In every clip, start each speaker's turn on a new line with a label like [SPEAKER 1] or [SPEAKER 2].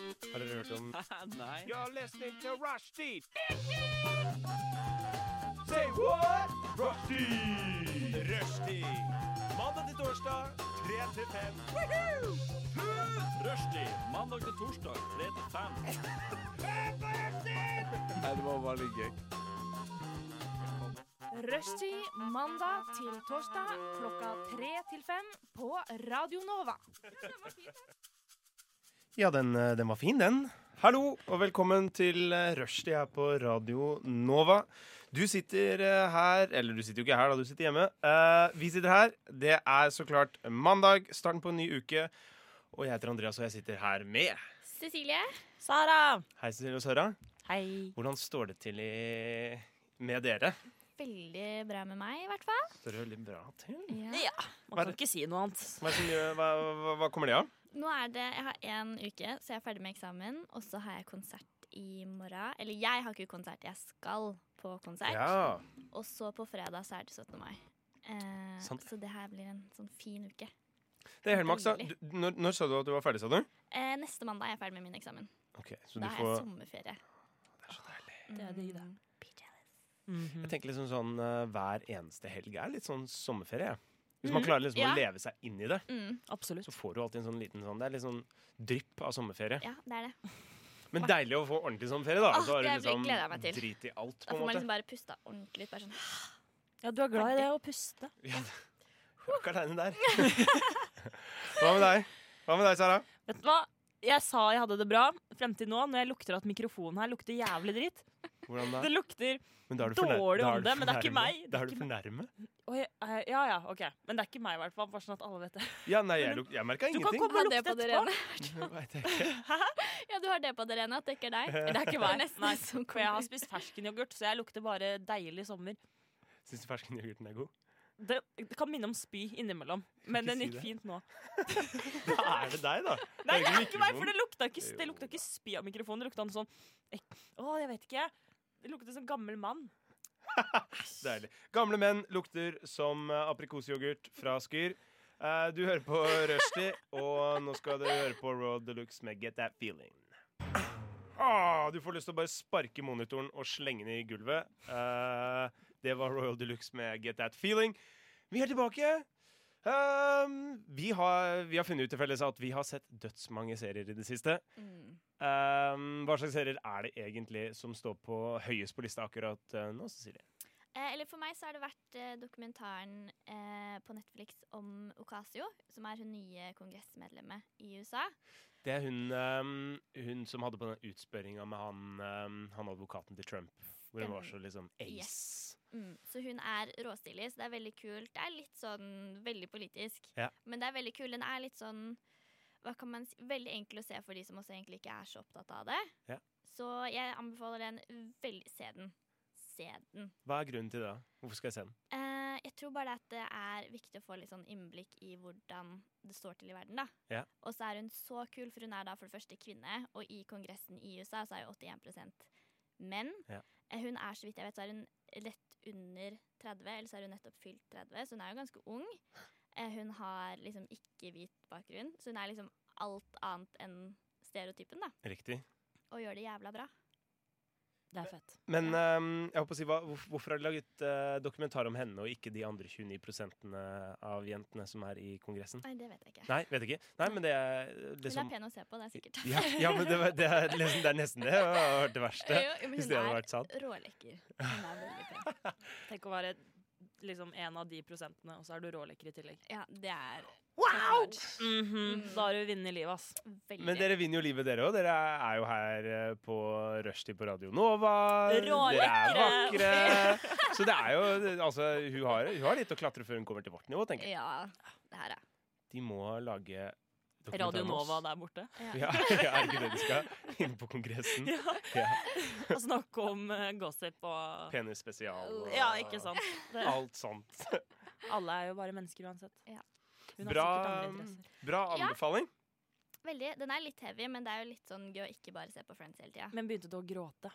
[SPEAKER 1] hørt om
[SPEAKER 2] Nei.
[SPEAKER 3] You're listening to Rushdie. Say what? Rushdie. Rushdie. Mandag til torsdag, 3 til 5.
[SPEAKER 2] Rushdie. Mandag til torsdag, 3 til 5.
[SPEAKER 1] Nei, det var bare litt gøy.
[SPEAKER 4] Rushtid mandag til torsdag klokka tre til fem på Radio Nova.
[SPEAKER 1] Ja, den, eh, den var fin, den. Hallo, og velkommen til eh, Rushdie her på Radio Nova. Du sitter eh, her Eller du sitter jo ikke her, da. Du sitter hjemme. Eh, vi sitter her. Det er så klart mandag, starten på en ny uke. Og jeg heter Andreas, og jeg sitter her med
[SPEAKER 5] Cecilie.
[SPEAKER 6] Sara!
[SPEAKER 1] Hei, Cecilie og Sara.
[SPEAKER 6] Hei.
[SPEAKER 1] Hvordan står det til i, med dere?
[SPEAKER 5] Veldig bra med meg, i hvert fall.
[SPEAKER 1] Står det veldig bra til?
[SPEAKER 6] Ja, man kan ikke si noe annet.
[SPEAKER 1] Hva, er det som gjør, hva, hva, hva kommer det av?
[SPEAKER 5] Nå er det, Jeg har én uke, så jeg er ferdig med eksamen. Og så har jeg konsert i morgen. Eller jeg har ikke konsert, jeg skal på konsert.
[SPEAKER 1] Ja.
[SPEAKER 5] Og så på fredag så er det 17. mai. Eh,
[SPEAKER 1] Sant.
[SPEAKER 5] så det her blir en sånn fin uke.
[SPEAKER 1] Det er helt maks. da.
[SPEAKER 5] Deilig.
[SPEAKER 1] Du- Når, når sa du at du var ferdig, sa du?
[SPEAKER 5] Eh, neste mandag er jeg ferdig med min eksamen.
[SPEAKER 1] Ok, så du
[SPEAKER 5] Da har jeg
[SPEAKER 1] får...
[SPEAKER 5] sommerferie.
[SPEAKER 1] Det er så deilig.
[SPEAKER 6] Det er digg, da.
[SPEAKER 5] Mm, be jealous.
[SPEAKER 1] Jeg tenker liksom sånn eh, hver eneste helg er litt sånn sommerferie. jeg. Hvis
[SPEAKER 6] Mm.
[SPEAKER 1] man klarer liksom
[SPEAKER 5] ja.
[SPEAKER 1] å leve seg inn i det,
[SPEAKER 5] Mm,
[SPEAKER 6] Absolutt.
[SPEAKER 1] så får du alltid en sånn liten sånn Det er litt sånn drypp av sommerferie.
[SPEAKER 5] ja, det er det.
[SPEAKER 1] Men deilig å få ordentlig sommerferie, da.
[SPEAKER 6] Ah,
[SPEAKER 5] Åh,
[SPEAKER 1] så har du
[SPEAKER 5] det blir-
[SPEAKER 1] liksom
[SPEAKER 5] gleder jeg meg til.
[SPEAKER 1] drit i alt,
[SPEAKER 5] Da
[SPEAKER 1] på
[SPEAKER 5] får
[SPEAKER 1] en
[SPEAKER 5] man
[SPEAKER 1] måte.
[SPEAKER 5] liksom bare pusta ordentlig ut. Bare sånn
[SPEAKER 6] Ja, du er glad i det å puste.
[SPEAKER 1] Jeg er ikke aleine der. Hva med deg? Hva med deg, Sara?
[SPEAKER 6] Vet du hva? Jeg sa jeg hadde det bra frem til nå, når jeg lukter at mikrofonen her lukter jævlig dritt.
[SPEAKER 1] Hvordan
[SPEAKER 6] Det
[SPEAKER 1] da?
[SPEAKER 6] lukter
[SPEAKER 1] Men da er
[SPEAKER 6] dårlig
[SPEAKER 1] da er
[SPEAKER 6] om
[SPEAKER 1] du
[SPEAKER 6] det, men det er ikke
[SPEAKER 1] fornærmet.
[SPEAKER 6] meg. Det
[SPEAKER 1] Da
[SPEAKER 6] er
[SPEAKER 1] er du
[SPEAKER 6] ikke
[SPEAKER 1] fornærmet?
[SPEAKER 6] Oi, eh, Ja ja, OK. Men det er ikke meg, i hvert fall. Bare sånn at alle vet det.
[SPEAKER 1] Ja, nei, jeg, luk- jeg merka
[SPEAKER 6] Du kan
[SPEAKER 1] ingenting.
[SPEAKER 6] komme og
[SPEAKER 5] Ha det
[SPEAKER 6] lukte
[SPEAKER 5] på det
[SPEAKER 6] etterpå.
[SPEAKER 1] Jeg vet ikke.
[SPEAKER 5] Ja, du har det på deg, Rene, at det ikke er deg.
[SPEAKER 6] Det er ikke meg.
[SPEAKER 5] Det er nesten
[SPEAKER 6] Nei,
[SPEAKER 5] som
[SPEAKER 6] for jeg
[SPEAKER 5] kommer.
[SPEAKER 6] har spist ferskenyoghurt, så jeg lukter bare deilig sommer.
[SPEAKER 1] Syns du ferskenyoghurten er god?
[SPEAKER 6] Det, det kan minne om spy innimellom, men
[SPEAKER 1] ikke
[SPEAKER 6] den
[SPEAKER 1] si
[SPEAKER 6] gikk
[SPEAKER 1] det.
[SPEAKER 6] fint nå.
[SPEAKER 1] Hva er det deg, da?
[SPEAKER 6] Nei, det
[SPEAKER 1] ikke
[SPEAKER 6] er ikke meg, for
[SPEAKER 1] mikrofonen.
[SPEAKER 6] det lukta ikke, det
[SPEAKER 1] Jo
[SPEAKER 6] lukta ikke spy av mikrofonen. Det lukta noe sånn ek- Å, jeg vet ikke. Det lukta som gammel mann.
[SPEAKER 1] Deilig. Gamle menn lukter som eh, aprikosyoghurt fra Skyr. Eh, du hører på Rushdie, og nå skal dere høre på Road Deluxe med Get That Feeling. Ah, du får lyst til å bare sparke monitoren og slenge den i gulvet. Eh, det var Royal Deluxe med Get That Feeling. Vi er tilbake. Ehm, vi, har, vi har funnet ut til felles at vi har sett dødsmange serier i det siste.
[SPEAKER 5] Mm.
[SPEAKER 1] Ehm, hva slags serier er det egentlig som står på høyest på lista akkurat eh, nå, Cecilie?
[SPEAKER 5] Eh, eller for meg så har det vært eh, dokumentaren eh, på Netflix om Ocasio, som er hun nye kongressmedlemmet i USA.
[SPEAKER 1] Det er hun, ehm, hun som hadde på den utspørringa med han, ehm, han advokaten til Trump. Hvor hun var så liksom ace.
[SPEAKER 5] Mm. Så hun er råstilig, så det er veldig kult. Det er litt sånn veldig politisk,
[SPEAKER 1] Ja.
[SPEAKER 5] men det er veldig kul. Den er litt sånn hva kan man si, veldig enkel å se for de som også egentlig ikke er så opptatt av det.
[SPEAKER 1] Ja.
[SPEAKER 5] Så jeg anbefaler den veldig. Se den. Se den.
[SPEAKER 1] Hva er grunnen til det? da? Hvorfor skal jeg se den?
[SPEAKER 5] Eh, jeg tror bare at det er viktig å få litt sånn innblikk i hvordan det står til i verden. da.
[SPEAKER 1] Ja.
[SPEAKER 5] Og så er hun så kul, for hun er da for det første kvinne, og i Kongressen i USA så er jo 81 menn.
[SPEAKER 1] Ja.
[SPEAKER 5] Eh, hun er så vidt jeg vet, så er hun rett under 30, eller så er hun nettopp fylt 30, så hun er jo ganske ung. Eh, hun har liksom ikke hvit bakgrunn, så hun er liksom alt annet enn stereotypen, da.
[SPEAKER 1] Riktig.
[SPEAKER 5] Og gjør det jævla bra.
[SPEAKER 6] Det er fett.
[SPEAKER 1] Men ehm, jeg håper å si, hva, hvorf- hvorfor har de laget eh, dokumentar om henne, og ikke de andre 29 av jentene som er i Kongressen?
[SPEAKER 5] Nei, det vet jeg ikke.
[SPEAKER 1] Nei, vet ikke. Nei, men det er
[SPEAKER 5] Hun
[SPEAKER 1] liksom
[SPEAKER 5] er pen å se på, det er sikkert.
[SPEAKER 1] ja, ja, men det, var- det, er, liksom, det er nesten det. Jeg har hørt det verste.
[SPEAKER 5] Jo, jo, men
[SPEAKER 1] Hvis
[SPEAKER 5] hun
[SPEAKER 1] det hadde
[SPEAKER 5] er
[SPEAKER 1] vært sant.
[SPEAKER 5] rålekker. Hun er veldig pen.
[SPEAKER 6] Tenk å være liksom en av de prosentene, og så er du rålekker i tillegg.
[SPEAKER 5] Ja, det er
[SPEAKER 6] Wow!
[SPEAKER 5] Takk, Mm.
[SPEAKER 6] Da har du vunnet livet, ass.
[SPEAKER 5] Veldig.
[SPEAKER 1] Men dere vinner jo livet, dere òg. Dere er jo her eh, på rushtid på Radio Nova. Dere er vakre. Så det er jo Altså, hun har, hun har litt å klatre før hun kommer til vårt nivå, tenker jeg.
[SPEAKER 5] Ja, det her er
[SPEAKER 1] De må lage dokumentar
[SPEAKER 6] Radio
[SPEAKER 1] om oss.
[SPEAKER 6] Nova der borte.
[SPEAKER 1] Ja, ja, er ikke det de skal? Inne på Kongressen.
[SPEAKER 6] Ja.
[SPEAKER 1] Ja.
[SPEAKER 6] Og snakke om eh, gossip og
[SPEAKER 1] Penisspesial og
[SPEAKER 6] Ja, ikke sant. Det,
[SPEAKER 1] alt sånt.
[SPEAKER 6] alle er jo bare mennesker uansett.
[SPEAKER 5] Ja.
[SPEAKER 6] Hun har
[SPEAKER 1] Bra,
[SPEAKER 6] sikkert andre interesser.
[SPEAKER 1] Bra
[SPEAKER 5] Ja.
[SPEAKER 1] anbefaling.
[SPEAKER 5] Veldig. Den er litt heavy, men det er jo litt sånn gøy å ikke bare se på Friends hele tida.
[SPEAKER 6] Men begynte du å gråte?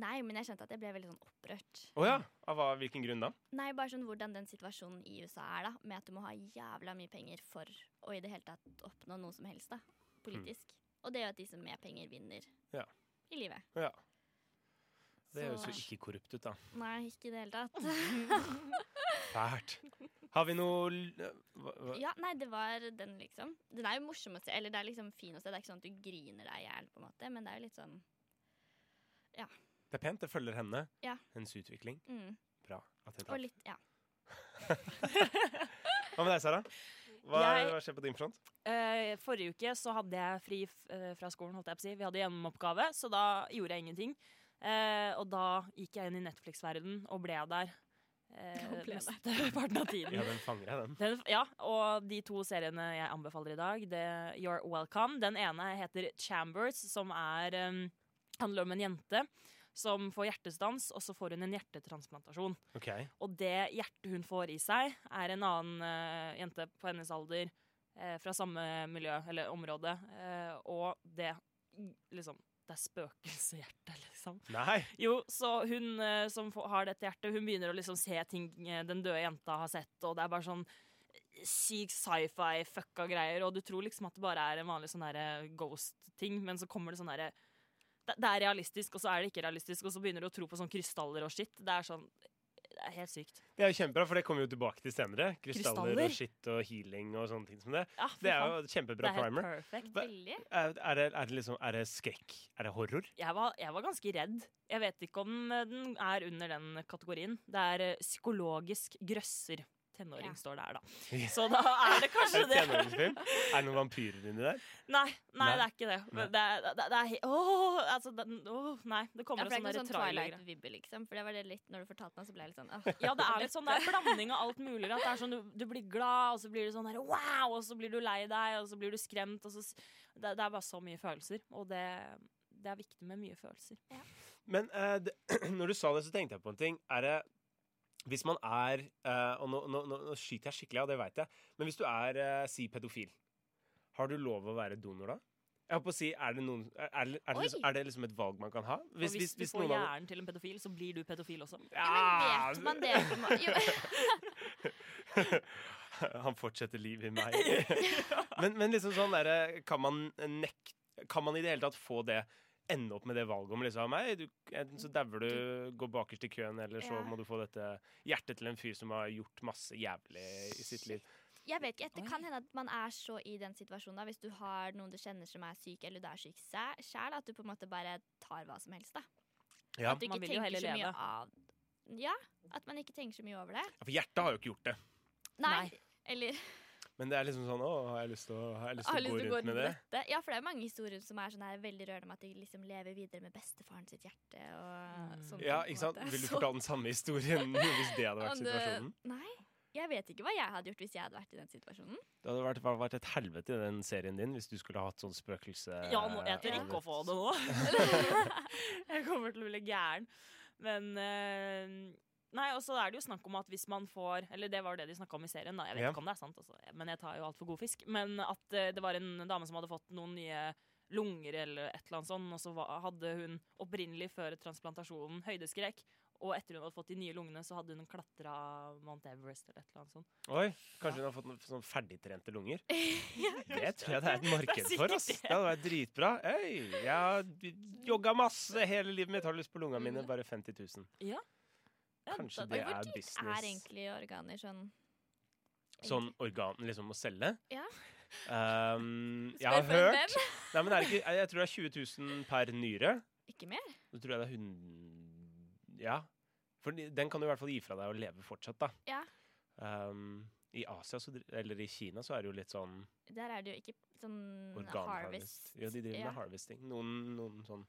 [SPEAKER 5] Nei, men jeg skjønte at jeg ble veldig sånn opprørt.
[SPEAKER 1] Å ja. Av hva, hvilken grunn da?
[SPEAKER 5] Nei, bare sånn hvordan den situasjonen i USA er, da. Med at du må ha jævla mye penger for å i det hele tatt oppnå noe som helst, da. Politisk. Og det gjør at de som har mer penger, vinner
[SPEAKER 1] Hmm. Ja.
[SPEAKER 5] i livet.
[SPEAKER 1] Ja. Det høres
[SPEAKER 5] Så-
[SPEAKER 1] jo ikke korrupt ut, da.
[SPEAKER 5] Nei, ikke i det hele tatt.
[SPEAKER 1] Fælt. Har vi noe l- hva, hva?
[SPEAKER 5] ja, nei, det var den, liksom. Den er jo morsom å se. Eller det er liksom fin å se. Det er ikke sånn at du griner deg i hjel, på en måte, men det er jo litt sånn
[SPEAKER 1] Det er pent. Det følger henne.
[SPEAKER 5] Ja.
[SPEAKER 1] Hennes utvikling.
[SPEAKER 5] mm,
[SPEAKER 1] Bra. At det
[SPEAKER 5] Og litt, ja.
[SPEAKER 1] Hva med deg, Sara? Hva,
[SPEAKER 6] Jeg-
[SPEAKER 1] hva skjer på din front?
[SPEAKER 6] Eh, forrige uke så hadde jeg fri f- eh, fra skolen, holdt jeg på å si. Vi hadde gjennomoppgave, så da gjorde jeg ingenting. Eh, og da gikk jeg inn i Netflix-verdenen og ble der eh,
[SPEAKER 5] Og ble der.
[SPEAKER 6] mesteparten av tiden.
[SPEAKER 1] Ja, den fanger jeg, den.
[SPEAKER 6] Den, ja, og de to seriene jeg anbefaler i dag, det er You're Welcome. Den ene heter Chambers, som er, em, handler om en jente som får hjertestans, og så får hun en hjertetransplantasjon.
[SPEAKER 1] Ok.
[SPEAKER 6] Og det hjertet hun får i seg, er en annen eh, jente på hennes alder eh, fra samme miljø eller område. eh, og det liksom Det er spøkelseshjertet, liksom.
[SPEAKER 1] Nei!
[SPEAKER 6] Jo, så hun eh, som får- har dette hjertet, hun begynner å liksom se ting eh, den døde jenta har sett, og det er bare sånn syk sci-fi fucka greier, og du tror liksom at det bare er en vanlig sånn derre ghost-ting, men så kommer det sånn derre det, det er realistisk, og så er det ikke realistisk, og så begynner du å tro på sånn krystaller og shit. Det er sånn Det er helt sykt.
[SPEAKER 1] Det er jo kjempebra, for det kommer vi jo tilbake til senere. Krystaller,
[SPEAKER 6] Krystaller?
[SPEAKER 1] og shit og healing og sånne ting som det.
[SPEAKER 6] Ja, fy
[SPEAKER 1] Det er
[SPEAKER 6] faen.
[SPEAKER 1] jo et
[SPEAKER 6] Det
[SPEAKER 1] kjempebra
[SPEAKER 6] er helt
[SPEAKER 1] primer.
[SPEAKER 6] perfekt.
[SPEAKER 1] Hva-
[SPEAKER 5] Veldig.
[SPEAKER 1] Er, er, det, er det liksom Er det skrekk? Er det horror?
[SPEAKER 6] Jeg var, jeg var ganske redd. Jeg vet ikke om eh, den er under den kategorien. Det er eh, psykologisk grøsser. Tenåring
[SPEAKER 5] Ja.
[SPEAKER 6] står der, da.
[SPEAKER 1] Ja.
[SPEAKER 6] Så da er det kanskje
[SPEAKER 1] Er det
[SPEAKER 6] det.
[SPEAKER 1] tenåringsfilm? Er det noen vampyrer inni der?
[SPEAKER 6] Nei, nei,
[SPEAKER 1] Nei.
[SPEAKER 6] det er ikke det.
[SPEAKER 1] Nei.
[SPEAKER 6] Men Det er, det er, det er he- åh, altså, den, åh, Nei, det
[SPEAKER 5] Ja,
[SPEAKER 6] kommer
[SPEAKER 5] for det er
[SPEAKER 6] en
[SPEAKER 5] ikke
[SPEAKER 6] sånn
[SPEAKER 5] sånn
[SPEAKER 6] trailer.
[SPEAKER 5] Twilight-vibbe, liksom. For det var det litt når du fortalte meg, så ble jeg litt sånn «Åh».
[SPEAKER 6] Ja, det er litt sånn det er en blanding av alt mulig. At det er sånn, du, du blir glad, og så blir du sånn her, wow, og så blir du lei deg, og så blir du skremt. Og så, s- det, det er bare så mye følelser. Og det, det er viktig med mye følelser.
[SPEAKER 1] Men eh, det, når du sa det, så tenkte jeg på en ting. Er det Hvis man er eh, Og nå, nå, nå nå skyter jeg skikkelig av, det veit jeg. Men hvis du er, eh, si, pedofil, har du lov å være donor da? Jeg holdt på å si, er det, noen, er, er, det- er, det liksom,
[SPEAKER 5] Oi.
[SPEAKER 1] er det liksom et valg man kan ha?
[SPEAKER 6] Og hvis, du får
[SPEAKER 1] noen av-
[SPEAKER 6] hjernen til en pedofil, så blir du pedofil også.
[SPEAKER 5] Ja,
[SPEAKER 1] Ah,
[SPEAKER 5] men vet man det? på en må- Jo,
[SPEAKER 1] Han fortsetter livet i meg. men, men liksom sånn derre Kan man nekt, Kan man i det hele tatt få det Ende opp med det valget om liksom Hei, du, enten så dauer du, går bakerst i køen, eller så
[SPEAKER 5] Ja.
[SPEAKER 1] må du få dette hjertet til en fyr som har gjort masse jævlig i sitt liv.
[SPEAKER 5] jeg vet ikke.
[SPEAKER 6] Oi.
[SPEAKER 5] Det kan hende at man er så i den situasjonen da, hvis du har noen du kjenner som er syk, eller du er syk sæ- sjæl, at du på en måte bare tar hva som helst, da.
[SPEAKER 1] Ja.
[SPEAKER 5] At du
[SPEAKER 6] Man
[SPEAKER 5] ikke
[SPEAKER 6] vil jo
[SPEAKER 5] tenker
[SPEAKER 6] heller
[SPEAKER 5] så mye
[SPEAKER 6] leve.
[SPEAKER 5] av Ja, at man ikke tenker så mye over det.
[SPEAKER 1] Ja, For hjertet har jo ikke gjort det.
[SPEAKER 5] Nei.
[SPEAKER 6] Nei.
[SPEAKER 5] Eller
[SPEAKER 1] Men det er liksom sånn Å, har jeg lyst til å, har jeg lyst
[SPEAKER 5] har
[SPEAKER 1] til å
[SPEAKER 5] lyst
[SPEAKER 1] gå
[SPEAKER 5] til å gå
[SPEAKER 1] rundt
[SPEAKER 5] rundt
[SPEAKER 1] med
[SPEAKER 5] med
[SPEAKER 1] det?
[SPEAKER 5] dette. Ja, for det er mange historier som er sånn her veldig rørende om at de liksom lever videre med bestefaren sitt hjerte og
[SPEAKER 6] Mm.
[SPEAKER 5] sånne
[SPEAKER 1] Ja,
[SPEAKER 5] ting, på en
[SPEAKER 1] ikke sant?
[SPEAKER 5] måte.
[SPEAKER 1] Vil du
[SPEAKER 5] Så-
[SPEAKER 1] fortelle den samme historien hvis det hadde vært
[SPEAKER 5] om det-
[SPEAKER 1] situasjonen?
[SPEAKER 5] Nei. Jeg vet ikke hva jeg hadde gjort hvis jeg hadde vært i den situasjonen.
[SPEAKER 1] Det hadde vært, vært et helvete i den serien din hvis du skulle hatt sånn spøkelse...
[SPEAKER 6] Ja, nå, jeg tør ikke å få det nå. jeg kommer til å bli gæren. Men eh, Nei, og så er det jo snakk om at hvis man får Eller det var jo det de snakka om i serien, da. Jeg vet
[SPEAKER 1] Ja.
[SPEAKER 6] ikke om det er sant, altså. Men jeg tar jo alt for god fisk. Men at eh, det var en dame som hadde fått noen nye lunger eller et eller annet sånt, og så va- hadde hun opprinnelig før transplantasjonen høydeskrekk. Og etter hun hadde fått de nye lungene, så hadde hun klatra Mount Everest eller et eller annet sånt.
[SPEAKER 1] Oi, Kanskje hun har fått noen sånn ferdigtrente lunger? Det tror jeg det er et marked for. ass.
[SPEAKER 6] sikkert det.
[SPEAKER 1] Det hadde vært dritbra. Øy, jeg har jogga masse hele livet mitt, har lyst på lunga mine, bare 50 000.
[SPEAKER 6] Ja. Ja,
[SPEAKER 1] Kanskje
[SPEAKER 6] da-
[SPEAKER 1] det
[SPEAKER 5] Mm. Oi, hvor
[SPEAKER 1] er
[SPEAKER 5] dyrt er
[SPEAKER 1] business.
[SPEAKER 5] egentlig organer sånn
[SPEAKER 1] Sånn organ liksom å selge.
[SPEAKER 5] Ja.
[SPEAKER 1] Um, jeg
[SPEAKER 5] Spør
[SPEAKER 1] har
[SPEAKER 5] for en
[SPEAKER 1] hørt Nei, men er det ikke, Jeg tror det er 20 000 per nyre.
[SPEAKER 5] Ikke mer?
[SPEAKER 1] Så tror jeg det er 100 Ja. For de- den kan du i hvert fall gi fra deg og leve fortsatt, da.
[SPEAKER 5] Ja.
[SPEAKER 1] Um, I Asia, så, dri- eller i Kina, så er det jo litt sånn
[SPEAKER 5] Der er det jo ikke sånn
[SPEAKER 6] Mm,
[SPEAKER 1] Organharvest.
[SPEAKER 5] harvest.
[SPEAKER 1] Ja, de driver
[SPEAKER 5] Ja.
[SPEAKER 1] med harvesting. Noen, noen sånn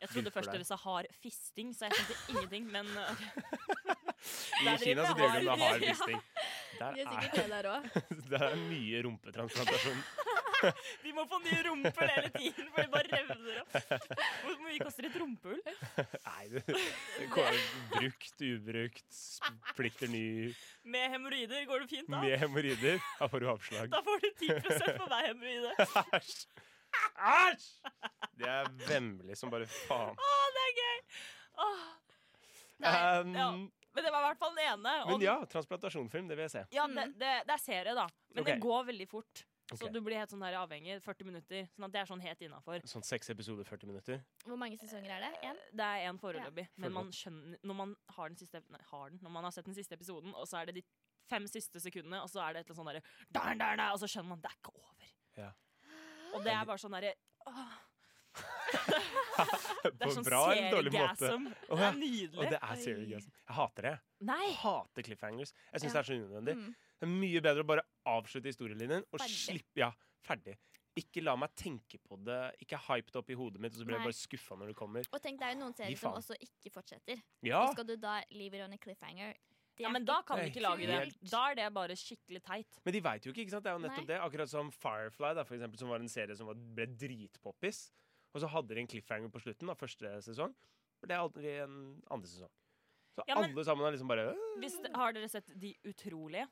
[SPEAKER 6] Jeg trodde
[SPEAKER 1] Vilfor
[SPEAKER 6] først
[SPEAKER 1] deg.
[SPEAKER 6] dere sa hard fisting, så jeg skjønte ingenting, men uh,
[SPEAKER 1] I
[SPEAKER 6] Der driver
[SPEAKER 1] Kina så
[SPEAKER 6] med
[SPEAKER 1] driver de med
[SPEAKER 6] hard-
[SPEAKER 1] hard fisting. Der
[SPEAKER 5] De er
[SPEAKER 1] er,
[SPEAKER 5] sikkert det der òg.
[SPEAKER 1] der er mye rumpetransplantasjon.
[SPEAKER 6] de må få nye rumper hele tiden, for de bare revner opp. Hvor mye koster et rumpehull?
[SPEAKER 1] Nei, det, det går brukt, ubrukt, splitter ny
[SPEAKER 6] Med hemoroider går det fint, da.
[SPEAKER 1] med hemoroider. Da får du avslag.
[SPEAKER 6] Da får du 10 på hver hemoroide.
[SPEAKER 1] Æsj! Æsj! Det er vemmelig som bare faen.
[SPEAKER 6] Å, det er gøy! Åh. Nei,
[SPEAKER 1] Um,
[SPEAKER 6] ja. Men det var i hvert fall den ene. og
[SPEAKER 1] Men ja, transplantasjonfilm, det vil jeg se.
[SPEAKER 6] Mm. den- ja, det, det, det er serie, da. Men
[SPEAKER 1] Ok.
[SPEAKER 6] det går veldig fort. Så
[SPEAKER 1] Ok.
[SPEAKER 6] du blir helt sånn der avhengig. 40 minutter. Sånn at det er sånn helt innafor.
[SPEAKER 1] Sånn seks episoder, 40 minutter.
[SPEAKER 5] Hvor mange sesonger er det? En?
[SPEAKER 6] Det er én foreløpig, men
[SPEAKER 1] Foreløpig.
[SPEAKER 6] man skjønner Når man har den siste Nei, har den. Når man har sett den siste episoden, og så er det de fem siste sekundene, og så er det et eller annet sånn derre der, der, Og så skjønner man det er ikke over.
[SPEAKER 1] Ja.
[SPEAKER 6] Og det er bare sånn derre åh, Det
[SPEAKER 1] På
[SPEAKER 6] er sånn
[SPEAKER 1] bra eller dårlig måte?
[SPEAKER 6] seriegasm.
[SPEAKER 1] Å,
[SPEAKER 6] Det
[SPEAKER 1] ja.
[SPEAKER 6] er
[SPEAKER 1] Og
[SPEAKER 6] nydelig.
[SPEAKER 1] det er seriegasm. Jeg hater det.
[SPEAKER 6] Nei!
[SPEAKER 1] Jeg hater cliffhangers. Jeg syns
[SPEAKER 5] Ja.
[SPEAKER 1] det er så unødvendig.
[SPEAKER 5] Mm.
[SPEAKER 1] Det er mye bedre å bare avslutte historielinjen og
[SPEAKER 5] Ferdig.
[SPEAKER 1] slippe Ja, ferdig. Ikke la meg tenke på det. Ikke hype det opp i hodet mitt, og så blir jeg
[SPEAKER 5] Nei.
[SPEAKER 1] bare skuffa når det kommer.
[SPEAKER 5] Og tenk, det er jo noen serier som
[SPEAKER 1] faen.
[SPEAKER 5] også ikke fortsetter.
[SPEAKER 1] Ja!
[SPEAKER 5] Og skal du da leave it on a cliffhanger? Det
[SPEAKER 6] Ja,
[SPEAKER 5] er
[SPEAKER 6] men da kan du
[SPEAKER 1] Nei,
[SPEAKER 6] ikke lage det.
[SPEAKER 1] helt-
[SPEAKER 6] Da er det bare skikkelig teit.
[SPEAKER 1] Men de veit jo ikke, ikke sant? Det er jo nettopp det.
[SPEAKER 5] Nei.
[SPEAKER 1] Akkurat som Firefly, da, for eksempel, som var en serie som var, ble dritpoppis. Og så hadde de en cliffhanger på slutten av første sesong. Men det er aldri en andre sesong. Så
[SPEAKER 6] Ja, men-
[SPEAKER 1] alle sammen er liksom bare øh,
[SPEAKER 6] Hvis, det- har dere sett De utrolige?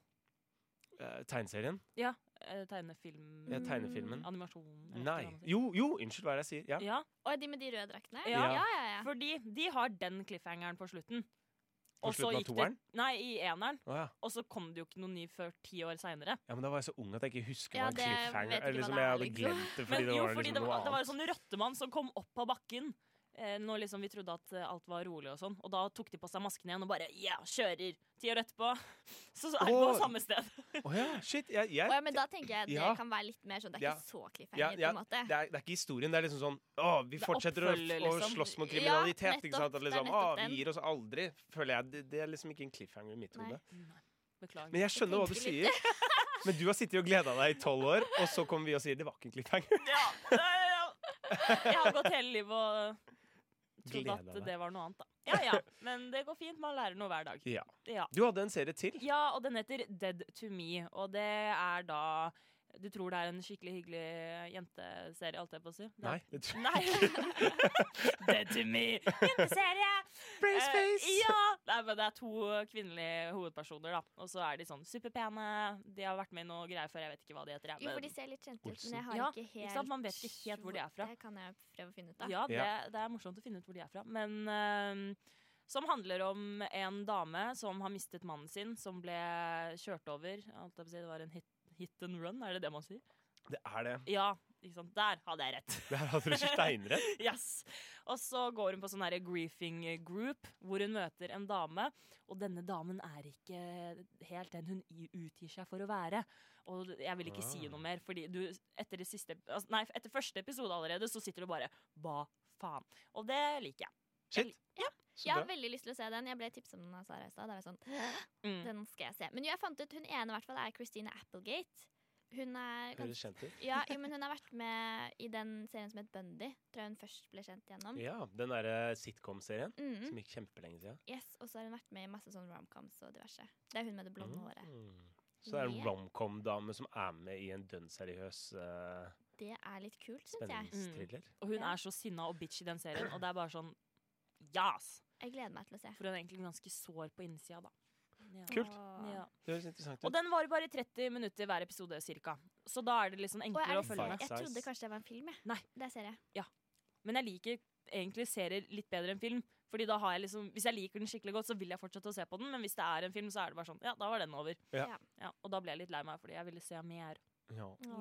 [SPEAKER 1] eh, Tegneserien?
[SPEAKER 6] Eh, Tegnefilm
[SPEAKER 5] Mm.
[SPEAKER 1] Ja, tegnefilmen?
[SPEAKER 6] Animasjon? eller
[SPEAKER 1] Nei.
[SPEAKER 6] hva man sier.
[SPEAKER 1] Jo, jo, unnskyld hva er det jeg sier. Ja.
[SPEAKER 6] Ja,
[SPEAKER 5] Og de med de røde draktene?
[SPEAKER 6] Ja.
[SPEAKER 5] ja, ja. ja.
[SPEAKER 6] fordi de har den cliffhangeren på slutten.
[SPEAKER 1] På
[SPEAKER 6] Og så
[SPEAKER 1] slutten av
[SPEAKER 6] gikk det-
[SPEAKER 1] toeren?
[SPEAKER 6] Nei, i eneren.
[SPEAKER 1] Å, ja.
[SPEAKER 6] Og så kom det jo ikke noe ny før ti år seinere.
[SPEAKER 1] ja, men da var jeg så ung at jeg ikke husker
[SPEAKER 5] Ja,
[SPEAKER 1] hva en
[SPEAKER 5] det-
[SPEAKER 1] cliffhanger
[SPEAKER 5] vet ikke
[SPEAKER 1] Eller
[SPEAKER 5] hva
[SPEAKER 1] liksom,
[SPEAKER 5] det
[SPEAKER 1] jeg
[SPEAKER 5] er,
[SPEAKER 1] hadde
[SPEAKER 5] liksom.
[SPEAKER 1] glemt det fordi
[SPEAKER 6] Men
[SPEAKER 1] det
[SPEAKER 6] jo,
[SPEAKER 1] var liksom
[SPEAKER 6] fordi det
[SPEAKER 1] noe
[SPEAKER 6] var, det var
[SPEAKER 1] annet.
[SPEAKER 6] en sånn rottemann som kom opp av bakken. Eh, når liksom vi trodde at eh, alt var rolig og sånn. Og da tok de på seg maskene igjen og bare ja, kjører. Ti år etterpå. Så, så er det på
[SPEAKER 1] Åh.
[SPEAKER 6] samme sted.
[SPEAKER 1] Å ja, shit. Jeg, jeg
[SPEAKER 5] sånn- Å ja, men da tenker jeg at
[SPEAKER 1] Ja.
[SPEAKER 5] det kan være litt mer sånn Det er
[SPEAKER 1] Ja.
[SPEAKER 5] ikke så cliffhanger,
[SPEAKER 1] Ja, ja,
[SPEAKER 5] på en måte.
[SPEAKER 1] det, er, det er ikke historien. Det er liksom sånn Å, vi
[SPEAKER 6] er
[SPEAKER 1] fortsetter å,
[SPEAKER 6] oppfølger,
[SPEAKER 1] å
[SPEAKER 6] liksom.
[SPEAKER 1] slåss mot
[SPEAKER 5] Ja,
[SPEAKER 1] kriminalitet.
[SPEAKER 5] nettopp,
[SPEAKER 1] ikke sant? At
[SPEAKER 5] det er
[SPEAKER 1] liksom, å,
[SPEAKER 5] nettopp den.
[SPEAKER 1] vi gir oss aldri, føler jeg. Det, det er liksom ikke en cliffhanger i mitt
[SPEAKER 5] Nei.
[SPEAKER 1] hode.
[SPEAKER 6] Beklager.
[SPEAKER 1] Men jeg skjønner hva du
[SPEAKER 5] tenker
[SPEAKER 1] sier. Men du har sittet og gleda deg i tolv år, og så kommer vi og sier det var ikke en cliffhanger.
[SPEAKER 6] Ja, ja, ja, ja. Jeg har gått hele livet og trodde
[SPEAKER 1] Gleda
[SPEAKER 6] at
[SPEAKER 1] deg.
[SPEAKER 6] det var noe annet, da. Ja ja, men det går fint. Man lærer noe hver dag.
[SPEAKER 1] Ja.
[SPEAKER 6] Ja.
[SPEAKER 1] Du hadde en serie til.
[SPEAKER 6] ja, og den heter Dead to me, og det er da Du tror det er en skikkelig hyggelig jenteserie, holdt jeg på å si? Det er-
[SPEAKER 1] Nei. Det tror
[SPEAKER 6] Nei. Dead to me. Jenteserie. Eh, ja. Nei, men det er to kvinnelige hovedpersoner, da. Og så er de sånn superpene. De har vært med i noe greier før, jeg vet ikke hva de heter. jeg,
[SPEAKER 5] Jo, for de
[SPEAKER 6] men-
[SPEAKER 5] ser litt kjente ut,
[SPEAKER 1] Olsen.
[SPEAKER 5] men jeg har
[SPEAKER 6] Ja,
[SPEAKER 5] ikke helt
[SPEAKER 6] ikke sant? Man vet ikke helt hvor de er fra.
[SPEAKER 5] Det kan jeg prøve å finne ut av.
[SPEAKER 6] Ja, det,
[SPEAKER 1] Ja.
[SPEAKER 6] det er morsomt å finne ut hvor de er fra. Men eh, som handler om en dame som har mistet mannen sin, som ble kjørt over. Jeg holdt på å si, Det var en hit, hit and run, er det det man sier?
[SPEAKER 1] Det er det.
[SPEAKER 6] Ja, ikke sant. Der hadde jeg rett.
[SPEAKER 1] Det her hadde du ikke steinrett.
[SPEAKER 6] yes. Og så går hun på sånn her griefing group, hvor hun møter en dame. Og denne damen er ikke helt den hun i- utgir seg for å være. Og jeg vil ikke si
[SPEAKER 1] Ah.
[SPEAKER 6] noe mer, fordi du etter, det siste, altså, nei, etter første episode allerede så sitter du bare Hva faen? Og det liker jeg.
[SPEAKER 1] Shit. Så
[SPEAKER 5] Jeg har
[SPEAKER 1] bra.
[SPEAKER 5] veldig lyst til å se den. Jeg ble tipset om den av Sara i stad. Da var jeg sånn «Åh,
[SPEAKER 6] Mm.
[SPEAKER 5] Den skal jeg se. Men jo, jeg fant ut hun ene i hvert fall er Christina Applegate. Hun er
[SPEAKER 1] Høres
[SPEAKER 5] gans-
[SPEAKER 1] kjent ut.
[SPEAKER 5] ja, jo, men hun har vært med i den serien som het Bundy. Tror jeg hun først ble kjent gjennom.
[SPEAKER 1] Ja, den derre sitcom-serien
[SPEAKER 5] Mm,
[SPEAKER 1] som gikk kjempelenge siden.
[SPEAKER 5] yes, Og så har hun vært med i masse sånn romcoms og diverse. Det er hun med det blonde håret.
[SPEAKER 1] Mm. Så det er en
[SPEAKER 5] Yeah.
[SPEAKER 1] romcom-dame som er med i en dønn seriøs eh,
[SPEAKER 5] Det er litt kult, syns jeg.
[SPEAKER 6] Mm.
[SPEAKER 1] spenningsthriller.
[SPEAKER 6] Og hun
[SPEAKER 5] Ja.
[SPEAKER 6] er så sinna og bitch i den serien, og det er bare sånn Jas!
[SPEAKER 5] Jeg gleder meg til å se.
[SPEAKER 6] For hun er egentlig ganske sår på innsida, da. Ja.
[SPEAKER 1] Kult.
[SPEAKER 5] Åh.
[SPEAKER 6] Ja.
[SPEAKER 1] Det høres interessant
[SPEAKER 6] Og
[SPEAKER 1] ut.
[SPEAKER 6] den varer bare 30 minutter hver episode, cirka. Så da er det liksom
[SPEAKER 5] Å, er
[SPEAKER 6] enklere å
[SPEAKER 5] det
[SPEAKER 6] følge
[SPEAKER 5] serie?
[SPEAKER 6] med.
[SPEAKER 5] Jeg trodde kanskje det var en film. Jeg.
[SPEAKER 6] Nei.
[SPEAKER 5] Det er serie.
[SPEAKER 6] Men jeg liker egentlig serier litt bedre enn film. Fordi da har jeg liksom, Hvis jeg liker den skikkelig godt, så vil jeg fortsette å se på den. Men hvis det er en film, så er det bare sånn Ja, da var den over.
[SPEAKER 1] Ja.
[SPEAKER 5] Ja.
[SPEAKER 6] Ja, og da ble jeg litt lei meg, fordi jeg ville se mer.
[SPEAKER 1] Ja.
[SPEAKER 6] Ja.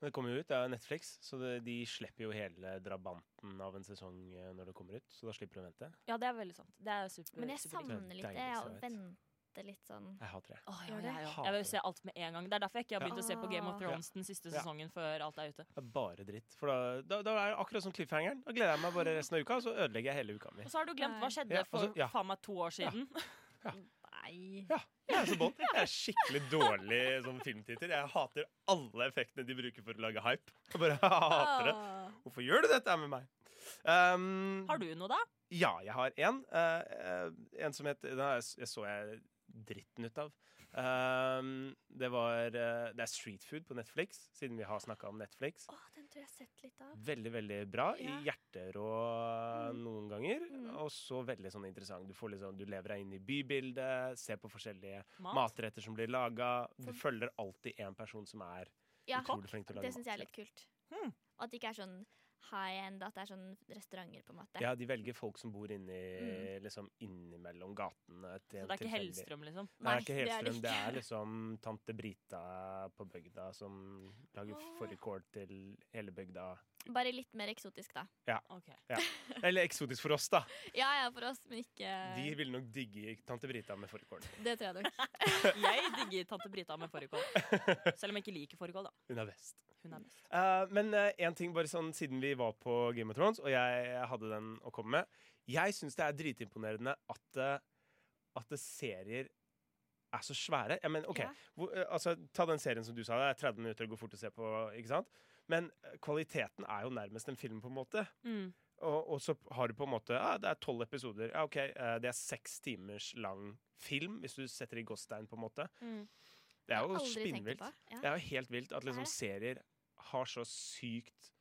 [SPEAKER 1] Men det kommer jo ut, det er jo Netflix, så det, de slipper jo hele drabanten av en sesong eh, når det kommer ut. Så da slipper du å vente.
[SPEAKER 6] ja, det er veldig sant. Det er super,
[SPEAKER 5] Men jeg
[SPEAKER 6] superdigg.
[SPEAKER 5] savner
[SPEAKER 1] Det er
[SPEAKER 5] litt det.
[SPEAKER 1] deilig
[SPEAKER 5] Jeg
[SPEAKER 1] sørhet.
[SPEAKER 5] venter litt sånn
[SPEAKER 1] Jeg hater det.
[SPEAKER 6] Åh, ja,
[SPEAKER 5] Gjør
[SPEAKER 6] ja,
[SPEAKER 5] det?
[SPEAKER 6] ja.
[SPEAKER 1] Hater
[SPEAKER 6] Jeg vil
[SPEAKER 1] det.
[SPEAKER 6] se alt med en gang. Det er derfor jeg ikke har begynt å se på Game of
[SPEAKER 5] Ah.
[SPEAKER 6] Thrones den siste
[SPEAKER 1] Ja.
[SPEAKER 6] sesongen før alt er ute.
[SPEAKER 1] Det er bare dritt. For da, da, da er det akkurat som cliffhangeren. Da gleder jeg meg bare resten av uka, og så ødelegger jeg hele uka mi.
[SPEAKER 6] Og så har du glemt
[SPEAKER 5] Nei.
[SPEAKER 6] hva skjedde
[SPEAKER 1] Ja,
[SPEAKER 6] for
[SPEAKER 1] altså, ja.
[SPEAKER 6] faen meg to år siden.
[SPEAKER 5] Nei.
[SPEAKER 1] Jeg er så bånd. Jeg er skikkelig dårlig som filmtitter. Jeg hater alle effektene de bruker for å lage hype. Jeg bare hater det. Hvorfor gjør du dette her med meg? Um,
[SPEAKER 6] Ah. Har du noe, da?
[SPEAKER 1] Ja, jeg har en. eh, eh, en som het Den her s- jeg så jeg dritten ut av. Ehm, det var eh, Det er Street Food på Netflix, siden vi har snakka om Netflix.
[SPEAKER 5] Å, den tror jeg jeg har sett litt av.
[SPEAKER 1] Veldig, veldig bra.
[SPEAKER 5] Ja.
[SPEAKER 1] Hjerterå noen ganger.
[SPEAKER 5] Mm.
[SPEAKER 1] Og så veldig sånn interessant. Du, får litt sånn- du lever deg inn i bybildet, ser på forskjellige
[SPEAKER 6] Mat?
[SPEAKER 1] matretter som blir laga. Du følger alltid én person som er
[SPEAKER 5] Sånn. Ja,
[SPEAKER 1] utrolig flink til å lage
[SPEAKER 5] det syns jeg er
[SPEAKER 1] mat.
[SPEAKER 5] litt kult.
[SPEAKER 6] Hmm.
[SPEAKER 5] At det ikke er sånn high end, at det er sånn restauranter, på en måte.
[SPEAKER 1] Ja, de velger folk som bor inni,
[SPEAKER 5] Mm.
[SPEAKER 1] liksom innimellom gatene.
[SPEAKER 6] Så det er ikke Hellstrøm, liksom?
[SPEAKER 1] Nei,
[SPEAKER 5] Nei,
[SPEAKER 1] ikke
[SPEAKER 5] det er det
[SPEAKER 1] Hellstrøm. Det
[SPEAKER 5] ikke.
[SPEAKER 1] er liksom tante Brita på bygda som lager
[SPEAKER 5] Åh.
[SPEAKER 1] fårikål til hele bygda.
[SPEAKER 5] Bare litt mer eksotisk, da.
[SPEAKER 6] Ok.
[SPEAKER 1] Eller eksotisk for oss, da.
[SPEAKER 5] Ja ja, for oss, men ikke
[SPEAKER 1] De ville nok digge tante Brita med fårikål.
[SPEAKER 5] Det tror jeg nok.
[SPEAKER 6] Jeg digger tante Brita med fårikål. Selv om jeg ikke liker fårikål, da.
[SPEAKER 1] Hun er best.
[SPEAKER 6] Hun er best.
[SPEAKER 1] Eh, men én ting, bare sånn siden vi var på Game of Thrones, og jeg hadde den å komme med. Jeg syns det er dritimponerende at, eh, at det serier er så svære. Jeg mener, ok,
[SPEAKER 6] Ja.
[SPEAKER 1] hvor, eh, altså, Ta den serien som du sa, det er 30 minutter, det går fort å se på. ikke sant? Men eh, kvaliteten er jo nærmest en film, på en måte.
[SPEAKER 6] Mm.
[SPEAKER 1] Og, og så har du på en måte ah, Det er tolv episoder. Ja, ok, eh, Det er seks timers lang film, hvis du setter i Godstein, på en måte.
[SPEAKER 6] Mm.
[SPEAKER 1] Det er jo
[SPEAKER 5] Aldri tenkt
[SPEAKER 1] spinnvilt.
[SPEAKER 5] på. Ja.
[SPEAKER 1] Det er jo helt vilt at
[SPEAKER 5] Det er
[SPEAKER 1] liksom
[SPEAKER 5] det.
[SPEAKER 1] serier har så sykt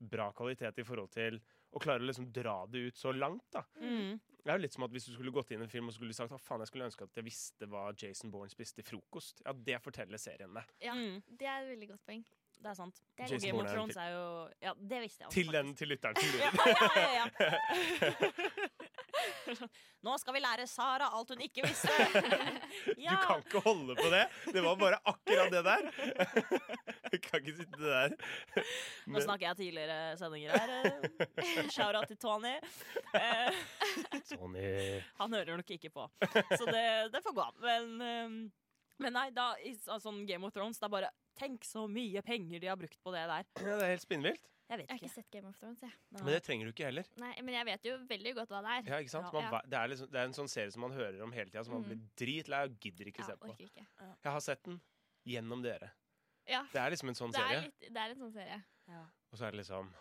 [SPEAKER 1] bra kvalitet i forhold til å klare å liksom dra det ut så langt. da.
[SPEAKER 6] Mm.
[SPEAKER 1] Det er jo litt som at Hvis du skulle gått inn i en film og skulle sagt at faen, jeg skulle ønske at jeg visste hva Jason Bourne spiste til frokost, ja, det forteller serien det.
[SPEAKER 5] Ja.
[SPEAKER 6] Mm.
[SPEAKER 5] Det er et veldig godt poeng.
[SPEAKER 6] Det er sant.
[SPEAKER 5] Det er
[SPEAKER 6] Og
[SPEAKER 1] Jason
[SPEAKER 6] Game of
[SPEAKER 1] Bourne er en
[SPEAKER 6] Thrones er jo Ja, det visste jeg også.
[SPEAKER 1] Til den til lytteren som lurer.
[SPEAKER 6] faktisk. Ja, ja, ja, ja. Nå skal vi lære Sara alt hun ikke visste!
[SPEAKER 1] Du kan ikke holde på det! Det var bare akkurat det der. Du kan ikke sitte der.
[SPEAKER 6] Nå snakker jeg tidligere sendinger her. Shout-out til Tony. Eh,
[SPEAKER 1] Tony.
[SPEAKER 6] Han hører nok ikke på, så det, det får gå. Men, ehm, men nei, da, i s- altså, sånn Game of Thrones, det er bare Tenk så mye penger de har brukt på det der.
[SPEAKER 1] Ja, det er helt spinnvilt.
[SPEAKER 6] Jeg vet
[SPEAKER 5] Jeg har
[SPEAKER 6] ikke.
[SPEAKER 5] ikke sett Game of Thrones, jeg.
[SPEAKER 1] Men det trenger du ikke heller.
[SPEAKER 5] Nei, men jeg vet jo veldig godt hva det er.
[SPEAKER 1] Ja, ikke sant? Man,
[SPEAKER 5] Ja.
[SPEAKER 1] ve- Det, er liksom, det er en sånn serie som man hører om hele tida, som man
[SPEAKER 5] Mm.
[SPEAKER 1] blir dritlei og gidder ikke
[SPEAKER 5] Ja,
[SPEAKER 1] se på.
[SPEAKER 5] orker ikke.
[SPEAKER 1] Jeg har sett den gjennom dere.
[SPEAKER 5] Ja.
[SPEAKER 1] Det er liksom en sånn
[SPEAKER 5] Det er,
[SPEAKER 1] serie.
[SPEAKER 5] litt, det er en sånn serie.
[SPEAKER 6] Ja.
[SPEAKER 1] Og så er det liksom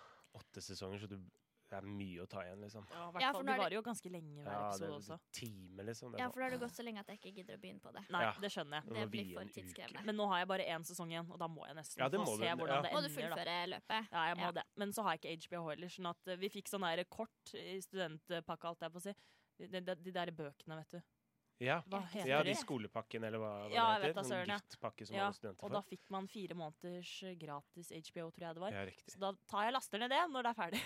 [SPEAKER 1] åtte sesonger, så du, det er mye å ta igjen, liksom.
[SPEAKER 6] Ja, i
[SPEAKER 5] Ja,
[SPEAKER 6] hvert
[SPEAKER 5] for
[SPEAKER 6] fall,
[SPEAKER 5] nå
[SPEAKER 6] de
[SPEAKER 5] er det-
[SPEAKER 6] varer jo ganske lenge hver
[SPEAKER 1] det
[SPEAKER 6] episode
[SPEAKER 1] er
[SPEAKER 6] også.
[SPEAKER 1] en time, liksom. Det
[SPEAKER 5] Ja,
[SPEAKER 1] er
[SPEAKER 5] for da har det gått så lenge at jeg ikke gidder å begynne på det.
[SPEAKER 6] Nei,
[SPEAKER 1] Ja.
[SPEAKER 6] det skjønner jeg.
[SPEAKER 1] sånn,
[SPEAKER 5] Det
[SPEAKER 1] nå
[SPEAKER 5] blir
[SPEAKER 1] vi en
[SPEAKER 5] for
[SPEAKER 1] uke.
[SPEAKER 5] tidskrevende.
[SPEAKER 6] Men nå har jeg bare én sesong igjen, og da må jeg nesten
[SPEAKER 1] Ja, det
[SPEAKER 6] få
[SPEAKER 1] må du.
[SPEAKER 6] se
[SPEAKER 1] Ja.
[SPEAKER 6] hvordan det
[SPEAKER 5] Må du
[SPEAKER 6] ender. Da.
[SPEAKER 5] fullføre løpet?
[SPEAKER 6] Ja, jeg må
[SPEAKER 5] Ja.
[SPEAKER 6] det. Men så har jeg ikke HBO heller, sånn at eh, vi fikk sånn der kort i studentpakka, alt jeg på å si. De, de, de der bøkene, vet du.
[SPEAKER 1] Ja.
[SPEAKER 6] Hva
[SPEAKER 5] Jeg
[SPEAKER 1] ja,
[SPEAKER 6] heter
[SPEAKER 1] de
[SPEAKER 6] de?
[SPEAKER 1] skolepakkene, eller hva, hva
[SPEAKER 6] Ja, jeg
[SPEAKER 1] det
[SPEAKER 6] vet da
[SPEAKER 1] heter. Sånn
[SPEAKER 6] søren, ja.
[SPEAKER 1] giftpakke som
[SPEAKER 6] Ja,
[SPEAKER 1] alle studenter
[SPEAKER 6] Og da
[SPEAKER 1] får.
[SPEAKER 6] fikk man fire måneders eh, gratis HBO, tror jeg det var.
[SPEAKER 1] Ja, riktig.
[SPEAKER 6] Så da tar jeg laster ned det når det er ferdig.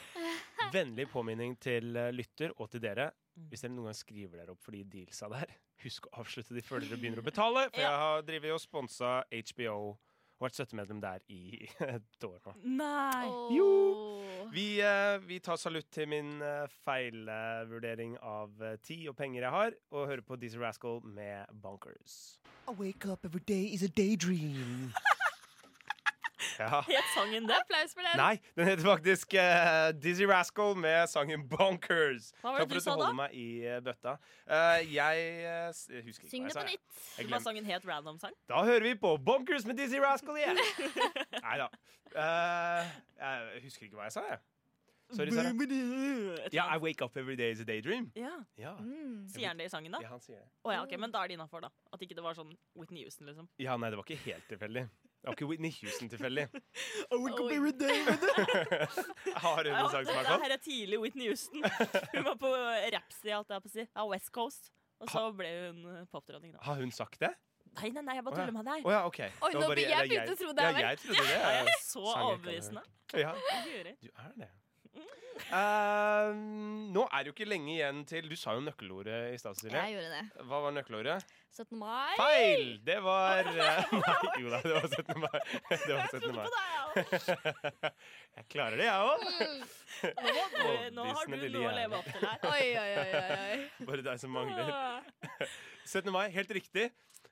[SPEAKER 1] Vennlig påminning til eh, lytter og til dere.
[SPEAKER 6] Mm.
[SPEAKER 1] Hvis dere noen gang skriver dere opp for de dealsa der, husk å avslutte de før dere begynner å betale. For
[SPEAKER 6] Ja.
[SPEAKER 1] jeg har drevet og sponsa HBO og vært støttemedlem der i et år nå.
[SPEAKER 6] Nei!
[SPEAKER 5] Åh.
[SPEAKER 1] Vi, eh, vi tar salutt til min eh, feilvurdering av eh, tid og penger jeg har, og hører på Dizzie Rascal med Bunkers.
[SPEAKER 7] I wake up every day is a daydream.
[SPEAKER 1] Ja.
[SPEAKER 6] Het sangen det?
[SPEAKER 5] Applaus for den!
[SPEAKER 1] Nei, den heter faktisk eh, Dizzy Rascal med sangen Bonkers.
[SPEAKER 6] Hva var det
[SPEAKER 1] Takk for at
[SPEAKER 6] du
[SPEAKER 1] du
[SPEAKER 6] sa da?
[SPEAKER 1] holder meg i eh, bøtta. Eh, jeg eh, s- jeg husker ikke
[SPEAKER 5] Syng
[SPEAKER 1] hva jeg
[SPEAKER 5] det
[SPEAKER 1] sa.
[SPEAKER 5] på
[SPEAKER 1] jeg.
[SPEAKER 5] nytt.
[SPEAKER 1] Jeg
[SPEAKER 6] Var
[SPEAKER 1] glemte.
[SPEAKER 6] sangen helt random sang?
[SPEAKER 1] Da hører vi på Bonkers med Dizzy Rascal igjen. Nei da. jeg husker ikke hva jeg sa, jeg. Eh, Sorry, Sara. Ja, I wake up every day is a daydream.
[SPEAKER 6] Ja,
[SPEAKER 1] Ja,
[SPEAKER 5] Mm.
[SPEAKER 6] Sier han det i sangen, da?
[SPEAKER 1] ja han sier det.
[SPEAKER 6] Å ja, ok, Men da er det innafor, da. At ikke det var sånn Whitney Houston, liksom.
[SPEAKER 1] Ja, nei, det var ikke helt tilfeldig. Det var ikke Whitney Houston tilfeldig.
[SPEAKER 7] I wake up
[SPEAKER 5] Oi.
[SPEAKER 7] every day with a...
[SPEAKER 1] Jeg har hun
[SPEAKER 6] Ja,
[SPEAKER 1] en sang som
[SPEAKER 6] dette
[SPEAKER 1] er sånn?
[SPEAKER 6] her er tidlig Whitney Houston. Hun var på rappsida, alt jeg på å si. Ja, West Coast. Og så ble hun eh, popdronning, da.
[SPEAKER 1] Har hun sagt det?
[SPEAKER 6] Nei, nei, nei, jeg bare
[SPEAKER 1] Å ja.
[SPEAKER 6] tuller med deg.
[SPEAKER 1] Å ja, OK. Det var
[SPEAKER 5] nå
[SPEAKER 1] bare-
[SPEAKER 5] blir jeg
[SPEAKER 1] eller
[SPEAKER 5] begynt å tro det
[SPEAKER 1] Ja,
[SPEAKER 5] er meg.
[SPEAKER 1] jeg trodde det.
[SPEAKER 6] Ja, jeg er
[SPEAKER 1] eh, sang
[SPEAKER 6] så
[SPEAKER 1] jeg ikke hadde
[SPEAKER 6] overbevisende.
[SPEAKER 1] hørt. Ja,
[SPEAKER 6] Guri.
[SPEAKER 1] du er det. Eh, nå er det jo ikke lenge igjen til Du sa jo nøkkelordet i stad, Cecilie.
[SPEAKER 5] Jeg gjorde det.
[SPEAKER 1] Hva var nøkkelordet?
[SPEAKER 5] 17. mai.
[SPEAKER 1] Feil! Det var eh, Nei, jo da, det var 17. mai. Det var 17. mai.
[SPEAKER 6] Nei,
[SPEAKER 1] Jeg klarer det, jeg òg.
[SPEAKER 6] ja. nå, har du- nå har du
[SPEAKER 1] Overbevisende lille
[SPEAKER 6] noe å
[SPEAKER 1] hjerne.
[SPEAKER 6] leve opp til her.
[SPEAKER 5] Mm. Oi, oi, oi, oi, oi.
[SPEAKER 1] Bare deg som mangler. 17. mai, helt riktig.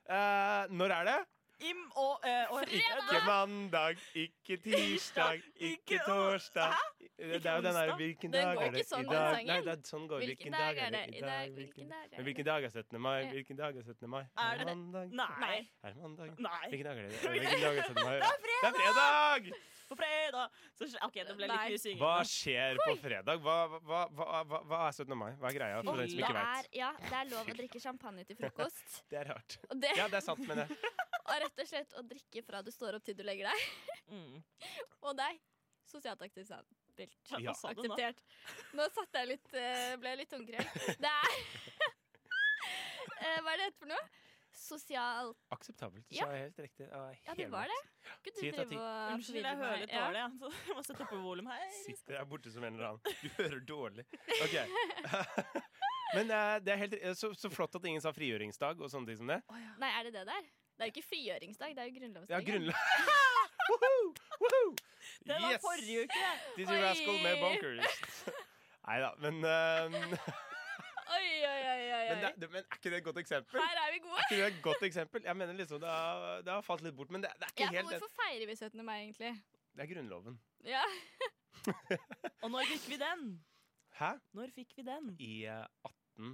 [SPEAKER 1] Eh, når er det?
[SPEAKER 6] Im og, eh, og
[SPEAKER 1] Ikke mandag, ikke tirsdag, ikke
[SPEAKER 6] Ikke å-
[SPEAKER 1] torsdag. Det er jo den der
[SPEAKER 6] onsdag?
[SPEAKER 1] hvilken
[SPEAKER 5] Den
[SPEAKER 1] dag
[SPEAKER 5] går
[SPEAKER 1] er det
[SPEAKER 5] ikke sånn,
[SPEAKER 1] i
[SPEAKER 5] den
[SPEAKER 1] dag?
[SPEAKER 5] sangen.
[SPEAKER 1] Nei, det er sånn går
[SPEAKER 5] Hvilken dag er det i dag? Hvilken dag er
[SPEAKER 1] Men
[SPEAKER 5] det?
[SPEAKER 1] hvilken dag er 17. mai?
[SPEAKER 5] Ja.
[SPEAKER 1] Hvilken dag er 17. mai?
[SPEAKER 6] Er
[SPEAKER 1] det
[SPEAKER 6] det-
[SPEAKER 1] mandag?
[SPEAKER 6] Nei.
[SPEAKER 1] Er det mandag?
[SPEAKER 6] Nei.
[SPEAKER 1] Hvilken dag er det? Hvilken dag er 17. mai? Det er fredag!
[SPEAKER 6] På fredag så, skj- OK, det ble litt
[SPEAKER 5] Nei.
[SPEAKER 6] mye synging.
[SPEAKER 1] Hva skjer på fredag? Hva, hva, hva, hva, hva er 17. mai? Hva er greia for den som
[SPEAKER 5] Det
[SPEAKER 1] ikke
[SPEAKER 5] er,
[SPEAKER 1] vet?
[SPEAKER 5] ja, det er lov å drikke champagne til frokost.
[SPEAKER 1] Det er rart.
[SPEAKER 5] Og det
[SPEAKER 1] Ja, det er sant, men det.
[SPEAKER 5] og rett og slett å drikke fra du står opp til du legger deg.
[SPEAKER 6] Mm.
[SPEAKER 5] Og deg. Sosialt akseptabelt.
[SPEAKER 1] Ja.
[SPEAKER 6] Hva sa du nå?
[SPEAKER 5] Akseptert. Nå satt jeg litt, eh, ble jeg litt tungkrøll. Det er Eh, Hva er det heter for noe? sosialt
[SPEAKER 1] Akseptabelt. Du
[SPEAKER 5] Ja.
[SPEAKER 1] sa helt riktig.
[SPEAKER 5] Ja, det var det. Gud, du
[SPEAKER 1] Ti ut av ti.
[SPEAKER 5] driver og
[SPEAKER 6] Unnskyld, jeg
[SPEAKER 5] forvirrer
[SPEAKER 6] hører
[SPEAKER 5] meg.
[SPEAKER 6] litt
[SPEAKER 5] Ja.
[SPEAKER 6] dårlig. jeg. Så Jeg må sette opp volumet her.
[SPEAKER 1] Sitter her borte som en eller annen. Du hører dårlig. Ok. Men eh, det er helt eh, så, så flott at ingen sa frigjøringsdag og sånne ting som det.
[SPEAKER 5] Nei, er det det der? Det er jo ikke frigjøringsdag, det er jo
[SPEAKER 1] Ja,
[SPEAKER 5] grunnlovsdag.
[SPEAKER 1] grunnlag Woho! Woho!
[SPEAKER 6] Det var
[SPEAKER 1] Yes!
[SPEAKER 6] forrige uke.
[SPEAKER 1] Dizzy Rascal med
[SPEAKER 5] Oi!
[SPEAKER 1] Bonkers. Nei da, men, eh,
[SPEAKER 5] Oi, oi, oi, oi,
[SPEAKER 1] men,
[SPEAKER 5] oi.
[SPEAKER 1] det, men er ikke det et godt eksempel?
[SPEAKER 5] Her er vi gode.
[SPEAKER 1] Ikke det et godt eksempel? Jeg mener liksom Det har, det har falt litt bort, men det, det er
[SPEAKER 5] Ja,
[SPEAKER 1] ikke helt det.
[SPEAKER 5] hvorfor feirer vi 17. mai, egentlig?
[SPEAKER 1] Det er Grunnloven.
[SPEAKER 5] Ja.
[SPEAKER 6] Og når fikk vi den?
[SPEAKER 1] Hæ?
[SPEAKER 6] Når fikk vi den?
[SPEAKER 1] I eh, 18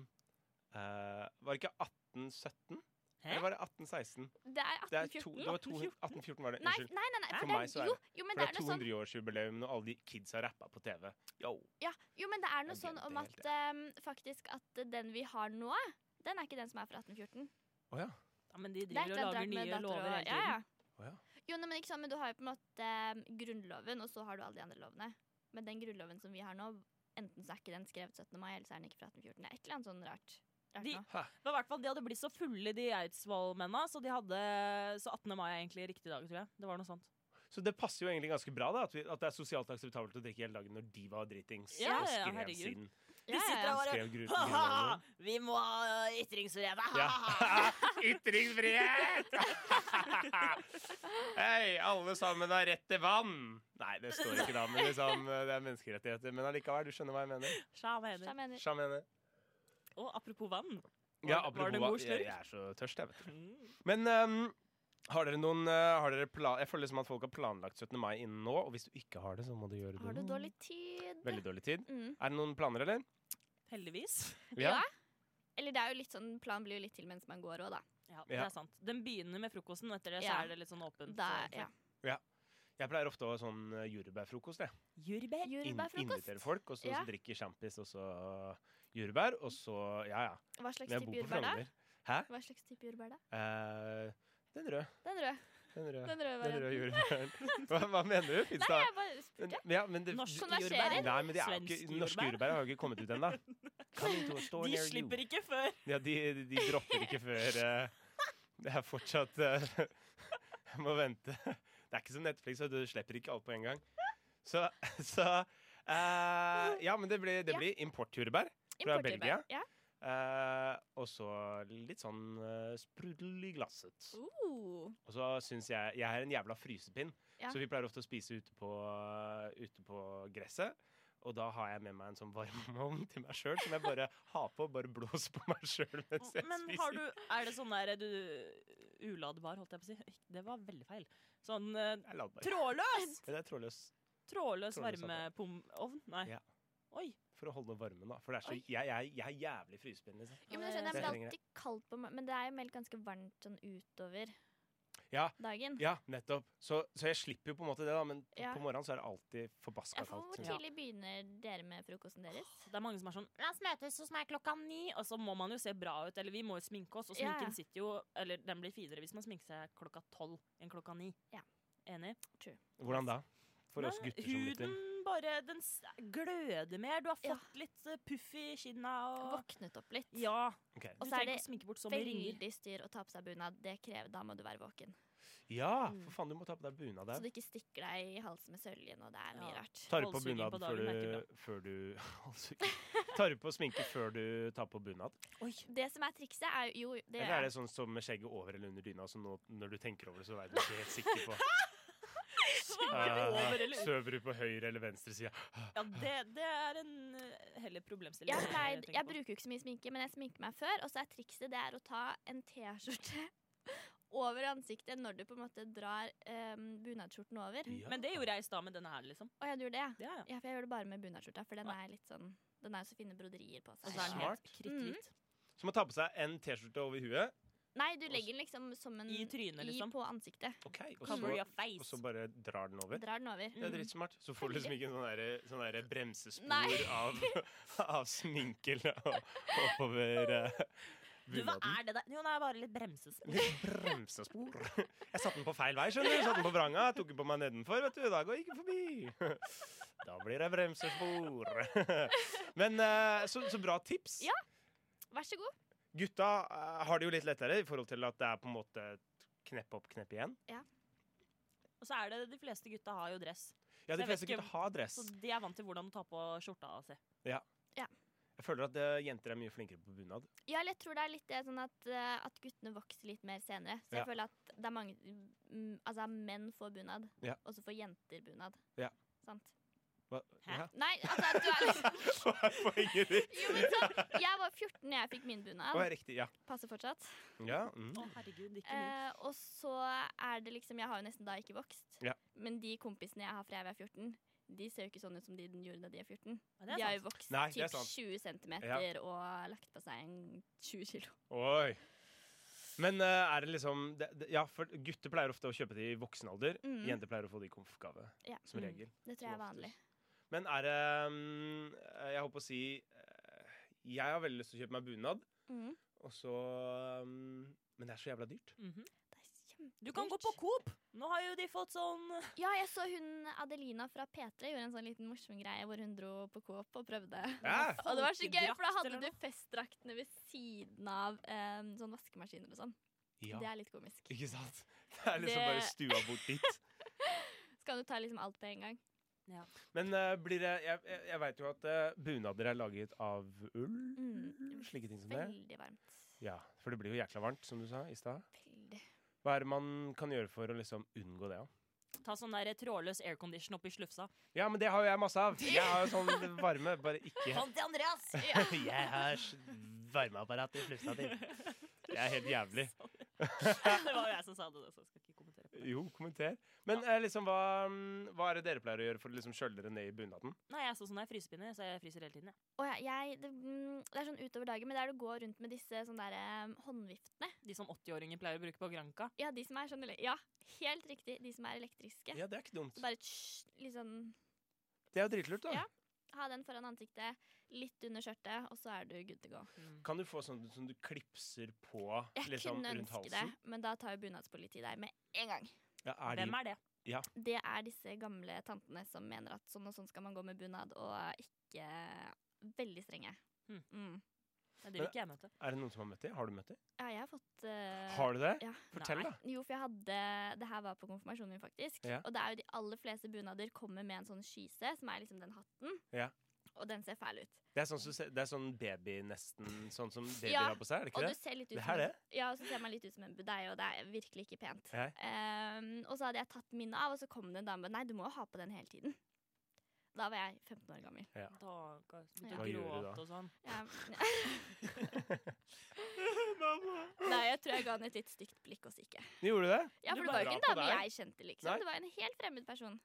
[SPEAKER 1] eh, Var det ikke 1817?
[SPEAKER 6] Hæ?
[SPEAKER 1] Eller var det 1816?
[SPEAKER 5] Det er
[SPEAKER 1] Det er to, det
[SPEAKER 5] 1814.
[SPEAKER 1] var 200 1814 var det.
[SPEAKER 5] Nei,
[SPEAKER 1] Unnskyld.
[SPEAKER 5] nei, nei, nei.
[SPEAKER 1] Hæ?
[SPEAKER 5] For
[SPEAKER 1] For meg
[SPEAKER 5] det
[SPEAKER 1] så er
[SPEAKER 5] er, jo, jo, men
[SPEAKER 1] For det
[SPEAKER 5] det er
[SPEAKER 1] er
[SPEAKER 5] noe sånn
[SPEAKER 1] 200-årsjubileum når alle de kidsa rappa på TV. Yo.
[SPEAKER 5] Ja, jo, men det er noe
[SPEAKER 1] Jeg
[SPEAKER 5] sånn
[SPEAKER 1] glemte
[SPEAKER 5] om
[SPEAKER 1] helt
[SPEAKER 5] at ehm, faktisk at den vi har nå, den er ikke den som er fra 1814.
[SPEAKER 1] Å ja.
[SPEAKER 6] Ja, men de
[SPEAKER 5] Det er
[SPEAKER 6] driver
[SPEAKER 5] et
[SPEAKER 6] og
[SPEAKER 5] eller
[SPEAKER 6] lager
[SPEAKER 5] annet rart med
[SPEAKER 6] nye
[SPEAKER 5] datoer
[SPEAKER 6] lover
[SPEAKER 5] og
[SPEAKER 6] hele
[SPEAKER 5] ja,
[SPEAKER 6] tiden.
[SPEAKER 5] ja.
[SPEAKER 1] Å ja.
[SPEAKER 5] Jo, nei, men, ikke sant, men du har jo på en måte ehm, Grunnloven, og så har du alle de andre lovene. Men den Grunnloven som vi har nå, enten så er ikke den skrevet 17. mai, eller så er den ikke fra 1814. Det er et eller annet sånn rart. rart
[SPEAKER 6] De-
[SPEAKER 5] nå.
[SPEAKER 6] Men i hvert fall, De hadde blitt så fulle, de Eidsvoll-menna, så de hadde Så 18. mai er egentlig riktig dag, tror jeg. Det var noe sånt.
[SPEAKER 1] Så det passer jo egentlig ganske bra da at, vi, at det er sosialt akseptabelt å drikke hele dagen når de var dritings.
[SPEAKER 6] Ja,
[SPEAKER 1] og
[SPEAKER 6] ja,
[SPEAKER 1] skrev
[SPEAKER 6] herregud.
[SPEAKER 1] sin-
[SPEAKER 5] Ja, ja, ja.
[SPEAKER 1] og bare, Skrev gru- «Ha-ha,
[SPEAKER 6] Vi må ha ytringsfrihet!
[SPEAKER 1] Ja.
[SPEAKER 5] Ah.
[SPEAKER 1] Ytringsfrihet! Hei, alle sammen har rett til vann! Nei, det står ikke da, men liksom, det er menneskerettigheter. Men allikevel, du skjønner hva jeg mener.
[SPEAKER 5] Så jeg mener,
[SPEAKER 1] Sja mener.
[SPEAKER 6] Og apropos vann. Mm,
[SPEAKER 1] Ja,
[SPEAKER 6] Var- var
[SPEAKER 1] apropos
[SPEAKER 6] det en god
[SPEAKER 1] hva- jeg,
[SPEAKER 6] slurk?
[SPEAKER 1] jeg er så tørst, jeg, vet du. Men ehm, har dere noen eh, har dere pla Jeg føler liksom at folk har planlagt 17. mai innen nå, og hvis du ikke har det, så må du gjøre det
[SPEAKER 5] har du
[SPEAKER 1] nå.
[SPEAKER 5] dårlig tid?
[SPEAKER 1] Veldig dårlig tid.
[SPEAKER 5] Mm.
[SPEAKER 1] Er det noen planer, eller?
[SPEAKER 6] Heldigvis.
[SPEAKER 5] Ja. Eller det er jo litt sånn, planen blir jo litt til mens man går òg, da.
[SPEAKER 6] Ja, det
[SPEAKER 1] Ja.
[SPEAKER 6] er sant. Den begynner med frokosten, og etter det så
[SPEAKER 5] Ja.
[SPEAKER 6] er det litt sånn åpent.
[SPEAKER 5] da
[SPEAKER 6] for-
[SPEAKER 5] ja.
[SPEAKER 1] Jeg pleier ofte å ha sånn eh, jordbærfrokost, jeg.
[SPEAKER 6] Jordbær.
[SPEAKER 1] In
[SPEAKER 5] Jordbærfrokost.
[SPEAKER 1] inviterer folk, og så
[SPEAKER 5] Ja. drikker
[SPEAKER 1] drikker sjampis og så jordbær. Og så Ja, ja.
[SPEAKER 5] Hva slags
[SPEAKER 1] Men jeg
[SPEAKER 5] type
[SPEAKER 1] bor på
[SPEAKER 5] jordbær da?
[SPEAKER 1] Frogner. Hæ?
[SPEAKER 5] Hva slags type jordbær da?
[SPEAKER 1] Eh, den røde.
[SPEAKER 5] Den røde.
[SPEAKER 1] Den røde,
[SPEAKER 5] Den røde
[SPEAKER 1] den røde
[SPEAKER 5] varianten.
[SPEAKER 1] jordbæren. Hva, hva mener du? Fins
[SPEAKER 5] Nei,
[SPEAKER 1] det
[SPEAKER 5] jeg bare
[SPEAKER 1] Men-
[SPEAKER 5] spurte.
[SPEAKER 1] ja, men det,
[SPEAKER 6] Norsk
[SPEAKER 5] Konverserer.
[SPEAKER 6] jordbær.
[SPEAKER 1] Nei, men det er jo
[SPEAKER 6] Svensk
[SPEAKER 1] ikke, norske jordbær har jo ikke kommet ut ennå.
[SPEAKER 6] De slipper ikke før.
[SPEAKER 1] Ja, de, de, de dropper ikke før eh, Det er fortsatt eh, Jeg må vente. Det er ikke som Netflix, så du slipper ikke alt på en gang. Så, så eh, Ja, men det blir, det
[SPEAKER 5] Ja.
[SPEAKER 1] blir importjordbær. Fra
[SPEAKER 5] Importjordbær.
[SPEAKER 1] Belgia?
[SPEAKER 5] Ja.
[SPEAKER 1] eh, og så litt sånn uh, sprudel i glasset.
[SPEAKER 5] Uh,
[SPEAKER 1] Og så syns jeg Jeg er en jævla frysepinn,
[SPEAKER 5] Ja.
[SPEAKER 1] så vi pleier ofte å spise ute på, ute på gresset. Og da har jeg med meg en sånn varmeovn til meg sjøl som jeg bare har på og bare blåser på meg sjøl mens jeg
[SPEAKER 6] Men
[SPEAKER 1] spiser.
[SPEAKER 6] har du Er det sånn der du Uladbar, holdt jeg på å si. Det var veldig feil. Sånn eh,
[SPEAKER 1] Jeg lader bare.
[SPEAKER 6] trådløs!
[SPEAKER 1] Men Det er trådløs
[SPEAKER 6] Trådløs
[SPEAKER 1] Trådløs
[SPEAKER 6] varmepomovn? Nei.
[SPEAKER 1] Ja.
[SPEAKER 6] Oi.
[SPEAKER 1] for å holde varmen, da. For det er så,
[SPEAKER 5] Oi.
[SPEAKER 1] jeg, jeg, jeg er jævlig frysepinn. Liksom.
[SPEAKER 5] jo, men jeg skjønner,
[SPEAKER 1] Så
[SPEAKER 5] men
[SPEAKER 1] jeg
[SPEAKER 5] det er
[SPEAKER 1] trenger det.
[SPEAKER 5] alltid kaldt på meg, men det er jo meldt ganske varmt sånn utover
[SPEAKER 1] Ja.
[SPEAKER 5] dagen.
[SPEAKER 1] Ja, nettopp. Så, så jeg slipper jo på en måte det, da. Men på,
[SPEAKER 5] Ja.
[SPEAKER 1] på morgenen så er det alltid
[SPEAKER 5] Ja,
[SPEAKER 1] forbaska
[SPEAKER 5] for
[SPEAKER 1] kaldt.
[SPEAKER 5] hvor
[SPEAKER 1] synes jeg.
[SPEAKER 5] tidlig begynner dere med frokosten deres?
[SPEAKER 6] Det er mange som er sånn La oss møtes hos meg klokka ni. Og så må man jo se bra ut, eller vi må jo sminke oss. Og
[SPEAKER 5] Ja, ja.
[SPEAKER 6] sminken sitter jo Eller den blir finere hvis man sminker seg klokka tolv enn klokka ni.
[SPEAKER 5] Ja.
[SPEAKER 6] Enig?
[SPEAKER 1] Hvordan da? For oss
[SPEAKER 6] Nei,
[SPEAKER 1] gutter som lytter.
[SPEAKER 6] Huden bare Den s- gløder mer. Du har
[SPEAKER 5] Ja.
[SPEAKER 6] fått litt eh, puff i kinna og
[SPEAKER 5] Våknet opp litt.
[SPEAKER 6] Ja.
[SPEAKER 1] Ok.
[SPEAKER 6] Du
[SPEAKER 5] Og så er
[SPEAKER 6] trenger
[SPEAKER 5] det
[SPEAKER 6] ikke å sminke bort så mye ringer.
[SPEAKER 5] Veldig styr å ta på seg bunad. Det krever, Da må du være våken.
[SPEAKER 1] Ja,
[SPEAKER 3] Ah, Mm.
[SPEAKER 1] for faen, du må ta på deg bunad
[SPEAKER 5] Så
[SPEAKER 1] der.
[SPEAKER 5] du ikke stikker deg i halsen med søljen, og det er mye
[SPEAKER 6] Ja.
[SPEAKER 5] rart.
[SPEAKER 1] Tar du på
[SPEAKER 6] Halshuging
[SPEAKER 1] bunad
[SPEAKER 6] på
[SPEAKER 1] før
[SPEAKER 6] dagen er ikke
[SPEAKER 1] du, før du Halshuging. Tar du på sminke før du tar på bunad?
[SPEAKER 5] Det som er trikset, er jo jo, det
[SPEAKER 1] Eller er
[SPEAKER 5] gjør
[SPEAKER 1] det
[SPEAKER 5] jeg.
[SPEAKER 1] sånn som med skjegget over eller under dyna, så nå, når du tenker over det, så er du ikke helt sikker på
[SPEAKER 6] over
[SPEAKER 1] uh,
[SPEAKER 6] eller ut?
[SPEAKER 1] Søver du på høyre eller venstre side?
[SPEAKER 6] Ja, det, det er en eh, heller problemstilling.
[SPEAKER 5] Jeg,
[SPEAKER 6] enn
[SPEAKER 5] pleid,
[SPEAKER 6] tenker
[SPEAKER 5] jeg
[SPEAKER 6] på.
[SPEAKER 5] bruker jo ikke så mye sminke, men jeg sminker meg før. Og så er trikset det er å ta en T-skjorte over ansiktet når du på en måte drar um, bunadsskjorten over.
[SPEAKER 1] Ja.
[SPEAKER 6] Men det gjorde jeg i stad med denne her, liksom.
[SPEAKER 5] Å, ja, du gjør det, ja.
[SPEAKER 6] Ja, ja.
[SPEAKER 5] ja? For jeg gjør det bare med bunadsskjorta, for den er litt sånn Den er jo så fine broderier på
[SPEAKER 6] Og
[SPEAKER 5] seg.
[SPEAKER 6] så er den
[SPEAKER 1] Smart.
[SPEAKER 6] helt
[SPEAKER 5] Mm.
[SPEAKER 6] kritthvit.
[SPEAKER 1] Så må ta på seg en T-skjorte over huet.
[SPEAKER 5] Nei, du legger den liksom som en
[SPEAKER 6] I trynet, liksom.
[SPEAKER 5] I på ansiktet.
[SPEAKER 1] Ok, og så,
[SPEAKER 6] Cover your
[SPEAKER 1] og
[SPEAKER 6] face.
[SPEAKER 1] så bare drar den over.
[SPEAKER 5] Drar den over.
[SPEAKER 6] Mm.
[SPEAKER 1] Det er dritsmart. Så får du liksom ikke sånn derre- sånn derre
[SPEAKER 5] Nei.
[SPEAKER 1] bremsespor av, av sminke eller å- oppover eh,
[SPEAKER 6] Du, hva
[SPEAKER 1] bunaden.
[SPEAKER 6] er det der? Jo, det er bare litt bremsespor.
[SPEAKER 1] Litt bremsespor. Jeg satte den på feil vei, skjønner du. Satte den på vranga, tok den på meg nedenfor, vet du. Da går jeg ikke forbi. Da blir det bremsespor. Men eh, så, så bra tips.
[SPEAKER 5] Ja. Vær så god.
[SPEAKER 1] Gutta eh, har det jo litt lettere i forhold til at det er på en måte knepp opp, knepp igjen.
[SPEAKER 6] Og så er det de fleste gutta har jo dress.
[SPEAKER 1] Ja,
[SPEAKER 6] Så
[SPEAKER 1] de
[SPEAKER 6] jeg vet
[SPEAKER 1] fleste
[SPEAKER 6] ikke-
[SPEAKER 1] gutta har dress.
[SPEAKER 6] Så de er vant til hvordan du tar på skjorta si.
[SPEAKER 1] Jeg føler at eh, jenter er mye flinkere på bunad.
[SPEAKER 5] Ja, eller jeg tror det er litt det sånn at, eh, at guttene vokser litt mer senere. Så jeg
[SPEAKER 1] Ja.
[SPEAKER 5] føler at det er mange mm, Altså, menn får bunad,
[SPEAKER 1] Ja.
[SPEAKER 5] og så får jenter bunad.
[SPEAKER 1] Ja.
[SPEAKER 5] Sant?
[SPEAKER 1] Hva?
[SPEAKER 6] Hæ?
[SPEAKER 1] Ja.
[SPEAKER 5] Nei, altså at du er liksom
[SPEAKER 1] Hva er poenget ditt?
[SPEAKER 5] Jo, men sånn. Jeg var 14 da jeg fikk min
[SPEAKER 1] Å,
[SPEAKER 5] bunad.
[SPEAKER 1] ja, riktig. Ja.
[SPEAKER 5] Passer fortsatt.
[SPEAKER 1] ja mm.
[SPEAKER 6] Å, herregud, ikke min.
[SPEAKER 5] Eh, og så er det liksom Jeg har jo nesten da ikke vokst.
[SPEAKER 1] Ja.
[SPEAKER 5] Men de kompisene jeg har fra jeg var 14, de ser jo ikke sånn ut som de den gjorde da de er 14.
[SPEAKER 6] Ja,
[SPEAKER 5] De
[SPEAKER 6] det er
[SPEAKER 5] har jo
[SPEAKER 6] sant.
[SPEAKER 5] vokst
[SPEAKER 1] Nei, det er
[SPEAKER 5] typ
[SPEAKER 1] sant.
[SPEAKER 5] 20 cm og lagt på seg en 20 kilo.
[SPEAKER 1] Oi. Men eh, er det liksom det, det, Ja, for gutter pleier ofte å kjøpe de i voksen alder.
[SPEAKER 5] Mm.
[SPEAKER 1] Jenter pleier å få de i konfgave,
[SPEAKER 5] Ja.
[SPEAKER 1] som
[SPEAKER 6] Mm.
[SPEAKER 1] regel.
[SPEAKER 5] Det tror jeg er vanlig.
[SPEAKER 1] Men er det mm, Jeg holdt på å si eh, Jeg har veldig lyst til å kjøpe meg bunad,
[SPEAKER 5] Mm.
[SPEAKER 1] og så mm, Men det er så jævla dyrt.
[SPEAKER 6] Mhm.
[SPEAKER 5] Det er kjempedyrt.
[SPEAKER 6] Du kan gå på Coop! Nå har jo de fått sånn
[SPEAKER 5] Ja, jeg så hun Adelina fra P3 gjorde en sånn liten morsom greie hvor hun dro på Coop og prøvde.
[SPEAKER 1] Ja.
[SPEAKER 5] Og det var så gøy, for da
[SPEAKER 6] Folkedrakt
[SPEAKER 5] hadde
[SPEAKER 6] eller
[SPEAKER 5] du festdraktene ved siden av eh, sånn vaskemaskiner og sånn. Det
[SPEAKER 1] Ja.
[SPEAKER 5] er litt komisk.
[SPEAKER 1] Ikke sant? Det er liksom bare stua bort dit.
[SPEAKER 5] Så kan du ta liksom alt på en gang.
[SPEAKER 1] Men eh, blir det Jeg, jeg, jeg veit jo at eh, bunader er laget av ull.
[SPEAKER 5] Mm.
[SPEAKER 1] Slike ting som det.
[SPEAKER 5] Veldig varmt.
[SPEAKER 1] Ja, For det blir jo jækla varmt, som du sa i stad.
[SPEAKER 5] Veldig.
[SPEAKER 1] Hva er det man kan gjøre for å liksom unngå det? da?
[SPEAKER 6] Ta sånn der trådløs aircondition oppi slufsa.
[SPEAKER 1] Ja, men det har jo jeg masse av. Jeg har jo sånn varme, bare ikke
[SPEAKER 6] Kom til Andreas!
[SPEAKER 1] Jeg har s- varmeapparat i slufsa di. Det er helt jævlig.
[SPEAKER 6] det var jo jeg som sa det, så jeg skal ikke kommentere på det.
[SPEAKER 1] Jo, kommenter. Men eh, liksom, hva, mm, hva er det dere pleier å gjøre for å liksom kjøle dere ned i bunaden?
[SPEAKER 6] Nei, jeg er sånn som jeg er frysepinne, så jeg fryser hele tiden. Jeg.
[SPEAKER 5] Å ja, jeg, det, mm, det er sånn utover dagen, men det er det å gå rundt med disse sånne der, eh, håndviftene.
[SPEAKER 6] De som 80-åringer pleier å bruke på Granca.
[SPEAKER 5] Ja, de som er sånn ele- Ja, helt riktig. De som er elektriske.
[SPEAKER 1] Ja, det er ikke dumt.
[SPEAKER 5] Så bare tsj, litt sånn
[SPEAKER 1] Det er jo dritlurt, da.
[SPEAKER 5] Ja. Ha den foran ansiktet, litt under skjørtet, og så er du good to go.
[SPEAKER 1] Kan du få sånn som du klipser på
[SPEAKER 5] Jeg
[SPEAKER 1] liksom,
[SPEAKER 5] kunne
[SPEAKER 1] rundt
[SPEAKER 5] ønske det,
[SPEAKER 1] halsen?
[SPEAKER 5] men da tar jo bunadspolitiet deg med en gang.
[SPEAKER 1] Ja, er de,
[SPEAKER 6] Hvem er det?
[SPEAKER 5] Det er disse gamle tantene som mener at sånn og sånn skal man gå med bunad, og ikke veldig strenge.
[SPEAKER 6] Mm.
[SPEAKER 5] Mm.
[SPEAKER 6] Nei, det vil ikke jeg møte.
[SPEAKER 1] er det noen som har møtt dem? Har du møtt dem?
[SPEAKER 5] Ja, jeg har fått eh,
[SPEAKER 1] Har du det?
[SPEAKER 5] ja.
[SPEAKER 1] Fortell,
[SPEAKER 6] Nei.
[SPEAKER 1] da.
[SPEAKER 5] Jo, for jeg hadde Det her var på konfirmasjonen min, faktisk.
[SPEAKER 1] Ja.
[SPEAKER 5] Og det er jo de aller fleste bunader kommer med en sånn skyse, som er liksom den hatten.
[SPEAKER 1] Ja.
[SPEAKER 5] Og den ser fæl ut.
[SPEAKER 1] Det er sånn, som ser- det er sånn baby, nesten. Sånn som babyer
[SPEAKER 5] Ja,
[SPEAKER 1] har på seg, er det
[SPEAKER 5] Og
[SPEAKER 1] ikke
[SPEAKER 5] du
[SPEAKER 1] det?
[SPEAKER 5] ser litt ut
[SPEAKER 1] Det
[SPEAKER 5] som
[SPEAKER 1] her
[SPEAKER 5] en-
[SPEAKER 1] det?
[SPEAKER 5] Ja, og så ser man litt ut som en budeie, og det er virkelig ikke pent.
[SPEAKER 1] Nei.
[SPEAKER 5] Ehm, og så hadde jeg tatt min av, og så kom det en dame og ba, Nei, du må jo ha på den hele tiden. Da var jeg 15 år gammel.
[SPEAKER 6] Da ga-
[SPEAKER 5] Ja.
[SPEAKER 6] begynte
[SPEAKER 1] Hva gjør
[SPEAKER 6] å
[SPEAKER 1] du da?
[SPEAKER 6] gråte og sånn.
[SPEAKER 5] Jeg, nei, jeg tror jeg ga henne et litt stygt blikk og så gikk jeg.
[SPEAKER 1] Gjorde du det?
[SPEAKER 5] Ja,
[SPEAKER 6] Du
[SPEAKER 5] for det
[SPEAKER 6] bare
[SPEAKER 5] var jo ikke
[SPEAKER 1] drar på
[SPEAKER 5] en dame
[SPEAKER 1] deg.
[SPEAKER 5] jeg kjente, liksom.
[SPEAKER 1] Nei.
[SPEAKER 5] Det var en helt fremmed person.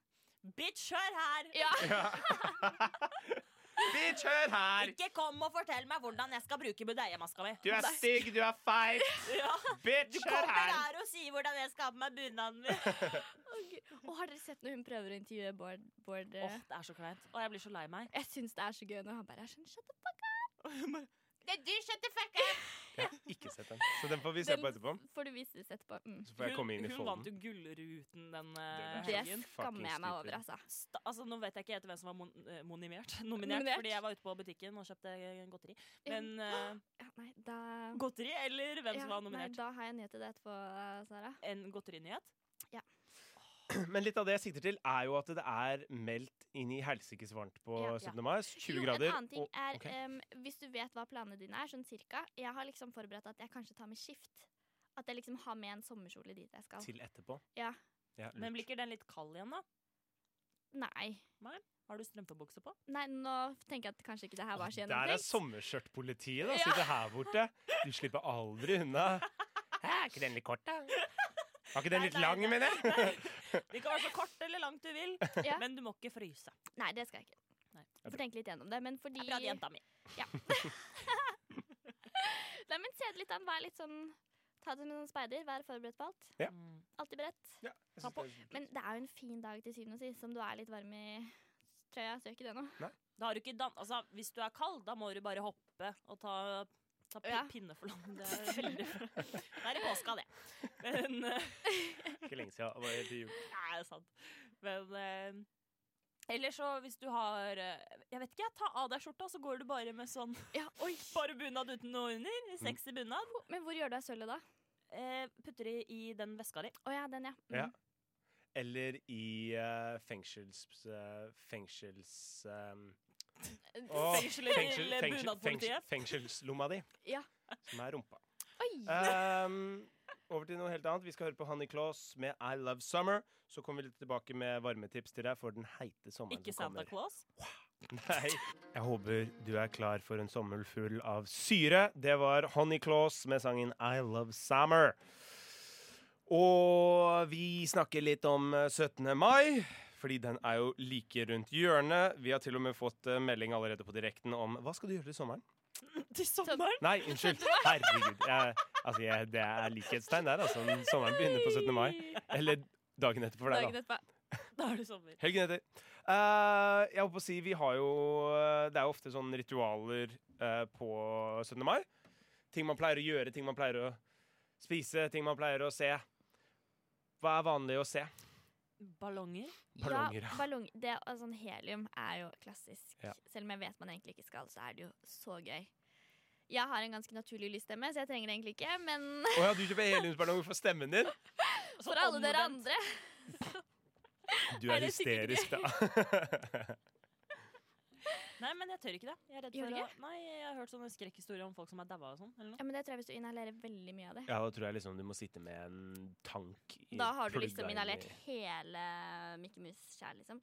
[SPEAKER 6] Bitch, hør her!
[SPEAKER 5] Ja,
[SPEAKER 1] Vi kjør her!
[SPEAKER 6] Ikke kom og fortell meg hvordan jeg skal bruke budeiemaska mi.
[SPEAKER 1] Du er stygg, du er feit.
[SPEAKER 6] Ja,
[SPEAKER 1] Bitch,
[SPEAKER 6] du kommer her og sier hvordan jeg skal ha på meg bunaden min.
[SPEAKER 5] Og har dere sett når hun prøver å intervjue Bård? Bård
[SPEAKER 6] Åh,
[SPEAKER 5] eh,
[SPEAKER 6] det er så kleint. Og jeg blir så lei meg.
[SPEAKER 5] Jeg syns det er så gøy når han bare er sånn shut the fuck
[SPEAKER 1] Jeg har ikke sett den. Så den får vi se
[SPEAKER 5] Den-
[SPEAKER 1] på etterpå.
[SPEAKER 5] up. Får du vise det etterpå? Mm.
[SPEAKER 1] Så får jeg komme inn i
[SPEAKER 6] hun vant
[SPEAKER 1] folden.
[SPEAKER 6] jo Gullruten den
[SPEAKER 1] Det
[SPEAKER 6] eh,
[SPEAKER 5] Det
[SPEAKER 6] helgen.
[SPEAKER 5] skammer jeg meg over,
[SPEAKER 1] stupid.
[SPEAKER 5] altså.
[SPEAKER 6] Sta altså, nå vet jeg ikke etter hvem som var mon eh, monimert, nominert,
[SPEAKER 5] Nominert.
[SPEAKER 6] fordi jeg var ute på butikken og kjøpte eh, godteri. Men eh,
[SPEAKER 5] Ja, nei, da
[SPEAKER 6] godteri eller hvem
[SPEAKER 5] ja,
[SPEAKER 6] som var
[SPEAKER 5] nei,
[SPEAKER 6] nominert?
[SPEAKER 5] da har jeg nyhet til det etterpå, Sara.
[SPEAKER 6] En godterinyhet?
[SPEAKER 1] Men litt av det jeg sikter til, er jo at det er meldt inn i helsikes varmt på
[SPEAKER 5] Ja, ja.
[SPEAKER 1] 17. mai. 20
[SPEAKER 5] jo,
[SPEAKER 1] grader.
[SPEAKER 5] En annen ting
[SPEAKER 1] og-
[SPEAKER 5] er, eh,
[SPEAKER 1] ok.
[SPEAKER 5] em, hvis du vet hva planene dine er, sånn cirka Jeg har liksom forberedt at jeg kanskje tar med skift. At jeg liksom har med en sommerkjole dit jeg skal.
[SPEAKER 1] Til etterpå.
[SPEAKER 5] Ja.
[SPEAKER 1] Ja, lurt.
[SPEAKER 6] Men blir ikke den litt kald igjen, da?
[SPEAKER 5] Nei.
[SPEAKER 6] Har du strømpebukse på?
[SPEAKER 5] Nei, nå tenker jeg at kanskje ikke det her var så
[SPEAKER 1] Der er
[SPEAKER 5] gjennomtenkt.
[SPEAKER 1] sommerskjørtpolitiet, da.
[SPEAKER 5] Ja.
[SPEAKER 1] Sitter her borte. Du slipper aldri unna. Er ikke den litt kort, da? Var ikke den
[SPEAKER 6] Nei,
[SPEAKER 1] litt
[SPEAKER 6] nei,
[SPEAKER 1] lang,
[SPEAKER 6] nei.
[SPEAKER 1] mener jeg?
[SPEAKER 6] Det kan være så kort eller langt du vil,
[SPEAKER 5] Ja.
[SPEAKER 6] men du må ikke fryse.
[SPEAKER 5] Nei, det skal jeg ikke.
[SPEAKER 6] Nei.
[SPEAKER 5] Jeg får tenke litt gjennom det. Men fordi
[SPEAKER 6] Det er bra til jenta mi.
[SPEAKER 5] Nei, men se det litt an. Vær litt sånn Ta det med en speider. Vær forberedt på alt.
[SPEAKER 1] Ja.
[SPEAKER 6] Mm.
[SPEAKER 5] Alltid beredt.
[SPEAKER 1] Ja, jeg synes det er-
[SPEAKER 5] Men det er jo en fin dag til syvende og sist, som du er litt varm i trøya. Så gjør ikke det nå.
[SPEAKER 6] Da har du ikke dan altså, hvis du er kald, da må du bare hoppe og ta, ta pi
[SPEAKER 5] Ja.
[SPEAKER 6] pinneflåten. Det er veldig Det er i påska, det. Men eh,
[SPEAKER 1] Ikke lenge siden. Det var helt i jul.
[SPEAKER 6] Nei, det er sant. Men eh, Eller så hvis du har eh, Jeg vet ikke, jeg, ta av deg skjorta, så går du bare med sånn
[SPEAKER 5] Ja, oi.
[SPEAKER 6] Bare bunad uten noe
[SPEAKER 1] Mm.
[SPEAKER 6] under. Sexy bunad.
[SPEAKER 5] Men hvor gjør du av sølvet, da?
[SPEAKER 6] Eh, putter det i den veska di.
[SPEAKER 5] Å ja, den, ja. Mm.
[SPEAKER 1] Ja. Eller i eh, fengsels... eh, fengsels... eh, Åh,
[SPEAKER 6] Fengsel i lille bunadpolitiet.
[SPEAKER 1] fengselslomma di,
[SPEAKER 5] Ja.
[SPEAKER 1] som er rumpa.
[SPEAKER 5] Oi!
[SPEAKER 1] Ehm, over til noe helt annet. Vi skal høre på Honey Claus med I Love Summer. Så kommer vi litt tilbake med varmetips til deg for den heite sommeren
[SPEAKER 6] Ikke
[SPEAKER 1] som
[SPEAKER 6] Santa
[SPEAKER 1] kommer.
[SPEAKER 6] Claus.
[SPEAKER 1] Nei. Jeg håper du er klar for en sommer full av syre. Det var Honey Claus med sangen I Love Summer. Og vi snakker litt om eh, 17. mai, fordi den er jo like rundt hjørnet. Vi har til og med fått eh, melding allerede på direkten om Hva skal du gjøre til sommeren?
[SPEAKER 6] Til sommeren.
[SPEAKER 1] Nei, unnskyld. Herregud. Jeg, altså, jeg, det er likhetstegn der, altså. Sommeren begynner på 17. mai. Eller dagen etterpå for deg, da.
[SPEAKER 5] Dagen etterpå.
[SPEAKER 6] Da er det sommer.
[SPEAKER 1] Helgen etter. Eh, jeg holdt på å si, vi har jo eh, Det er jo ofte sånne ritualer eh, på 17. mai. Ting man pleier å gjøre, ting man pleier å spise, ting man pleier å se. Hva er vanlig å se?
[SPEAKER 6] Ballonger.
[SPEAKER 1] Ballonger, ja.
[SPEAKER 5] ja. Ballong, det, og sånn helium er jo klassisk.
[SPEAKER 1] Ja.
[SPEAKER 5] Selv om jeg vet man egentlig ikke skal, så er det jo så gøy. Jeg har en ganske naturlig lysstemme, så jeg trenger det egentlig ikke. Men
[SPEAKER 1] Å ja, du kjøper heliumsballonger for stemmen din?
[SPEAKER 5] for alle dere
[SPEAKER 6] omvendt.
[SPEAKER 5] andre
[SPEAKER 1] Du
[SPEAKER 5] Er
[SPEAKER 1] er
[SPEAKER 5] det sikkert
[SPEAKER 1] hysterisk, da.
[SPEAKER 6] Nei, men jeg tør ikke det. Jeg er redd
[SPEAKER 5] Gjør
[SPEAKER 6] for
[SPEAKER 5] du
[SPEAKER 6] å Nei, jeg har hørt sånne skrekkhistorier om folk som er daua og sånn. Eller noe.
[SPEAKER 5] Ja, men det tror jeg hvis du inhalerer veldig mye av det.
[SPEAKER 1] ja, da tror jeg liksom du må sitte med en tank i
[SPEAKER 5] Da har du
[SPEAKER 1] plugga
[SPEAKER 5] liksom
[SPEAKER 1] inn i-
[SPEAKER 5] inhalert hele Mikke Mus-skjær, liksom.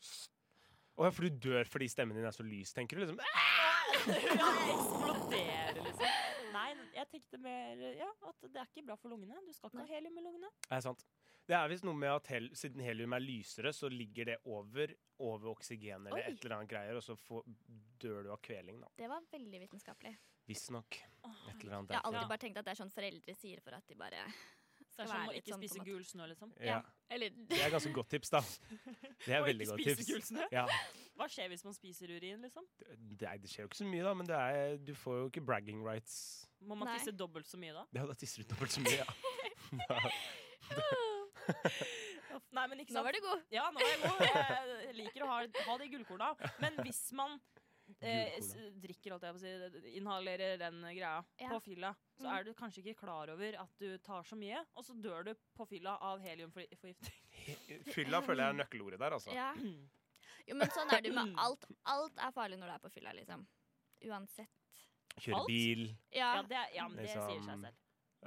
[SPEAKER 1] Å ja, for du dør fordi stemmen din er så lys, tenker du? liksom
[SPEAKER 6] Ja, eksplodere, liksom. Nei, jeg tenkte mer ja, at det er ikke bra for lungene. Du skal ikke ha helium i lungene.
[SPEAKER 1] Er sant. Det er visst noe med at hel, siden helium er lysere, så ligger det over, over oksygen eller
[SPEAKER 5] Oi.
[SPEAKER 1] et eller annet greier, og så får, dør du av kveling, da.
[SPEAKER 5] Det var veldig vitenskapelig.
[SPEAKER 1] Visstnok. Et eller annet
[SPEAKER 5] Jeg har alltid
[SPEAKER 1] derfor.
[SPEAKER 5] bare tenkt at det er sånn foreldre sier for at de bare
[SPEAKER 6] Det er
[SPEAKER 5] være
[SPEAKER 6] som å
[SPEAKER 5] litt
[SPEAKER 6] ikke
[SPEAKER 5] sånn på en
[SPEAKER 6] spise
[SPEAKER 5] måte.
[SPEAKER 6] gul snø, liksom.
[SPEAKER 1] Ja.
[SPEAKER 5] Eller
[SPEAKER 1] Det er ganske godt tips, da. Det er
[SPEAKER 6] Og
[SPEAKER 1] veldig
[SPEAKER 6] ikke
[SPEAKER 1] godt
[SPEAKER 6] spise
[SPEAKER 1] tips.
[SPEAKER 6] gul snø.
[SPEAKER 1] Ja,
[SPEAKER 6] Hva skjer hvis man spiser urin, liksom?
[SPEAKER 1] det, er- det skjer jo ikke så mye, da, men det er, du får jo ikke bragging rights.
[SPEAKER 6] Må man
[SPEAKER 5] Nei.
[SPEAKER 6] tisse dobbelt så mye da?
[SPEAKER 1] Ja, da tisser du dobbelt så mye, ja.
[SPEAKER 6] Nei, men ikke
[SPEAKER 5] Nå
[SPEAKER 6] sant.
[SPEAKER 5] var du god.
[SPEAKER 6] Ja, nå er jeg god. Jeg liker å ha, ha de gullkorna. Men hvis man eh, s- drikker, holdt jeg på å si, inhalerer den greia
[SPEAKER 5] Ja.
[SPEAKER 6] på fylla, så
[SPEAKER 5] Mm.
[SPEAKER 6] er du kanskje ikke klar over at du tar så mye, og så dør du på fylla av heliumforgiftning.
[SPEAKER 1] Fylla føler jeg er nøkkelordet der, altså.
[SPEAKER 5] Ja. Jo, men sånn er det jo med alt. Alt er farlig når du er på fylla, liksom. Uansett.
[SPEAKER 1] Kjøre
[SPEAKER 6] Alt?
[SPEAKER 1] bil.
[SPEAKER 5] Ja.
[SPEAKER 6] Ja, det, er- ja, men det sier
[SPEAKER 1] Liksom,
[SPEAKER 6] seg selv.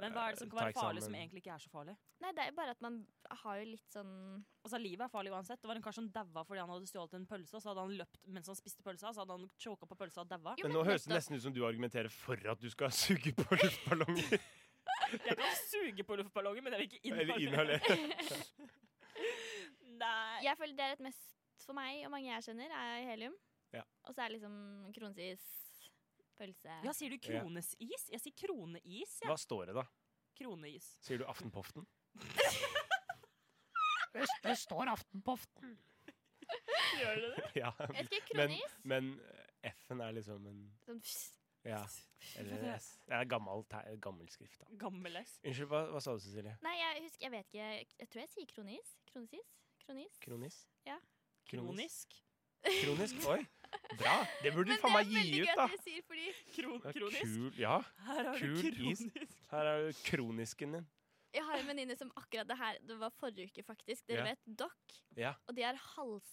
[SPEAKER 6] Men hva er det som kan
[SPEAKER 1] eh,
[SPEAKER 6] være
[SPEAKER 1] ta
[SPEAKER 6] farlig
[SPEAKER 1] eksamen.
[SPEAKER 6] som egentlig ikke er så farlig?
[SPEAKER 5] Nei, det er jo bare at man har jo litt sånn
[SPEAKER 6] Altså, Livet er farlig uansett. Det var en kar som daua fordi han hadde stjålet en pølse, og så hadde han løpt mens han spiste pølsa, så hadde han choka på pølsa og daua.
[SPEAKER 5] Jo,
[SPEAKER 1] Men nå høres det
[SPEAKER 5] nettopp.
[SPEAKER 1] nesten ut som du argumenterer for at du skal suge på luftballonger.
[SPEAKER 6] Jeg kan suge på luftballongen, men jeg vil ikke
[SPEAKER 1] Eller
[SPEAKER 6] inhalere.
[SPEAKER 1] inhalere.
[SPEAKER 6] Nei.
[SPEAKER 5] Jeg føler det er et mest for meg og mange jeg kjenner, er helium.
[SPEAKER 1] Ja.
[SPEAKER 5] Og så er det liksom kronesis, pølse
[SPEAKER 6] Ja, sier du kronesis? Jeg sier kroneis, jeg.
[SPEAKER 1] Hva står det, da?
[SPEAKER 6] Kroneis.
[SPEAKER 1] Sier du Aftenpoften?
[SPEAKER 6] Gjør du det?
[SPEAKER 1] Ja.
[SPEAKER 5] Jeg vet ikke,
[SPEAKER 1] Men,
[SPEAKER 5] kronis?
[SPEAKER 1] men F-en er liksom en
[SPEAKER 5] Sånn, pss.
[SPEAKER 1] Ja. Eller S. Det er gammel, te- gammel skrift, da.
[SPEAKER 6] Gammel S.
[SPEAKER 1] Unnskyld, hva, hva sa du, Cecilie?
[SPEAKER 5] Nei, jeg husker, jeg vet ikke. Jeg tror jeg sier kronis. Kronesis? Kronis?
[SPEAKER 1] Kronis?
[SPEAKER 5] Ja.
[SPEAKER 1] Kronis?
[SPEAKER 6] Kronisk.
[SPEAKER 1] Kronisk? Oi! Bra! Det burde du faen meg gi ut, da!
[SPEAKER 5] at du sier fordi
[SPEAKER 6] Kron
[SPEAKER 1] Det er
[SPEAKER 6] kronisk.
[SPEAKER 1] Kul, ja.
[SPEAKER 6] Her har du
[SPEAKER 1] Kul is.
[SPEAKER 6] kronisk.
[SPEAKER 1] Her er jo kronisken din.
[SPEAKER 5] Jeg har en venninne som akkurat det her Det var forrige uke, faktisk. Dere
[SPEAKER 1] Ja.
[SPEAKER 5] vet Doc.
[SPEAKER 1] Ja.
[SPEAKER 5] Og de har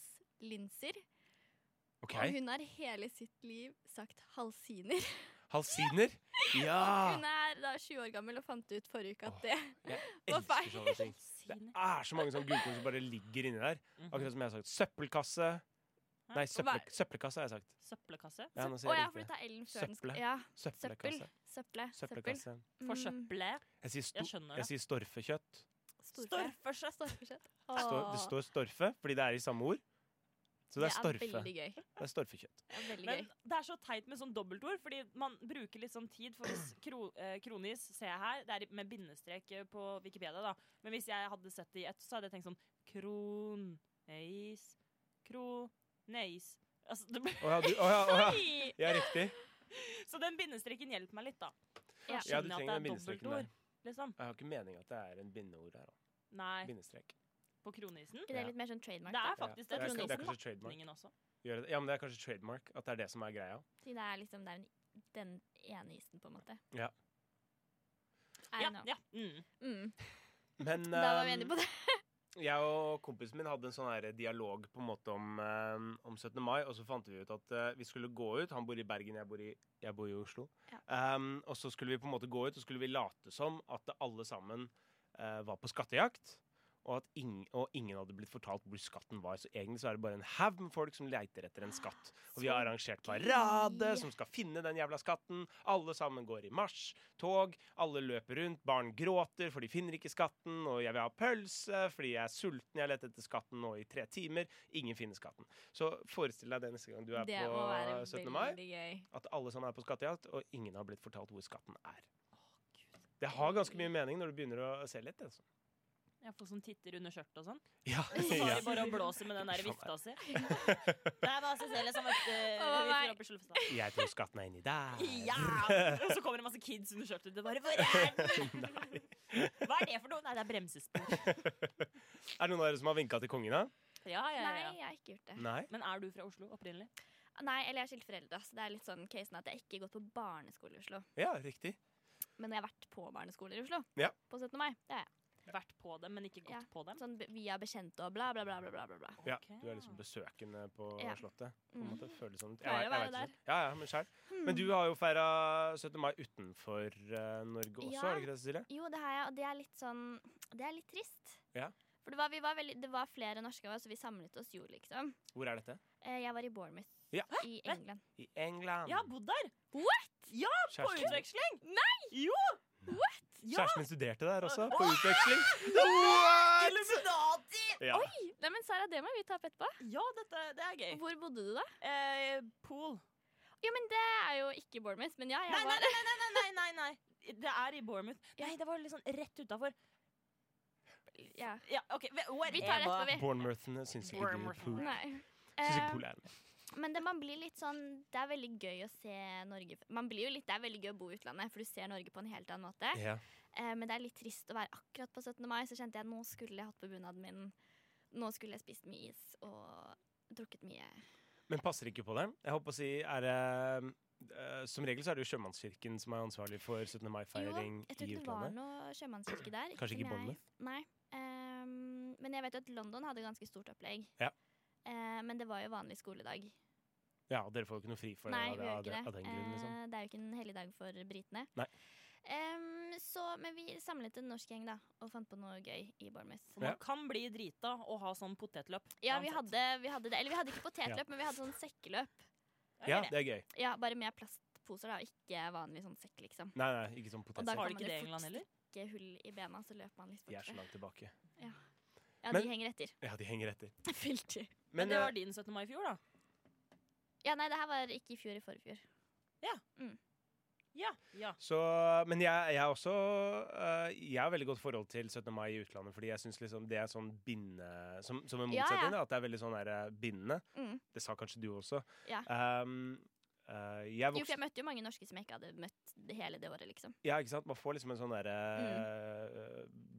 [SPEAKER 5] halslinser.
[SPEAKER 1] OK.
[SPEAKER 5] Og hun har hele sitt liv sagt halsiner.
[SPEAKER 1] Halsiner? Ja!
[SPEAKER 5] Hun er da 20 år gammel og fant ut forrige uke
[SPEAKER 1] Ah. Åh.
[SPEAKER 5] at det
[SPEAKER 1] Jeg
[SPEAKER 5] Hva feil?
[SPEAKER 1] elsker sånne ting. Det er så mange sånne gullkorn som bare ligger inni der.
[SPEAKER 6] Mhm.
[SPEAKER 1] Akkurat som jeg har sagt. Søppelkasse. Nei, søppel,
[SPEAKER 5] Hva-
[SPEAKER 1] søppelkasse har jeg sagt.
[SPEAKER 6] Søppelkasse.
[SPEAKER 1] Ja, nå
[SPEAKER 5] Å
[SPEAKER 1] sier
[SPEAKER 5] ja,
[SPEAKER 1] jeg
[SPEAKER 5] for du
[SPEAKER 1] riktig.
[SPEAKER 5] tar L-en før den skal
[SPEAKER 1] Søpple.
[SPEAKER 5] Ja. Søppel.
[SPEAKER 1] Søppelkasse.
[SPEAKER 5] Søpple. Søppel.
[SPEAKER 1] Søppelkasse.
[SPEAKER 5] Mm,
[SPEAKER 6] Forsøple.
[SPEAKER 1] Jeg sier, sto
[SPEAKER 6] Jeg skjønner
[SPEAKER 1] jeg
[SPEAKER 6] det.
[SPEAKER 1] sier storfekjøtt.
[SPEAKER 5] Storfe.
[SPEAKER 6] Storfekjøtt.
[SPEAKER 5] Storfekjøtt.
[SPEAKER 1] Står, det
[SPEAKER 5] Åh,
[SPEAKER 1] står storfe fordi det er i samme ord. Så det er
[SPEAKER 5] Det er
[SPEAKER 1] storfe.
[SPEAKER 5] veldig gøy.
[SPEAKER 1] Det er storfekjøtt.
[SPEAKER 5] Det er veldig
[SPEAKER 6] Men
[SPEAKER 5] gøy.
[SPEAKER 6] det er så teit med sånn dobbeltord, fordi man bruker litt sånn tid. For hvis kro, eh, kronis ser jeg her, det er i- med bindestrek eh, på Wikipedia, da. Men hvis jeg hadde sett det i ett, så hadde jeg tenkt sånn kroneis, kroneis. Altså, det blir
[SPEAKER 1] Å ja, du, å ja, å ja.
[SPEAKER 6] Oi!
[SPEAKER 1] ja, riktig.
[SPEAKER 6] Så den bindestreken hjelper meg litt, da.
[SPEAKER 5] Ja.
[SPEAKER 6] Jeg
[SPEAKER 1] Ja, du
[SPEAKER 6] skjønner
[SPEAKER 1] trenger den
[SPEAKER 6] at det er
[SPEAKER 1] bindestreken der.
[SPEAKER 6] dobbeltord, liksom.
[SPEAKER 1] Jeg har ikke mening at det er en bindeord her. da.
[SPEAKER 6] Nei.
[SPEAKER 1] Bindestrek.
[SPEAKER 6] på kronisen.
[SPEAKER 5] Er det
[SPEAKER 1] Ja.
[SPEAKER 5] litt mer sånn trademark?
[SPEAKER 6] Det er
[SPEAKER 5] da?
[SPEAKER 1] Ja,
[SPEAKER 6] faktisk det.
[SPEAKER 5] det
[SPEAKER 6] tror
[SPEAKER 5] er-
[SPEAKER 6] jeg
[SPEAKER 5] det er
[SPEAKER 6] også.
[SPEAKER 1] kanskje trademark.
[SPEAKER 6] Pakningen også.
[SPEAKER 1] Gjør det. Ja, men det er kanskje trademark. At det er det som er greia.
[SPEAKER 5] Siden det er liksom det er en- den ene isen, på en måte.
[SPEAKER 1] Ja.
[SPEAKER 5] I
[SPEAKER 6] Ja,
[SPEAKER 5] know.
[SPEAKER 6] ja. Mm.
[SPEAKER 5] Mm.
[SPEAKER 1] Men
[SPEAKER 5] Da var vi
[SPEAKER 1] ehm,
[SPEAKER 5] enige på det.
[SPEAKER 1] jeg og kompisen min hadde en sånn her dialog på en måte om, eh, om 17. mai, og så fant vi ut at eh, vi skulle gå ut. Han bor i Bergen, jeg bor i, jeg bor i Oslo. Em, og så skulle vi på en måte gå ut, og skulle vi late som at alle sammen eh, var på skattejakt. Og at ing, og ingen hadde blitt fortalt hvor skatten var. Så egentlig så er det bare en haug med folk som leiter etter en skatt. Og vi har arrangert parade som skal finne den jævla skatten. Alle sammen går i marsj. Tog. Alle løper rundt. Barn gråter, for de finner ikke skatten. Og jeg vil ha pølse, fordi jeg er sulten. Jeg har lett etter skatten nå i tre timer. Ingen finner skatten. Så forestill deg det neste gang du er
[SPEAKER 5] Det må være
[SPEAKER 1] på 17. mai.
[SPEAKER 5] veldig gøy.
[SPEAKER 1] At alle sammen er på skattejakt, og ingen har blitt fortalt hvor skatten er. Det har ganske mye mening når du begynner å se litt. Altså.
[SPEAKER 6] Jeg får sånn titter under skjørt og sånn.
[SPEAKER 1] Ja.
[SPEAKER 6] Så tar de
[SPEAKER 1] ja.
[SPEAKER 6] bare og blåser med den der vifta si. Det var Cecilie som eh, møtte
[SPEAKER 5] Å, nei.
[SPEAKER 6] vifta oppe i Slufstad.
[SPEAKER 1] Jeg tror skatten er inni der.
[SPEAKER 6] Ja! Og så kommer det masse kids under skjørtet. Det bare, Hvor er den?
[SPEAKER 1] Nei.
[SPEAKER 6] Hva er det for noe? Nei, det er bremsespor.
[SPEAKER 1] Er det noen av dere som har vinka til kongen, da?
[SPEAKER 6] Ja, ja, ja,
[SPEAKER 5] Nei,
[SPEAKER 6] ja.
[SPEAKER 5] jeg har ikke gjort det.
[SPEAKER 1] Nei?
[SPEAKER 6] Men er du fra Oslo opprinnelig?
[SPEAKER 5] Ah, Nei, eller jeg har skilt foreldre. Så det er litt sånn casen at jeg ikke har gått på barneskole i Oslo.
[SPEAKER 1] Ja, riktig.
[SPEAKER 5] Men jeg har vært på barneskoler i Oslo.
[SPEAKER 1] Ja.
[SPEAKER 5] På 17. mai. Det har jeg.
[SPEAKER 6] Vært på dem, men ikke gått
[SPEAKER 5] Ja.
[SPEAKER 6] på dem?
[SPEAKER 5] Sånn be- via bekjente og bla, bla, bla. bla, bla, bla, bla.
[SPEAKER 1] Ja,
[SPEAKER 6] Ok.
[SPEAKER 1] du er liksom besøkende på
[SPEAKER 5] Ja.
[SPEAKER 1] Slottet. På en
[SPEAKER 5] Mm.
[SPEAKER 1] måte. Føles som
[SPEAKER 5] Pleier å
[SPEAKER 1] vet
[SPEAKER 5] være Hmm.
[SPEAKER 1] ikke. Ja, ja, men selv. Men du har jo feira 17. mai utenfor eh, Norge også,
[SPEAKER 5] Ja.
[SPEAKER 1] har du ikke det, Cecilie?
[SPEAKER 5] Jo, det har jeg, og det er litt sånn Det er litt trist.
[SPEAKER 1] Ja.
[SPEAKER 5] For det var, vi var veldig, det var flere norske av oss, og vi samlet oss jo, liksom.
[SPEAKER 1] Hvor er dette?
[SPEAKER 5] Eh, Jeg var i Bournemouth
[SPEAKER 1] Ja.
[SPEAKER 5] i England.
[SPEAKER 1] I England.
[SPEAKER 6] Jeg har bodd der! På
[SPEAKER 1] Kjæresten,
[SPEAKER 6] utveksling!
[SPEAKER 1] kjæresten min studerte der også, på utveksling. What?!
[SPEAKER 6] Illuminati!
[SPEAKER 1] Ja.
[SPEAKER 5] Nei, men Sara, det må vi ta opp etterpå.
[SPEAKER 6] Ja, dette, det er gøy.
[SPEAKER 5] Hvor bodde du, da?
[SPEAKER 6] Eh, pool.
[SPEAKER 5] Jo, men det er jo ikke Bournemouth, men ja, jeg
[SPEAKER 6] Nei, nei,
[SPEAKER 5] var
[SPEAKER 6] nei, nei, nei, nei, nei, nei. Det er i Bournemouth. Nei, det var liksom rett utafor.
[SPEAKER 5] ja.
[SPEAKER 6] Ja, OK. whatever.
[SPEAKER 5] Vi tar det etterpå, vi.
[SPEAKER 1] Bournemouthene eh, syns ikke du
[SPEAKER 6] Bournemouth.
[SPEAKER 1] pool.
[SPEAKER 5] Nei.
[SPEAKER 1] Syns ikke
[SPEAKER 5] Eh,
[SPEAKER 1] pool er noe.
[SPEAKER 5] Men det, man blir litt sånn Det er veldig gøy å se Norge Man blir jo litt, Det er veldig gøy å bo i utlandet, for du ser Norge på en helt annen måte.
[SPEAKER 1] Ja.
[SPEAKER 5] Eh, men det er litt trist å være akkurat på 17. mai. Så kjente jeg nå skulle jeg hatt på bunaden min. Nå skulle jeg spist mye is og drukket mye.
[SPEAKER 1] Men passer ikke på det. Jeg håper å si, er det eh, Som regel så er det jo Sjømannskirken som er ansvarlig for 17.
[SPEAKER 5] Jo,
[SPEAKER 1] mai-feiring i
[SPEAKER 5] jeg tror ikke det var
[SPEAKER 1] utlandet.
[SPEAKER 5] noe sjømannskirke der.
[SPEAKER 1] Kanskje ikke i
[SPEAKER 5] som jeg-
[SPEAKER 1] Bournemouth?
[SPEAKER 5] Nei. Ehm, men jeg vet jo at London hadde ganske stort opplegg.
[SPEAKER 1] Ja.
[SPEAKER 5] Eh, men det var jo vanlig skoledag.
[SPEAKER 1] Ja, dere får jo ikke noe fri for det
[SPEAKER 5] Nei,
[SPEAKER 1] av,
[SPEAKER 5] vi
[SPEAKER 1] det,
[SPEAKER 5] gjør
[SPEAKER 1] av,
[SPEAKER 5] ikke
[SPEAKER 1] det,
[SPEAKER 5] det.
[SPEAKER 1] av den grunn, liksom.
[SPEAKER 5] Eh, det er jo ikke en helligdag for britene.
[SPEAKER 1] Nei.
[SPEAKER 5] Ehm, så, men vi samlet en norsk gjeng da, og fant på noe gøy i Bournemouth.
[SPEAKER 6] For man kan bli drita og ha sånn potetløp.
[SPEAKER 5] Ja, vi
[SPEAKER 6] uansett.
[SPEAKER 5] hadde, vi hadde det. Eller vi hadde ikke potetløp,
[SPEAKER 1] Ja.
[SPEAKER 5] men vi hadde sånn sekkeløp.
[SPEAKER 1] Ja,
[SPEAKER 6] det.
[SPEAKER 1] det er gøy.
[SPEAKER 5] Ja, bare med plastposer, da. og Ikke vanlig sånn sekk, liksom.
[SPEAKER 1] Nei, nei, ikke sånn
[SPEAKER 5] Og da
[SPEAKER 1] potensielt.
[SPEAKER 6] Har
[SPEAKER 5] kan
[SPEAKER 6] de
[SPEAKER 5] man
[SPEAKER 6] ikke det i
[SPEAKER 5] jo
[SPEAKER 6] England
[SPEAKER 5] fort
[SPEAKER 6] heller?
[SPEAKER 5] stikke hull i bena, så løper man litt
[SPEAKER 1] De er så
[SPEAKER 5] fortere.
[SPEAKER 1] langt tilbake.
[SPEAKER 5] Ja,
[SPEAKER 1] Men-
[SPEAKER 5] de henger etter.
[SPEAKER 1] Ja, de henger etter.
[SPEAKER 5] Veldig.
[SPEAKER 6] Men,
[SPEAKER 1] Men
[SPEAKER 6] det
[SPEAKER 1] eh,
[SPEAKER 6] var din 17. mai i fjor, da.
[SPEAKER 5] Ja, nei, det her var ikke i fjor, i forfjor.
[SPEAKER 6] Ja. ja.
[SPEAKER 1] Så, men jeg, jeg er også eh, Jeg har veldig godt forhold til 17. mai i utlandet, fordi jeg syns liksom det er sånn binde... Som, som en
[SPEAKER 5] Ja,
[SPEAKER 1] motsetning,
[SPEAKER 5] ja.
[SPEAKER 1] da, at det er veldig sånn der, eh, bindende.
[SPEAKER 5] Mm.
[SPEAKER 1] Det sa kanskje du også.
[SPEAKER 5] Ja.
[SPEAKER 1] Um, eh, jeg
[SPEAKER 5] Jo, for
[SPEAKER 1] vokste
[SPEAKER 5] jeg møtte jo mange norske som jeg ikke hadde møtt det hele det året, liksom.
[SPEAKER 1] Ja, ikke sant? Man får liksom en sånn derre
[SPEAKER 5] Mm.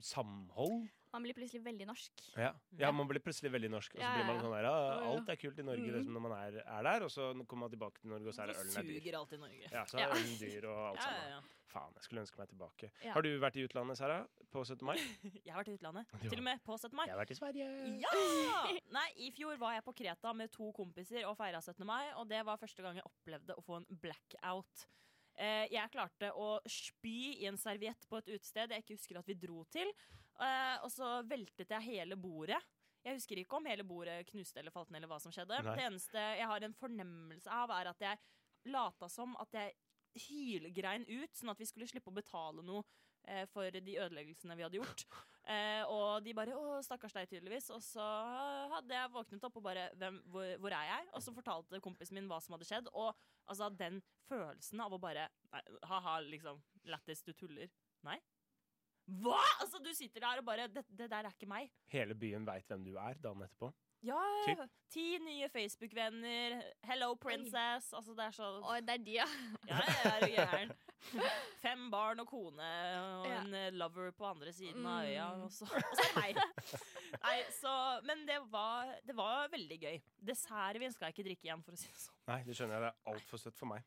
[SPEAKER 1] samhold.
[SPEAKER 5] Man blir plutselig veldig norsk.
[SPEAKER 1] Ja.
[SPEAKER 6] Ja.
[SPEAKER 1] ja, man blir plutselig veldig norsk, og så
[SPEAKER 5] Ja,
[SPEAKER 1] blir man
[SPEAKER 5] ja,
[SPEAKER 1] sånn der ah,
[SPEAKER 5] Ja, ja.
[SPEAKER 1] Alt er kult i Norge
[SPEAKER 5] Mm.
[SPEAKER 1] liksom, når man er, er der, og så kommer man tilbake til Norge, og så er det
[SPEAKER 6] Så
[SPEAKER 1] ølen er dyr.
[SPEAKER 6] suger alt i Norge.
[SPEAKER 1] Ja, så er
[SPEAKER 5] Ja.
[SPEAKER 1] ølen dyr og alt
[SPEAKER 6] Ja,
[SPEAKER 1] sammen.
[SPEAKER 6] ja, ja.
[SPEAKER 1] Faen, jeg skulle ønske meg tilbake.
[SPEAKER 5] Ja.
[SPEAKER 1] Har du vært i utlandet, Sara? På 17. mai?
[SPEAKER 6] Jeg har vært i utlandet.
[SPEAKER 1] Du
[SPEAKER 6] Til og med på 17. mai.
[SPEAKER 1] Jeg har vært i Sverige.
[SPEAKER 6] Ja! Nei, I fjor var jeg på Kreta med to kompiser og feira 17. mai, og det var første gang jeg opplevde å få en blackout. Eh, jeg klarte å spy i en serviett på et utested jeg ikke husker at vi dro til. Eh, og så veltet jeg hele bordet. Jeg husker ikke om hele bordet knuste eller falt ned. eller hva som skjedde.
[SPEAKER 1] Nei.
[SPEAKER 6] Det eneste jeg har en fornemmelse av, er at jeg lata som at jeg hylgrein ut, sånn at vi skulle slippe å betale noe eh, for de ødeleggelsene vi hadde gjort. Eh, og de bare 'Å, stakkars deg', tydeligvis. Og så hadde jeg våknet opp og bare Hvem, hvor, 'Hvor er jeg?' Og så fortalte kompisen min hva som hadde skjedd. Og altså den følelsen av å bare nei, Ha-ha, liksom. Lættis, du tuller. Nei. Hva?! Altså, du sitter der og bare Det, det der er ikke meg.
[SPEAKER 1] Hele byen veit hvem du er dagen etterpå.
[SPEAKER 6] Ja,
[SPEAKER 1] Typ.
[SPEAKER 6] ti nye Facebook-venner, 'Hello Princess' Altså, det er så
[SPEAKER 5] Og det er de, ja.
[SPEAKER 6] Ja, jeg er jo gæren. Fem barn og kone og
[SPEAKER 5] Ja.
[SPEAKER 6] en eh, lover på andre siden av øya.
[SPEAKER 5] Mm.
[SPEAKER 6] Og så, og så meg. Nei, så, men det var, det var veldig gøy. Dessertvin skal jeg ikke drikke igjen, for å si det sånn.
[SPEAKER 1] Nei, det skjønner jeg. Det er altfor søtt for meg.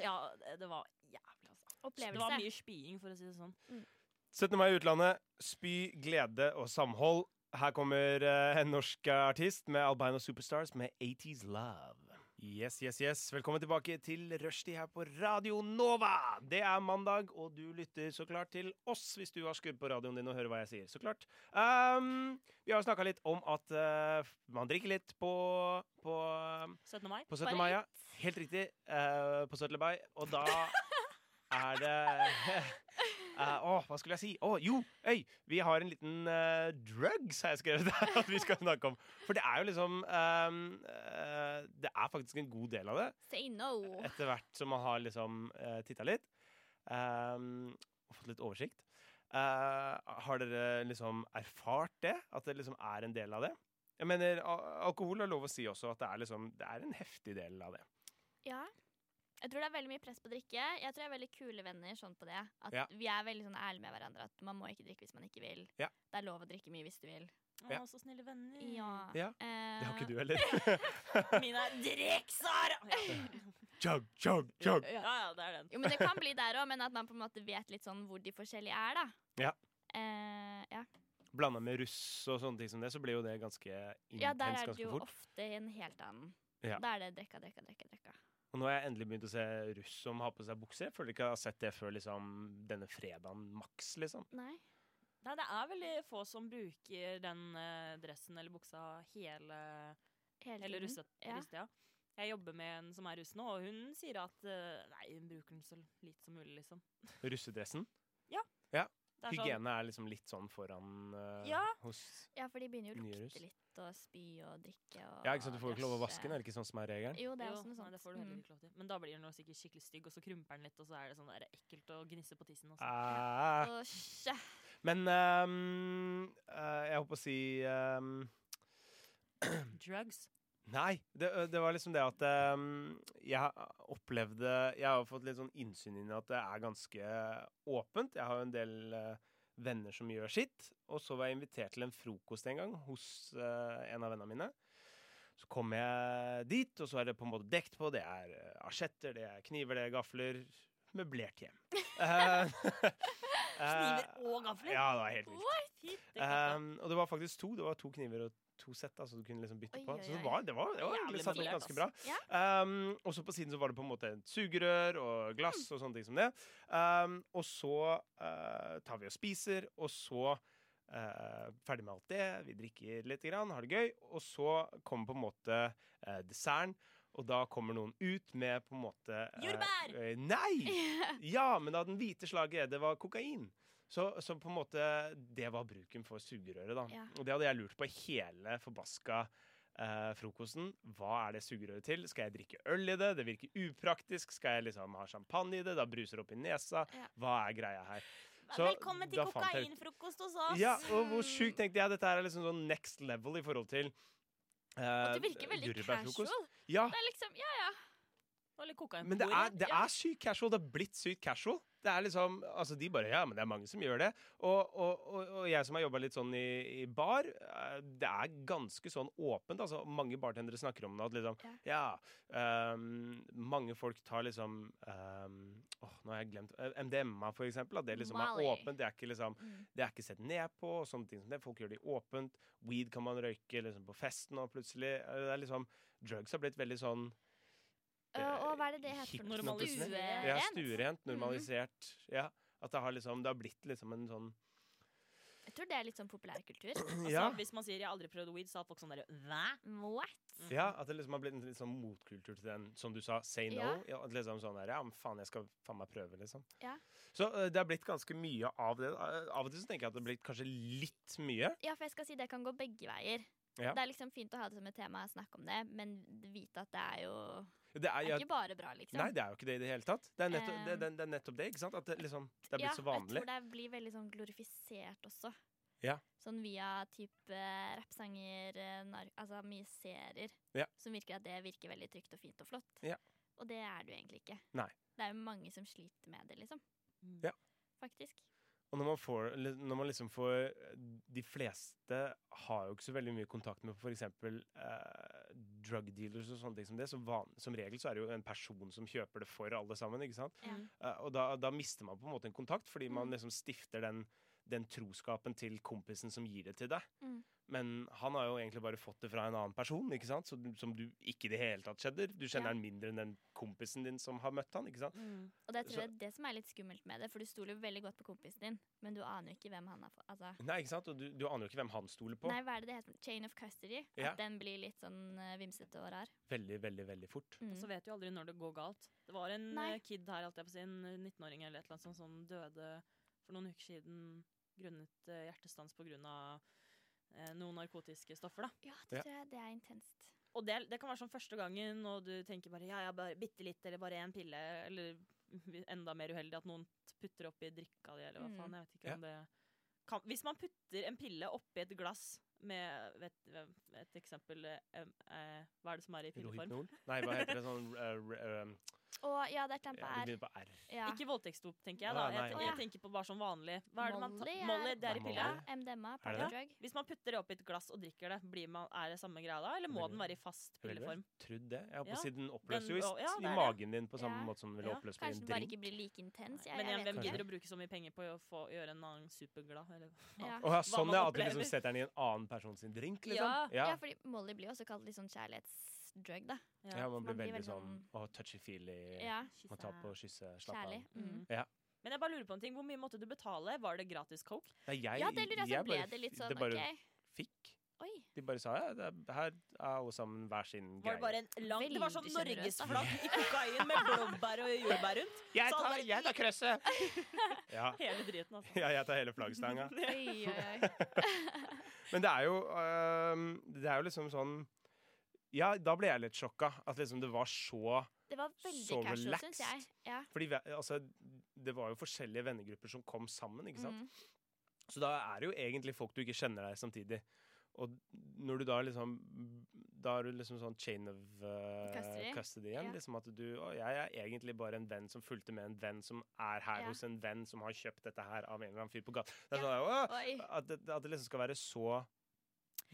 [SPEAKER 6] Ja, det, det var jævlig, altså. Det var
[SPEAKER 5] Opplevelse.
[SPEAKER 6] mye spying, for å si det sånn.
[SPEAKER 1] 17. mai i utlandet. Spy, glede og samhold. Her kommer eh, en norsk artist med Albino Superstars med 80's Love. Yes, yes, yes. Velkommen tilbake til Rushdie her på Radio Nova. Det er mandag, og du lytter så klart til oss hvis du har skrudd på radioen din og hører hva jeg sier. Så klart. Ehm, vi har snakka litt om at eh, man drikker litt på, på,
[SPEAKER 6] 17. mai.
[SPEAKER 1] på 17.
[SPEAKER 5] Bare
[SPEAKER 1] mai. Ja.
[SPEAKER 5] litt.
[SPEAKER 1] Helt riktig. eh, på 17. mai. Og da er det Eh, åh, hva skulle jeg si? Åh, jo, øy, vi har en liten eh, drugs, har jeg skrevet her, at vi skal snakke om. For det er jo liksom ehm, eh, Det er faktisk en god del av det,
[SPEAKER 5] Say no.
[SPEAKER 1] etter hvert som man har liksom uh, titta litt. ehm, og fått litt oversikt. Eh, har dere liksom erfart det? At det liksom er en del av det? Jeg mener, al Alkohol er lov å si også at det er, liksom, det er en heftig del av det.
[SPEAKER 5] Ja. Jeg tror det er veldig mye press på å drikke. Jeg tror jeg er veldig kule venner sånn på det. At
[SPEAKER 1] Ja.
[SPEAKER 5] Vi er veldig sånn ærlige med hverandre. At man må ikke drikke hvis man ikke vil.
[SPEAKER 1] Ja.
[SPEAKER 5] Det er lov å drikke mye hvis du vil. Eh,
[SPEAKER 1] Ja.
[SPEAKER 6] Å, så snille venner.
[SPEAKER 1] Ja. Det har ikke du heller.
[SPEAKER 6] Ja. Mine er dreksar! Ja.
[SPEAKER 1] chug, chug, chug.
[SPEAKER 6] ja, ja, det er den.
[SPEAKER 5] Jo, men det kan bli der òg, men at man på en måte vet litt sånn hvor de forskjellige er, da.
[SPEAKER 1] Ja.
[SPEAKER 5] Eh, ja.
[SPEAKER 1] blanda med russ og sånne ting som det, så blir jo det ganske intenst
[SPEAKER 5] ja, der er det
[SPEAKER 1] ganske
[SPEAKER 5] jo
[SPEAKER 1] fort.
[SPEAKER 5] ofte en helt annen.
[SPEAKER 1] Ja.
[SPEAKER 5] Da er det drekka, drekka, drekka. drekka.
[SPEAKER 1] Og nå har jeg endelig begynt å se russ som har på seg bukse. Jeg føler ikke jeg har sett det før liksom, denne fredagen maks, liksom.
[SPEAKER 5] Nei.
[SPEAKER 6] Nei, det er veldig få som bruker den eh, dressen eller buksa hele,
[SPEAKER 5] Hele
[SPEAKER 6] hele
[SPEAKER 5] tiden.
[SPEAKER 6] russet,
[SPEAKER 5] Ja.
[SPEAKER 6] russet, ja. Jeg jobber med en som er russ nå, og hun sier at eh, nei, hun bruker den så lite som mulig, liksom.
[SPEAKER 1] Russedressen.
[SPEAKER 6] Det er sånn,
[SPEAKER 1] Hygiene er liksom litt sånn foran eh,
[SPEAKER 6] Ja.
[SPEAKER 1] hos
[SPEAKER 5] Ja, for de begynner jo å
[SPEAKER 1] Nye russ.
[SPEAKER 5] lukte litt og spy og drikke og
[SPEAKER 1] Ja, ikke sant, du får jo ikke lov å vaske den,
[SPEAKER 5] krasje.
[SPEAKER 1] er det ikke sånn som er regelen?
[SPEAKER 5] Jo, det er
[SPEAKER 6] jo,
[SPEAKER 5] også noe
[SPEAKER 6] nei,
[SPEAKER 5] sånt. Mm.
[SPEAKER 6] det får du heller ikke lov til. Men da blir den jo sikkert skikkelig stygg, og så krymper den litt, og så er det sånn der ekkelt å gnisse på tissen. Og sånn.
[SPEAKER 1] Ah.
[SPEAKER 5] Mm. Åsj.
[SPEAKER 1] Men ehm, eh, jeg holdt på å si ehm,
[SPEAKER 6] Drugs.
[SPEAKER 1] Nei, det, det var liksom det at ehm, jeg opplevde Jeg har fått litt sånn innsyn inn i at det er ganske åpent. Jeg har jo en del eh, venner som gjør sitt. Og så var jeg invitert til en frokost en gang hos eh, en av vennene mine. Så kom jeg dit, og så er det på en måte dekt på. Det er eh, asjetter, det er kniver, det er gafler. Møblert hjem. Ehm, Kniver
[SPEAKER 6] Kniver og gafler?
[SPEAKER 1] Eh, Ja, det var helt vilt.
[SPEAKER 6] Fytti katta.
[SPEAKER 1] Um, og det var faktisk to. Det var to kniver og to sett, altså du kunne liksom bytte
[SPEAKER 5] Oi,
[SPEAKER 1] på.
[SPEAKER 5] oi,
[SPEAKER 1] Så det
[SPEAKER 5] oi.
[SPEAKER 1] var, det var, det var egentlig
[SPEAKER 6] Jævlig
[SPEAKER 1] satt opp
[SPEAKER 6] motivert,
[SPEAKER 1] ganske bra. Um, og så på siden så var det på en måte et sugerør og glass og sånne ting som det. Um, og så eh, tar vi og spiser, og så eh, ferdig med alt det. Vi drikker litt, grann, har det gøy, og så kommer på en måte eh, desserten. Og da kommer noen ut med på en måte eh,
[SPEAKER 6] Jordbær!
[SPEAKER 1] eh, nei! Ja, men av den hvite slaget, det var kokain. Så, så på en måte, det var bruken for sugerøret, da.
[SPEAKER 5] Ja.
[SPEAKER 1] Og det hadde jeg lurt på hele forbaska eh, frokosten. Hva er det sugerøret til? Skal jeg drikke øl i det? Det virker upraktisk. Skal jeg liksom ha champagne i det? Da bruser det opp i nesa.
[SPEAKER 5] Ja.
[SPEAKER 1] Hva er greia her?
[SPEAKER 6] Velkommen til
[SPEAKER 1] da fant jeg ut-
[SPEAKER 6] kokainfrokost hos oss!
[SPEAKER 1] Ja, og hvor sjukt tenkte jeg. Dette her er liksom sånn next level i forhold til eh,
[SPEAKER 5] Og det virker veldig
[SPEAKER 1] jordbærfrokost.
[SPEAKER 5] casual.
[SPEAKER 1] Ja,
[SPEAKER 5] Det er liksom, ja ja.
[SPEAKER 6] Og litt kokain på
[SPEAKER 1] Men det
[SPEAKER 6] bordet.
[SPEAKER 1] er, det er sykt casual. Det er blitt sykt casual. Det er liksom, altså De bare Ja, men det er mange som gjør det. Og, og, og, og jeg som har jobba litt sånn i, i bar, eh, det er ganske sånn åpent. altså Mange bartendere snakker om det. At liksom Ja, ehm, mange folk tar liksom ehm, Åh, nå har jeg glemt eh, MDMA, for eksempel. At det liksom
[SPEAKER 5] Molly.
[SPEAKER 1] er åpent. Det er ikke liksom
[SPEAKER 5] Mm.
[SPEAKER 1] det er ikke sett ned på. og sånne ting som det. Folk gjør det åpent. Weed kan man røyke liksom, på festen, og plutselig eh, det er liksom, Drugs har blitt veldig sånn
[SPEAKER 5] Øh, og hva er det det heter?
[SPEAKER 1] Hipt
[SPEAKER 5] for noe?
[SPEAKER 1] nå plutselig.
[SPEAKER 5] Stue-
[SPEAKER 1] Eh, ja,
[SPEAKER 5] rent? Mm-hmm.
[SPEAKER 1] stuerent, normalisert. Ja, at det har, liksom, det har blitt liksom en sånn
[SPEAKER 5] Jeg tror det er litt sånn populærkultur.
[SPEAKER 6] Altså,
[SPEAKER 1] ja,
[SPEAKER 6] Hvis man sier 'jeg har aldri prøvd weed', så har folk sånn derre 'hva'?
[SPEAKER 5] What?
[SPEAKER 1] ja, at det liksom har blitt en litt sånn motkultur til den, som du sa, say no.
[SPEAKER 5] Ja.
[SPEAKER 1] Ja, at liksom sånn der, ja, men faen, jeg skal faen meg prøve, liksom.
[SPEAKER 5] Ja.
[SPEAKER 1] Så eh, det har blitt ganske mye av det. Eh, Av og til så tenker jeg at det har blitt kanskje litt mye.
[SPEAKER 5] Ja, for jeg skal si det kan gå begge veier.
[SPEAKER 1] Ja.
[SPEAKER 5] Det er liksom fint å ha det som et tema, snakke om det, men vite at det er jo
[SPEAKER 1] Det er,
[SPEAKER 5] det er
[SPEAKER 1] jeg,
[SPEAKER 5] ikke bare bra, liksom.
[SPEAKER 1] nei, det er jo ikke det i det hele tatt. Det er nettopp det,
[SPEAKER 5] Um,
[SPEAKER 1] det, det, er nettopp det ikke sant? At det, liksom, det er blitt så
[SPEAKER 5] ja,
[SPEAKER 1] vanlig.
[SPEAKER 5] Jeg tror det blir veldig sånn glorifisert også.
[SPEAKER 1] Ja.
[SPEAKER 5] Sånn via type rappsanger, eh, nar altså mye serier,
[SPEAKER 1] Ja.
[SPEAKER 5] som virker at det virker veldig trygt og fint og flott.
[SPEAKER 1] Ja.
[SPEAKER 5] Og det er det jo egentlig ikke.
[SPEAKER 1] Nei.
[SPEAKER 5] Det er jo mange som sliter med det, liksom.
[SPEAKER 6] Mm.
[SPEAKER 1] Ja.
[SPEAKER 5] Faktisk.
[SPEAKER 1] Og når man, får, li- når man liksom får De fleste har jo ikke så veldig mye kontakt med f.eks. Eh, drug dealers og sånne ting som det. Så van, som regel så er det jo en person som kjøper det for alle sammen. ikke sant?
[SPEAKER 5] Ja.
[SPEAKER 1] Eh, og da, da mister man på en måte en kontakt, fordi man
[SPEAKER 5] Mm.
[SPEAKER 1] liksom stifter den, den troskapen til kompisen som gir det til deg.
[SPEAKER 5] Mm.
[SPEAKER 1] Men han har jo egentlig bare fått det fra en annen person, ikke sant? Så, du- som du ikke i det hele tatt kjenner. Du kjenner
[SPEAKER 5] Ja.
[SPEAKER 1] han mindre enn den kompisen din som har møtt han, ikke sant?
[SPEAKER 5] Og det tror
[SPEAKER 1] Så-
[SPEAKER 5] jeg er det som er litt skummelt med det, for du stoler jo veldig godt på kompisen din, men du aner jo ikke hvem han er for. Altså,
[SPEAKER 1] Nei, ikke sant? Og du, du aner jo ikke hvem han stoler på.
[SPEAKER 5] Nei, hva er det det heter? Chain of custody?
[SPEAKER 1] Ja.
[SPEAKER 5] At den blir litt sånn eh, vimsete og rar.
[SPEAKER 1] Veldig, veldig, veldig fort.
[SPEAKER 5] Mm.
[SPEAKER 6] Og så vet du jo aldri når det går galt. Det var en
[SPEAKER 5] Nei.
[SPEAKER 6] eh, kid her, holdt jeg på å si, en 19-åring eller et eller annet sånt, som døde for noen uker siden grunnet eh, hjertestans pga. Eh, noen narkotiske stoffer. da.
[SPEAKER 5] Ja,
[SPEAKER 1] Ja.
[SPEAKER 5] det tror jeg det er intenst.
[SPEAKER 6] Og det, det kan være sånn første gangen, og du tenker bare ja, ja, bare bitte litt, eller bare én pille, eller enda mer uheldig at noen putter oppi drikka di, eller hva
[SPEAKER 5] Mm.
[SPEAKER 6] faen. Jeg vet ikke
[SPEAKER 1] Ja.
[SPEAKER 6] om det kan Hvis man putter en pille oppi et glass med vet, et eksempel eh, eh, Hva er det som er i pilleform?
[SPEAKER 1] Rohypnol? Nei, hva heter det sånn eh, re- eh,
[SPEAKER 5] Å ja, det
[SPEAKER 1] ja,
[SPEAKER 5] er
[SPEAKER 1] Det
[SPEAKER 5] Tampa R.
[SPEAKER 1] begynner på R.
[SPEAKER 5] Ja.
[SPEAKER 6] Ikke voldtektsdop, tenker jeg. da.
[SPEAKER 1] Ah, nei.
[SPEAKER 6] Jeg, ten-
[SPEAKER 5] Å, ja.
[SPEAKER 6] jeg tenker på bare sånn vanlig. Hva er det man tar?
[SPEAKER 5] Molly er-
[SPEAKER 6] Molly, det er i
[SPEAKER 1] Nei,
[SPEAKER 6] pilla.
[SPEAKER 1] Molly.
[SPEAKER 5] MDMA,
[SPEAKER 1] Er det
[SPEAKER 5] party
[SPEAKER 1] det?
[SPEAKER 5] drug.
[SPEAKER 6] Hvis man putter det oppi et glass og drikker det, blir man, er det samme greia da? Eller må
[SPEAKER 1] Veldig.
[SPEAKER 6] den være i fast
[SPEAKER 1] Veldig bra.
[SPEAKER 6] pilleform?
[SPEAKER 1] Trodd det. Jeg håper
[SPEAKER 6] Ja.
[SPEAKER 1] å si den oppløser jo i,
[SPEAKER 6] Den-
[SPEAKER 1] st-
[SPEAKER 6] ja, det
[SPEAKER 1] i
[SPEAKER 6] er det.
[SPEAKER 1] magen din på samme
[SPEAKER 5] Ja.
[SPEAKER 1] måte som den ville
[SPEAKER 6] Ja.
[SPEAKER 1] oppløst i
[SPEAKER 5] Kanskje
[SPEAKER 1] en
[SPEAKER 5] den bare
[SPEAKER 1] drink.
[SPEAKER 5] ikke blir like intens. Jeg,
[SPEAKER 6] Men igjen,
[SPEAKER 5] jeg vet
[SPEAKER 6] hvem
[SPEAKER 1] ikke.
[SPEAKER 6] gidder å bruke så mye penger på å få, gjøre en annen superglad? Eller?
[SPEAKER 5] Ja.
[SPEAKER 1] Å ja,
[SPEAKER 6] Hva
[SPEAKER 1] sånn
[SPEAKER 6] man
[SPEAKER 1] ja, at du
[SPEAKER 6] opplever.
[SPEAKER 1] liksom setter den i en annen person sin drink,
[SPEAKER 6] Ja.
[SPEAKER 1] liksom?
[SPEAKER 5] Ja.
[SPEAKER 1] Ja.
[SPEAKER 5] fordi Molly blir jo også kalt litt sånn kjærlighetsdrug, da.
[SPEAKER 1] Ja, man blir
[SPEAKER 5] man blir
[SPEAKER 1] veldig
[SPEAKER 5] veldig
[SPEAKER 1] sånn å, touchy-feely.
[SPEAKER 5] Ja.
[SPEAKER 1] Må ta på og kysse, slapp av.
[SPEAKER 5] Kjærlig. Mm.
[SPEAKER 6] Mm.
[SPEAKER 1] Ja.
[SPEAKER 6] Men jeg bare lurer på en ting. Hvor mye måtte du betale? Var det gratis coke?
[SPEAKER 1] Nei, jeg,
[SPEAKER 5] Ja, det lurer jeg
[SPEAKER 1] jeg
[SPEAKER 5] på. Ble
[SPEAKER 1] bare
[SPEAKER 5] det litt
[SPEAKER 1] f-
[SPEAKER 5] sånn
[SPEAKER 1] Det bare
[SPEAKER 5] OK?
[SPEAKER 1] fikk.
[SPEAKER 5] Oi.
[SPEAKER 1] De bare sa ja, det er, her er alle sammen hver sin
[SPEAKER 6] Var det bare
[SPEAKER 1] greie.
[SPEAKER 6] en lang Det var sånn
[SPEAKER 5] Veldig generøst, da.
[SPEAKER 6] norgesflagg i kokain med blåbær og jordbær rundt.
[SPEAKER 1] Jeg
[SPEAKER 6] Så
[SPEAKER 5] sånn
[SPEAKER 6] alle
[SPEAKER 1] tar,
[SPEAKER 6] bare-
[SPEAKER 1] jeg tar krøsset! ja.
[SPEAKER 6] Hele driten, altså.
[SPEAKER 1] ja, jeg tar hele flaggstanga.
[SPEAKER 5] Oi, oi, oi.
[SPEAKER 1] Men det er jo øhm, Det er jo liksom sånn Ja, da ble jeg litt sjokka. At liksom det var så
[SPEAKER 5] Det var veldig
[SPEAKER 1] Så
[SPEAKER 5] casual, syns jeg. Ja.
[SPEAKER 1] Fordi vi, altså, det var jo forskjellige vennegrupper som kom sammen, ikke sant?
[SPEAKER 5] Mm.
[SPEAKER 1] Så da er det jo egentlig folk du ikke kjenner deg samtidig. Og når du da liksom Da er du liksom sånn chain of eh,
[SPEAKER 5] Custody.
[SPEAKER 1] custody igjen.
[SPEAKER 5] Ja.
[SPEAKER 1] Liksom at du Å, jeg er egentlig bare en venn som fulgte med en venn som er her
[SPEAKER 5] Ja.
[SPEAKER 1] hos en venn som har kjøpt dette her av en eller annen fyr på gata. Det er sånn,
[SPEAKER 5] Oi.
[SPEAKER 1] «Å, at, det, at det liksom skal være så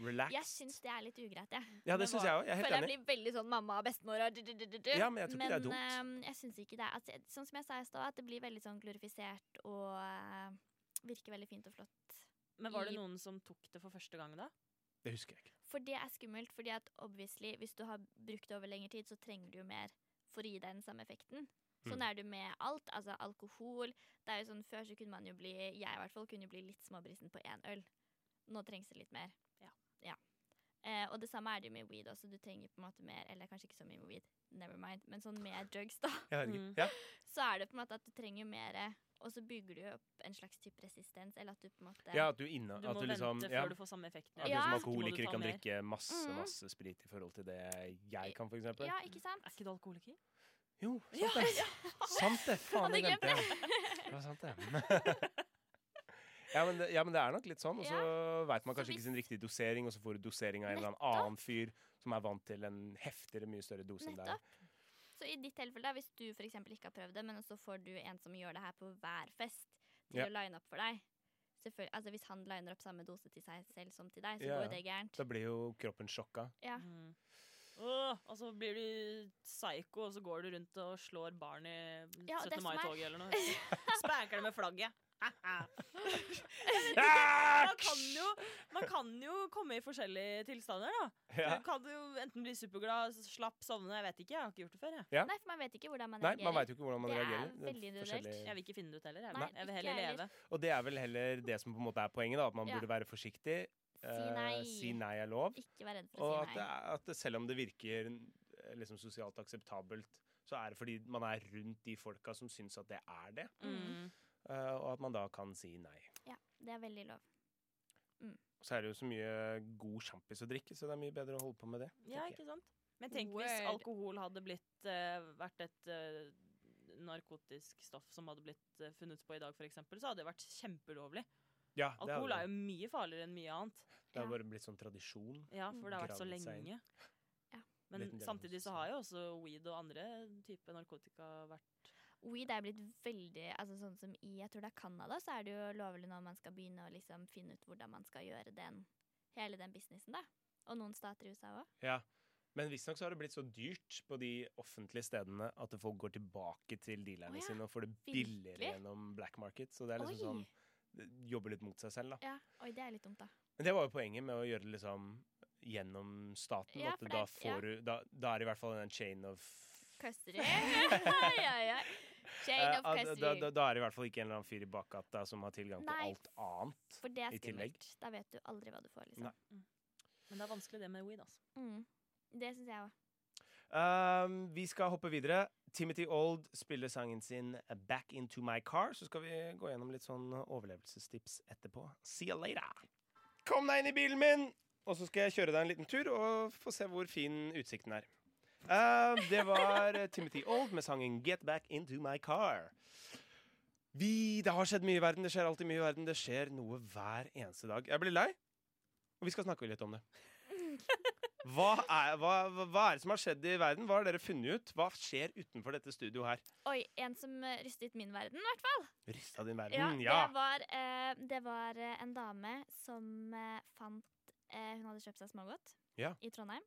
[SPEAKER 1] relaxed.
[SPEAKER 5] Jeg syns det er litt ugreit, jeg.
[SPEAKER 1] ja, det syns jeg òg. Jeg er helt
[SPEAKER 5] Føler jeg
[SPEAKER 1] enig.
[SPEAKER 5] blir veldig sånn mamma og bestemor og du-du-du-du-du.
[SPEAKER 1] Ja, men jeg tror ikke det er dumt.
[SPEAKER 5] ehm, jeg syns ikke det. er- Altså, jeg- sånn som jeg sa i stad, at det blir veldig sånn glorifisert og eh, virker veldig fint og flott.
[SPEAKER 6] Men var det noen som tok det for første gang da?
[SPEAKER 1] Det husker jeg ikke.
[SPEAKER 5] For det er skummelt, fordi at obviously, hvis du har brukt det over lengre tid, så trenger du jo mer for å gi deg den samme effekten. Sånn
[SPEAKER 1] Mm.
[SPEAKER 5] er det med alt. Altså alkohol. Det er jo sånn, Før så kunne man jo bli Jeg i hvert fall kunne jo bli litt småbrisen på én øl. Nå trengs det litt mer.
[SPEAKER 6] Ja.
[SPEAKER 5] Eh, og det samme er det jo med weed også. Du trenger på en måte mer Eller kanskje ikke så mye med weed, never mind. Men sånn med drugs, da.
[SPEAKER 1] Jeg vet ikke.
[SPEAKER 6] Mm.
[SPEAKER 1] Ja.
[SPEAKER 5] Så er det på en måte at du trenger mer, og så bygger du jo opp en slags type resistens. Eller at du på en måte
[SPEAKER 1] ja, at du inne
[SPEAKER 6] Du
[SPEAKER 1] at
[SPEAKER 6] må
[SPEAKER 1] du liksom,
[SPEAKER 6] vente før
[SPEAKER 1] ja,
[SPEAKER 6] du får samme effekten.
[SPEAKER 1] At
[SPEAKER 5] Ja.
[SPEAKER 1] du som
[SPEAKER 6] Så må du
[SPEAKER 1] alkoholiker
[SPEAKER 6] ta
[SPEAKER 1] kan
[SPEAKER 6] mer.
[SPEAKER 1] drikke masse,
[SPEAKER 5] Mhm.
[SPEAKER 1] masse sprit i forhold til det jeg kan, for eksempel.
[SPEAKER 5] Ja, ikke sant?
[SPEAKER 6] Er ikke du alkoholiker?
[SPEAKER 1] Jo, sant det. Sant det! Faen,
[SPEAKER 5] Hadde
[SPEAKER 1] det
[SPEAKER 5] glemt
[SPEAKER 1] glemte jeg. Det var sant, det. Ja men, det, ja, men det er nok litt sånn. Og så veit man
[SPEAKER 5] Så
[SPEAKER 1] kanskje ikke sin riktige dosering, og så får du dosering av en eller annen
[SPEAKER 5] Nettopp.
[SPEAKER 1] annen fyr som er vant til en heftigere, mye større dose enn deg.
[SPEAKER 5] Nettopp. Så i ditt tilfelle, da, hvis du for eksempel ikke har prøvd det, men så får du en som gjør det her på hver fest, til
[SPEAKER 1] Ja.
[SPEAKER 5] å line opp for deg Selvfølgelig- altså Hvis han liner opp samme dose til seg selv som til deg, så
[SPEAKER 1] Ja,
[SPEAKER 5] går
[SPEAKER 1] ja.
[SPEAKER 5] jo det gærent.
[SPEAKER 1] Da blir jo kroppen sjokka.
[SPEAKER 5] Ja.
[SPEAKER 6] Mm. Åh, og så blir du psycho, og så går du rundt og slår barn i
[SPEAKER 5] Ja,
[SPEAKER 6] 17.
[SPEAKER 5] det som
[SPEAKER 6] mai-toget eller noe. Spanker det med flagget. man,
[SPEAKER 1] Ah!
[SPEAKER 6] kan jo, man kan jo komme i forskjellige tilstander, da.
[SPEAKER 1] Ja.
[SPEAKER 6] Du kan jo enten bli superglad, slapp, sovne, jeg vet ikke. Jeg har ikke gjort det før, jeg.
[SPEAKER 1] Ja.
[SPEAKER 5] Nei, for man vet ikke hvordan man
[SPEAKER 1] Nei,
[SPEAKER 5] reagerer.
[SPEAKER 1] man veit jo ikke hvordan man
[SPEAKER 5] Det er
[SPEAKER 1] reagerer. Det er
[SPEAKER 5] veldig individuelt.
[SPEAKER 1] forskjellig-
[SPEAKER 6] Jeg vil ikke finne det ut heller. Jeg,
[SPEAKER 5] Nei,
[SPEAKER 6] jeg vil
[SPEAKER 5] ikke
[SPEAKER 6] heller
[SPEAKER 5] jeg
[SPEAKER 6] leve.
[SPEAKER 1] Og det er vel heller det som på en måte er poenget, da, at man
[SPEAKER 5] Ja.
[SPEAKER 1] burde være forsiktig.
[SPEAKER 5] Si nei.
[SPEAKER 1] eh, si nei er lov.
[SPEAKER 5] Ikke vær redd for
[SPEAKER 1] Og
[SPEAKER 5] å
[SPEAKER 1] at,
[SPEAKER 5] si
[SPEAKER 1] det
[SPEAKER 5] nei.
[SPEAKER 1] er, at det, selv om det virker eh, liksom, sosialt akseptabelt, så er det fordi man er rundt de folka som syns at det er det,
[SPEAKER 6] Mm.
[SPEAKER 1] eh, og at man da kan si nei.
[SPEAKER 5] Ja, det er veldig lov.
[SPEAKER 1] Så er det jo så mye god sjampis å drikke, så det er mye bedre å holde på med det.
[SPEAKER 6] Ja,
[SPEAKER 1] tenker jeg.
[SPEAKER 6] ikke sant? Men tenk hvis
[SPEAKER 5] Word.
[SPEAKER 6] alkohol hadde blitt eh, vært et eh, narkotisk stoff som hadde blitt eh, funnet på i dag, for eksempel, så hadde det vært kjempeulovlig.
[SPEAKER 1] Ja, det hadde
[SPEAKER 6] Alkohol er
[SPEAKER 1] det.
[SPEAKER 6] jo mye farligere enn mye annet.
[SPEAKER 1] Det har bare blitt sånn tradisjon.
[SPEAKER 6] Ja, for det har vært så
[SPEAKER 1] Gravd seg inn.
[SPEAKER 6] lenge.
[SPEAKER 5] Ja.
[SPEAKER 6] Men
[SPEAKER 1] Vet en del om
[SPEAKER 6] samtidig så har jo også weed og andre type narkotika vært
[SPEAKER 5] Weed er blitt veldig altså Sånn som i jeg tror det er Canada, så er det jo lovlig når man skal begynne å liksom finne ut hvordan man skal gjøre den, hele den businessen. da. Og noen stater i USA òg.
[SPEAKER 1] Ja. Men visstnok så har det blitt så dyrt på de offentlige stedene at folk går tilbake til dealerne
[SPEAKER 5] Å ja,
[SPEAKER 1] sine og får det
[SPEAKER 5] virkelig?
[SPEAKER 1] billigere gjennom black market. Så det er
[SPEAKER 5] Oi!
[SPEAKER 1] liksom sånn det Jobber litt mot seg selv, da.
[SPEAKER 5] Ja, oi, det er litt dumt, da.
[SPEAKER 1] Men det var jo poenget med å gjøre det liksom gjennom staten.
[SPEAKER 5] Ja,
[SPEAKER 1] at
[SPEAKER 5] for
[SPEAKER 1] da,
[SPEAKER 5] det- ja.
[SPEAKER 1] får du, da, da er det i hvert fall en chain of
[SPEAKER 5] Custody. oi, oi, oi. Chain
[SPEAKER 1] Eh, at-
[SPEAKER 5] of
[SPEAKER 1] da,
[SPEAKER 5] custody.
[SPEAKER 1] da, da er det i hvert fall ikke en eller annen fyr i bakgata som har tilgang på
[SPEAKER 5] Nei.
[SPEAKER 1] alt annet.
[SPEAKER 5] For det er
[SPEAKER 1] i tillegg.
[SPEAKER 5] skummelt. Da vet du aldri hva du får,
[SPEAKER 1] Nei.
[SPEAKER 5] liksom.
[SPEAKER 6] Men det er vanskelig det med weed, altså.
[SPEAKER 5] Mm. Det syns jeg òg.
[SPEAKER 1] Um, vi skal hoppe videre. Timothy Old spiller sangen sin Back Into My Car. Så skal vi gå gjennom litt sånn overlevelsestips etterpå. See you later! Kom deg inn i bilen min! Og så skal jeg kjøre deg en liten tur og få se hvor fin utsikten er. Uh, det var Timothy Old med sangen Get Back Into My Car. Vi, det har skjedd mye i verden. Det skjer alltid mye i verden. Det skjer noe hver eneste dag. Jeg blir lei, og vi skal snakke litt om det. Hva er, hva, hva- hva er det som har skjedd i verden? Hva har dere funnet ut? Hva skjer utenfor dette studioet her?
[SPEAKER 5] Oi, en som eh, rystet min verden, i hvert fall.
[SPEAKER 1] Rista din
[SPEAKER 5] Ja,
[SPEAKER 1] verden, Mm, ja.
[SPEAKER 5] Det var, eh, det var eh, en dame som eh, fant eh, Hun hadde kjøpt seg smågodt
[SPEAKER 1] Ja.
[SPEAKER 5] i Trondheim.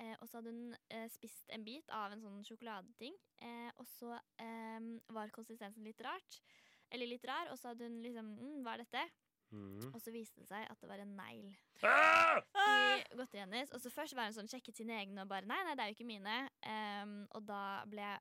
[SPEAKER 5] Eh, og så hadde hun eh, spist en bit av en sånn sjokoladeting. Eh, og så eh, var konsistensen litt rart. Eller litt rar, og så hadde hun liksom mm, Hva er dette?
[SPEAKER 1] Mm.
[SPEAKER 5] Og så viste det seg at det var en negl
[SPEAKER 1] Ah!
[SPEAKER 5] i godteriet hennes. Og så først var hun sånn sjekket sine egne og bare Nei, nei, det er jo ikke mine. Ehm, og da ble jeg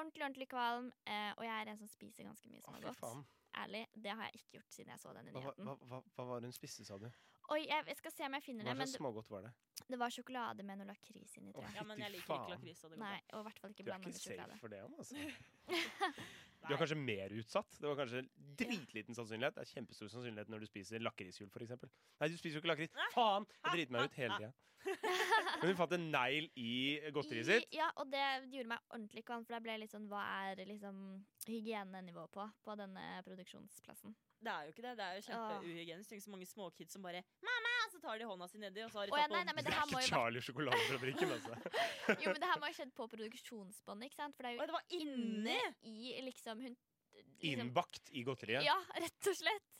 [SPEAKER 5] ordentlig, ordentlig kvalm. eh, og jeg er en som spiser ganske mye
[SPEAKER 1] Å, fy
[SPEAKER 5] smågodt.
[SPEAKER 1] faen.
[SPEAKER 5] Ærlig, det har jeg ikke gjort siden jeg så denne
[SPEAKER 1] Hva,
[SPEAKER 5] nyheten.
[SPEAKER 1] hva, hva, hva var det hun spiste, sa du?
[SPEAKER 5] Oi, jeg, jeg skal se om jeg finner
[SPEAKER 1] Hva
[SPEAKER 5] det, men
[SPEAKER 1] slags
[SPEAKER 5] det,
[SPEAKER 1] smågodt var det?
[SPEAKER 5] det var sjokolade med noe lakris inni, tror
[SPEAKER 1] Å,
[SPEAKER 5] jeg.
[SPEAKER 6] Ja, men jeg
[SPEAKER 1] Fytti
[SPEAKER 6] liker
[SPEAKER 1] faen.
[SPEAKER 6] ikke lakris. så det går
[SPEAKER 5] Nei,
[SPEAKER 6] bra.
[SPEAKER 5] og i hvert fall ikke
[SPEAKER 1] Du er
[SPEAKER 5] blanda
[SPEAKER 1] ikke
[SPEAKER 5] med
[SPEAKER 1] safe
[SPEAKER 5] sjokolade.
[SPEAKER 1] for det, altså. Du er kanskje mer utsatt. Det var kanskje dritliten sannsynlighet. Det er kjempestor sannsynlighet når du spiser lakrishjul, for eksempel Nei, du spiser jo ikke lakris. Faen! Jeg driter meg ut hele tida. Men hun fant en negl i godteriet
[SPEAKER 5] I-
[SPEAKER 1] sitt.
[SPEAKER 5] Ja, og det gjorde meg ordentlig kvalm, for da ble jeg litt sånn Hva er liksom hygienenivået på på denne produksjonsplassen?
[SPEAKER 6] Det er jo ikke det. Det er jo kjempeuhygienisk. Tenk så mange småkids som bare 'mamma', så tar de hånda si nedi, og så har de
[SPEAKER 5] Å, ja,
[SPEAKER 6] tatt
[SPEAKER 5] nei, nei,
[SPEAKER 6] på
[SPEAKER 5] men
[SPEAKER 1] Det
[SPEAKER 5] det
[SPEAKER 1] er
[SPEAKER 5] her må
[SPEAKER 1] ikke
[SPEAKER 5] jo,
[SPEAKER 1] Charlie sjokoladefabrikken, altså.
[SPEAKER 5] vært- jo, men det her må ha skjedd på produksjonsbåndet, ikke sant? For det er jo
[SPEAKER 6] Å, det var inni!
[SPEAKER 5] inne i liksom hun liksom,
[SPEAKER 1] Innbakt i godteriet.
[SPEAKER 5] Ja, rett og slett.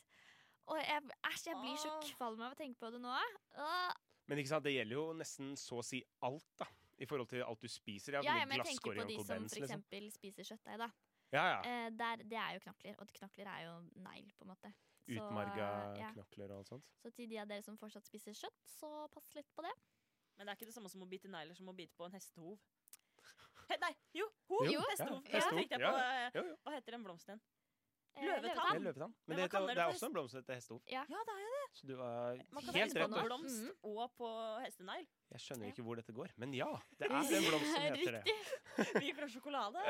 [SPEAKER 5] Og jeg, æsj, jeg blir så
[SPEAKER 6] Åh.
[SPEAKER 5] kvalm av å tenke på det nå. Åh.
[SPEAKER 1] Men ikke sant, det gjelder jo nesten så å si alt, da. I forhold til alt du spiser. Jeg har
[SPEAKER 5] Ja, ja,
[SPEAKER 1] funnet
[SPEAKER 5] men jeg
[SPEAKER 1] glasskår
[SPEAKER 5] tenker
[SPEAKER 1] i
[SPEAKER 5] på de
[SPEAKER 1] Uncle
[SPEAKER 5] som
[SPEAKER 1] Ben's,
[SPEAKER 5] for
[SPEAKER 1] liksom.
[SPEAKER 5] eksempel spiser kjøttdeig, da.
[SPEAKER 1] Ja, ja.
[SPEAKER 5] Eh, der, det er jo knokler, og knokler er jo negl, på en måte. Så,
[SPEAKER 1] Utmarga
[SPEAKER 5] eh, ja.
[SPEAKER 1] knokler og alt sånt.
[SPEAKER 5] Så til de av dere som fortsatt spiser kjøtt, så pass litt på det.
[SPEAKER 6] Men det er ikke det samme som å bite negler som å bite på en hestehov. He, nei, jo! Hov!
[SPEAKER 1] Jo, ja,
[SPEAKER 6] hestehov.
[SPEAKER 1] ja.
[SPEAKER 6] Så tenkte jeg på, eh,
[SPEAKER 1] Jo, jo.
[SPEAKER 6] Hva heter den blomsten igjen?
[SPEAKER 5] Eh,
[SPEAKER 6] Løvetann.
[SPEAKER 1] Det er
[SPEAKER 6] Tann.
[SPEAKER 1] løvetann. Men,
[SPEAKER 6] Men
[SPEAKER 1] det,
[SPEAKER 6] hva kaller
[SPEAKER 1] heter,
[SPEAKER 6] du
[SPEAKER 1] det er
[SPEAKER 6] for
[SPEAKER 1] også en blomst som heter hestehov.
[SPEAKER 6] Ja, det er jo Mm. det.
[SPEAKER 1] Så du var
[SPEAKER 6] Man kan
[SPEAKER 1] helt
[SPEAKER 6] hente
[SPEAKER 1] rett.
[SPEAKER 6] på
[SPEAKER 1] Tor.
[SPEAKER 5] Anna.
[SPEAKER 6] blomst og på hestenegl.
[SPEAKER 1] Jeg skjønner ikke hvor dette går, men ja, det er den blomsten som heter det.
[SPEAKER 6] Vi gikk fra sjokolade,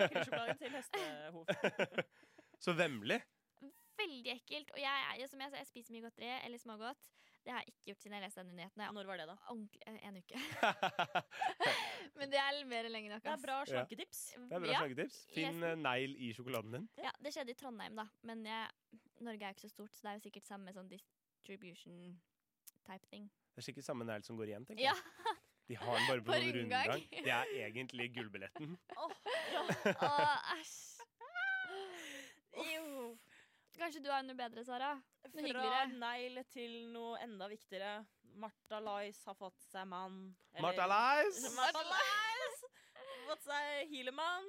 [SPEAKER 6] lakrissjokolade til hestehov.
[SPEAKER 1] Så vemmelig.
[SPEAKER 5] Veldig ekkelt. Og jeg, er jo som jeg, sa, jeg spiser mye godteri, eller smågodt. Det har jeg ikke gjort siden jeg leste den nyheten. og Jeg har
[SPEAKER 6] Når var det, da?
[SPEAKER 5] ordentlig eh, en uke. Men det er mer lenge nok.
[SPEAKER 6] Det er
[SPEAKER 5] ass.
[SPEAKER 6] bra
[SPEAKER 1] Ja.
[SPEAKER 6] slanketips.
[SPEAKER 1] Det er bra
[SPEAKER 5] ja,
[SPEAKER 1] slagetips. Finn
[SPEAKER 5] Nesten.
[SPEAKER 1] eh, negl i sjokoladen din.
[SPEAKER 5] ja, det skjedde i Trondheim, da. Men jeg, Norge er jo ikke så stort, så det er jo sikkert samme sånn distribution type thing.
[SPEAKER 1] Det er sikkert samme negl som går igjen, tenker
[SPEAKER 5] Ja.
[SPEAKER 1] jeg. De har den bare på
[SPEAKER 5] På
[SPEAKER 1] noen
[SPEAKER 5] rundgang.
[SPEAKER 1] rundgang. Det er egentlig gullbilletten.
[SPEAKER 5] Åh, æsj. Jo. Kanskje du har noe bedre, Sara? Noe
[SPEAKER 6] Fra
[SPEAKER 5] hyggeligere.
[SPEAKER 6] negl til noe enda viktigere. Martha Lice har fått seg mann. Eller-
[SPEAKER 1] Martha Lice!
[SPEAKER 6] Martha Lice! Har Fått seg healermann.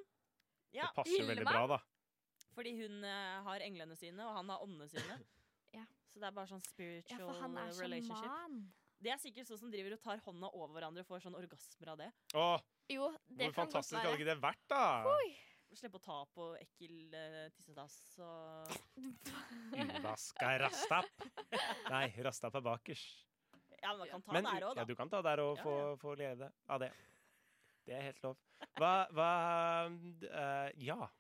[SPEAKER 6] Ja,
[SPEAKER 1] Det passer veldig bra, da.
[SPEAKER 6] fordi hun eh, har englene sine, og han har åndene sine.
[SPEAKER 5] Ja.
[SPEAKER 6] Så det er bare sånn
[SPEAKER 5] Ja,
[SPEAKER 6] spiritual
[SPEAKER 5] for han er
[SPEAKER 6] relationship.
[SPEAKER 5] sjaman.
[SPEAKER 6] Det er sikkert sånn som driver og tar hånda over hverandre og får sånn orgasmer av det.
[SPEAKER 1] Åh,
[SPEAKER 5] Jo, det
[SPEAKER 1] Hvor
[SPEAKER 5] kan godt
[SPEAKER 1] fantastisk hadde
[SPEAKER 5] være.
[SPEAKER 1] ikke det vært, da?
[SPEAKER 6] Slippe å ta på ekkel eh, tissedass og
[SPEAKER 1] Uvaska rastapp. Nei, rastapp er bakers.
[SPEAKER 6] Ja, men man kan ta
[SPEAKER 1] Men
[SPEAKER 6] der òg,
[SPEAKER 1] ja,
[SPEAKER 6] da.
[SPEAKER 1] du kan ta der og
[SPEAKER 6] Ja,
[SPEAKER 1] få, få glede av det. Det er helt lov. Hva, hva eh, Ja.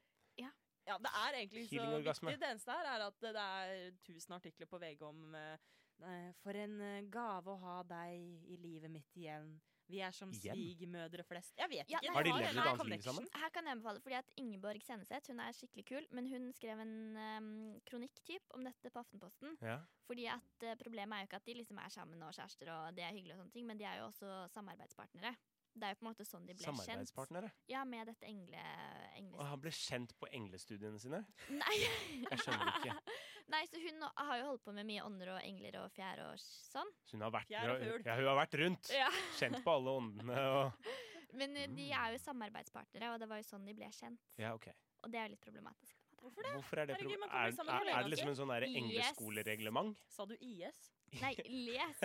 [SPEAKER 6] Ja, det er egentlig så
[SPEAKER 1] Healing orgasme.
[SPEAKER 6] viktig. Det eneste her er at det det er tusen artikler på VG om eh, nei, For en eh, gave å ha deg i livet mitt igjen. Vi er som
[SPEAKER 8] Igjen?
[SPEAKER 6] svigermødre flest. Jeg vet
[SPEAKER 5] Ja,
[SPEAKER 6] ikke.
[SPEAKER 5] nei, Har de
[SPEAKER 8] levd et
[SPEAKER 6] denne
[SPEAKER 8] annet liv
[SPEAKER 6] connection.
[SPEAKER 8] sammen?
[SPEAKER 5] Her kan jeg anbefale, fordi at Ingeborg Seneseth hun er skikkelig kul, men hun skrev en um, kronikktyp om dette på Aftenposten.
[SPEAKER 1] Ja.
[SPEAKER 5] Fordi at eh, Problemet er jo ikke at de liksom er sammen og kjærester, og det er hyggelig, og sånne ting, men de er jo også samarbeidspartnere. Det er jo på en måte sånn de ble kjent.
[SPEAKER 1] Samarbeidspartnere.
[SPEAKER 5] Ja, Med dette engle... engle
[SPEAKER 1] Og han ble kjent på englestudiene sine.
[SPEAKER 5] Nei.
[SPEAKER 1] Jeg skjønner ikke.
[SPEAKER 5] Nei, så Hun har jo holdt på med mye ånder og engler og fjær og sånn.
[SPEAKER 1] Så hun har vært,
[SPEAKER 6] Fjær og fugl.
[SPEAKER 1] ja, hun har vært rundt.
[SPEAKER 5] Ja.
[SPEAKER 1] Kjent på alle åndene og
[SPEAKER 5] Men eh, de er jo samarbeidspartnere, og det var jo sånn de ble kjent.
[SPEAKER 1] Ja, OK.
[SPEAKER 5] Og det er jo litt problematisk. på en måte.
[SPEAKER 6] Hvorfor det?
[SPEAKER 1] Hvorfor er det
[SPEAKER 6] Herregud,
[SPEAKER 1] pro-
[SPEAKER 6] man kommer
[SPEAKER 1] er,
[SPEAKER 6] sammen
[SPEAKER 1] er,
[SPEAKER 6] alene,
[SPEAKER 1] er det liksom en sånn der
[SPEAKER 5] Yes.
[SPEAKER 1] engleskolereglement?
[SPEAKER 6] Sa du IS?
[SPEAKER 5] Nei, les!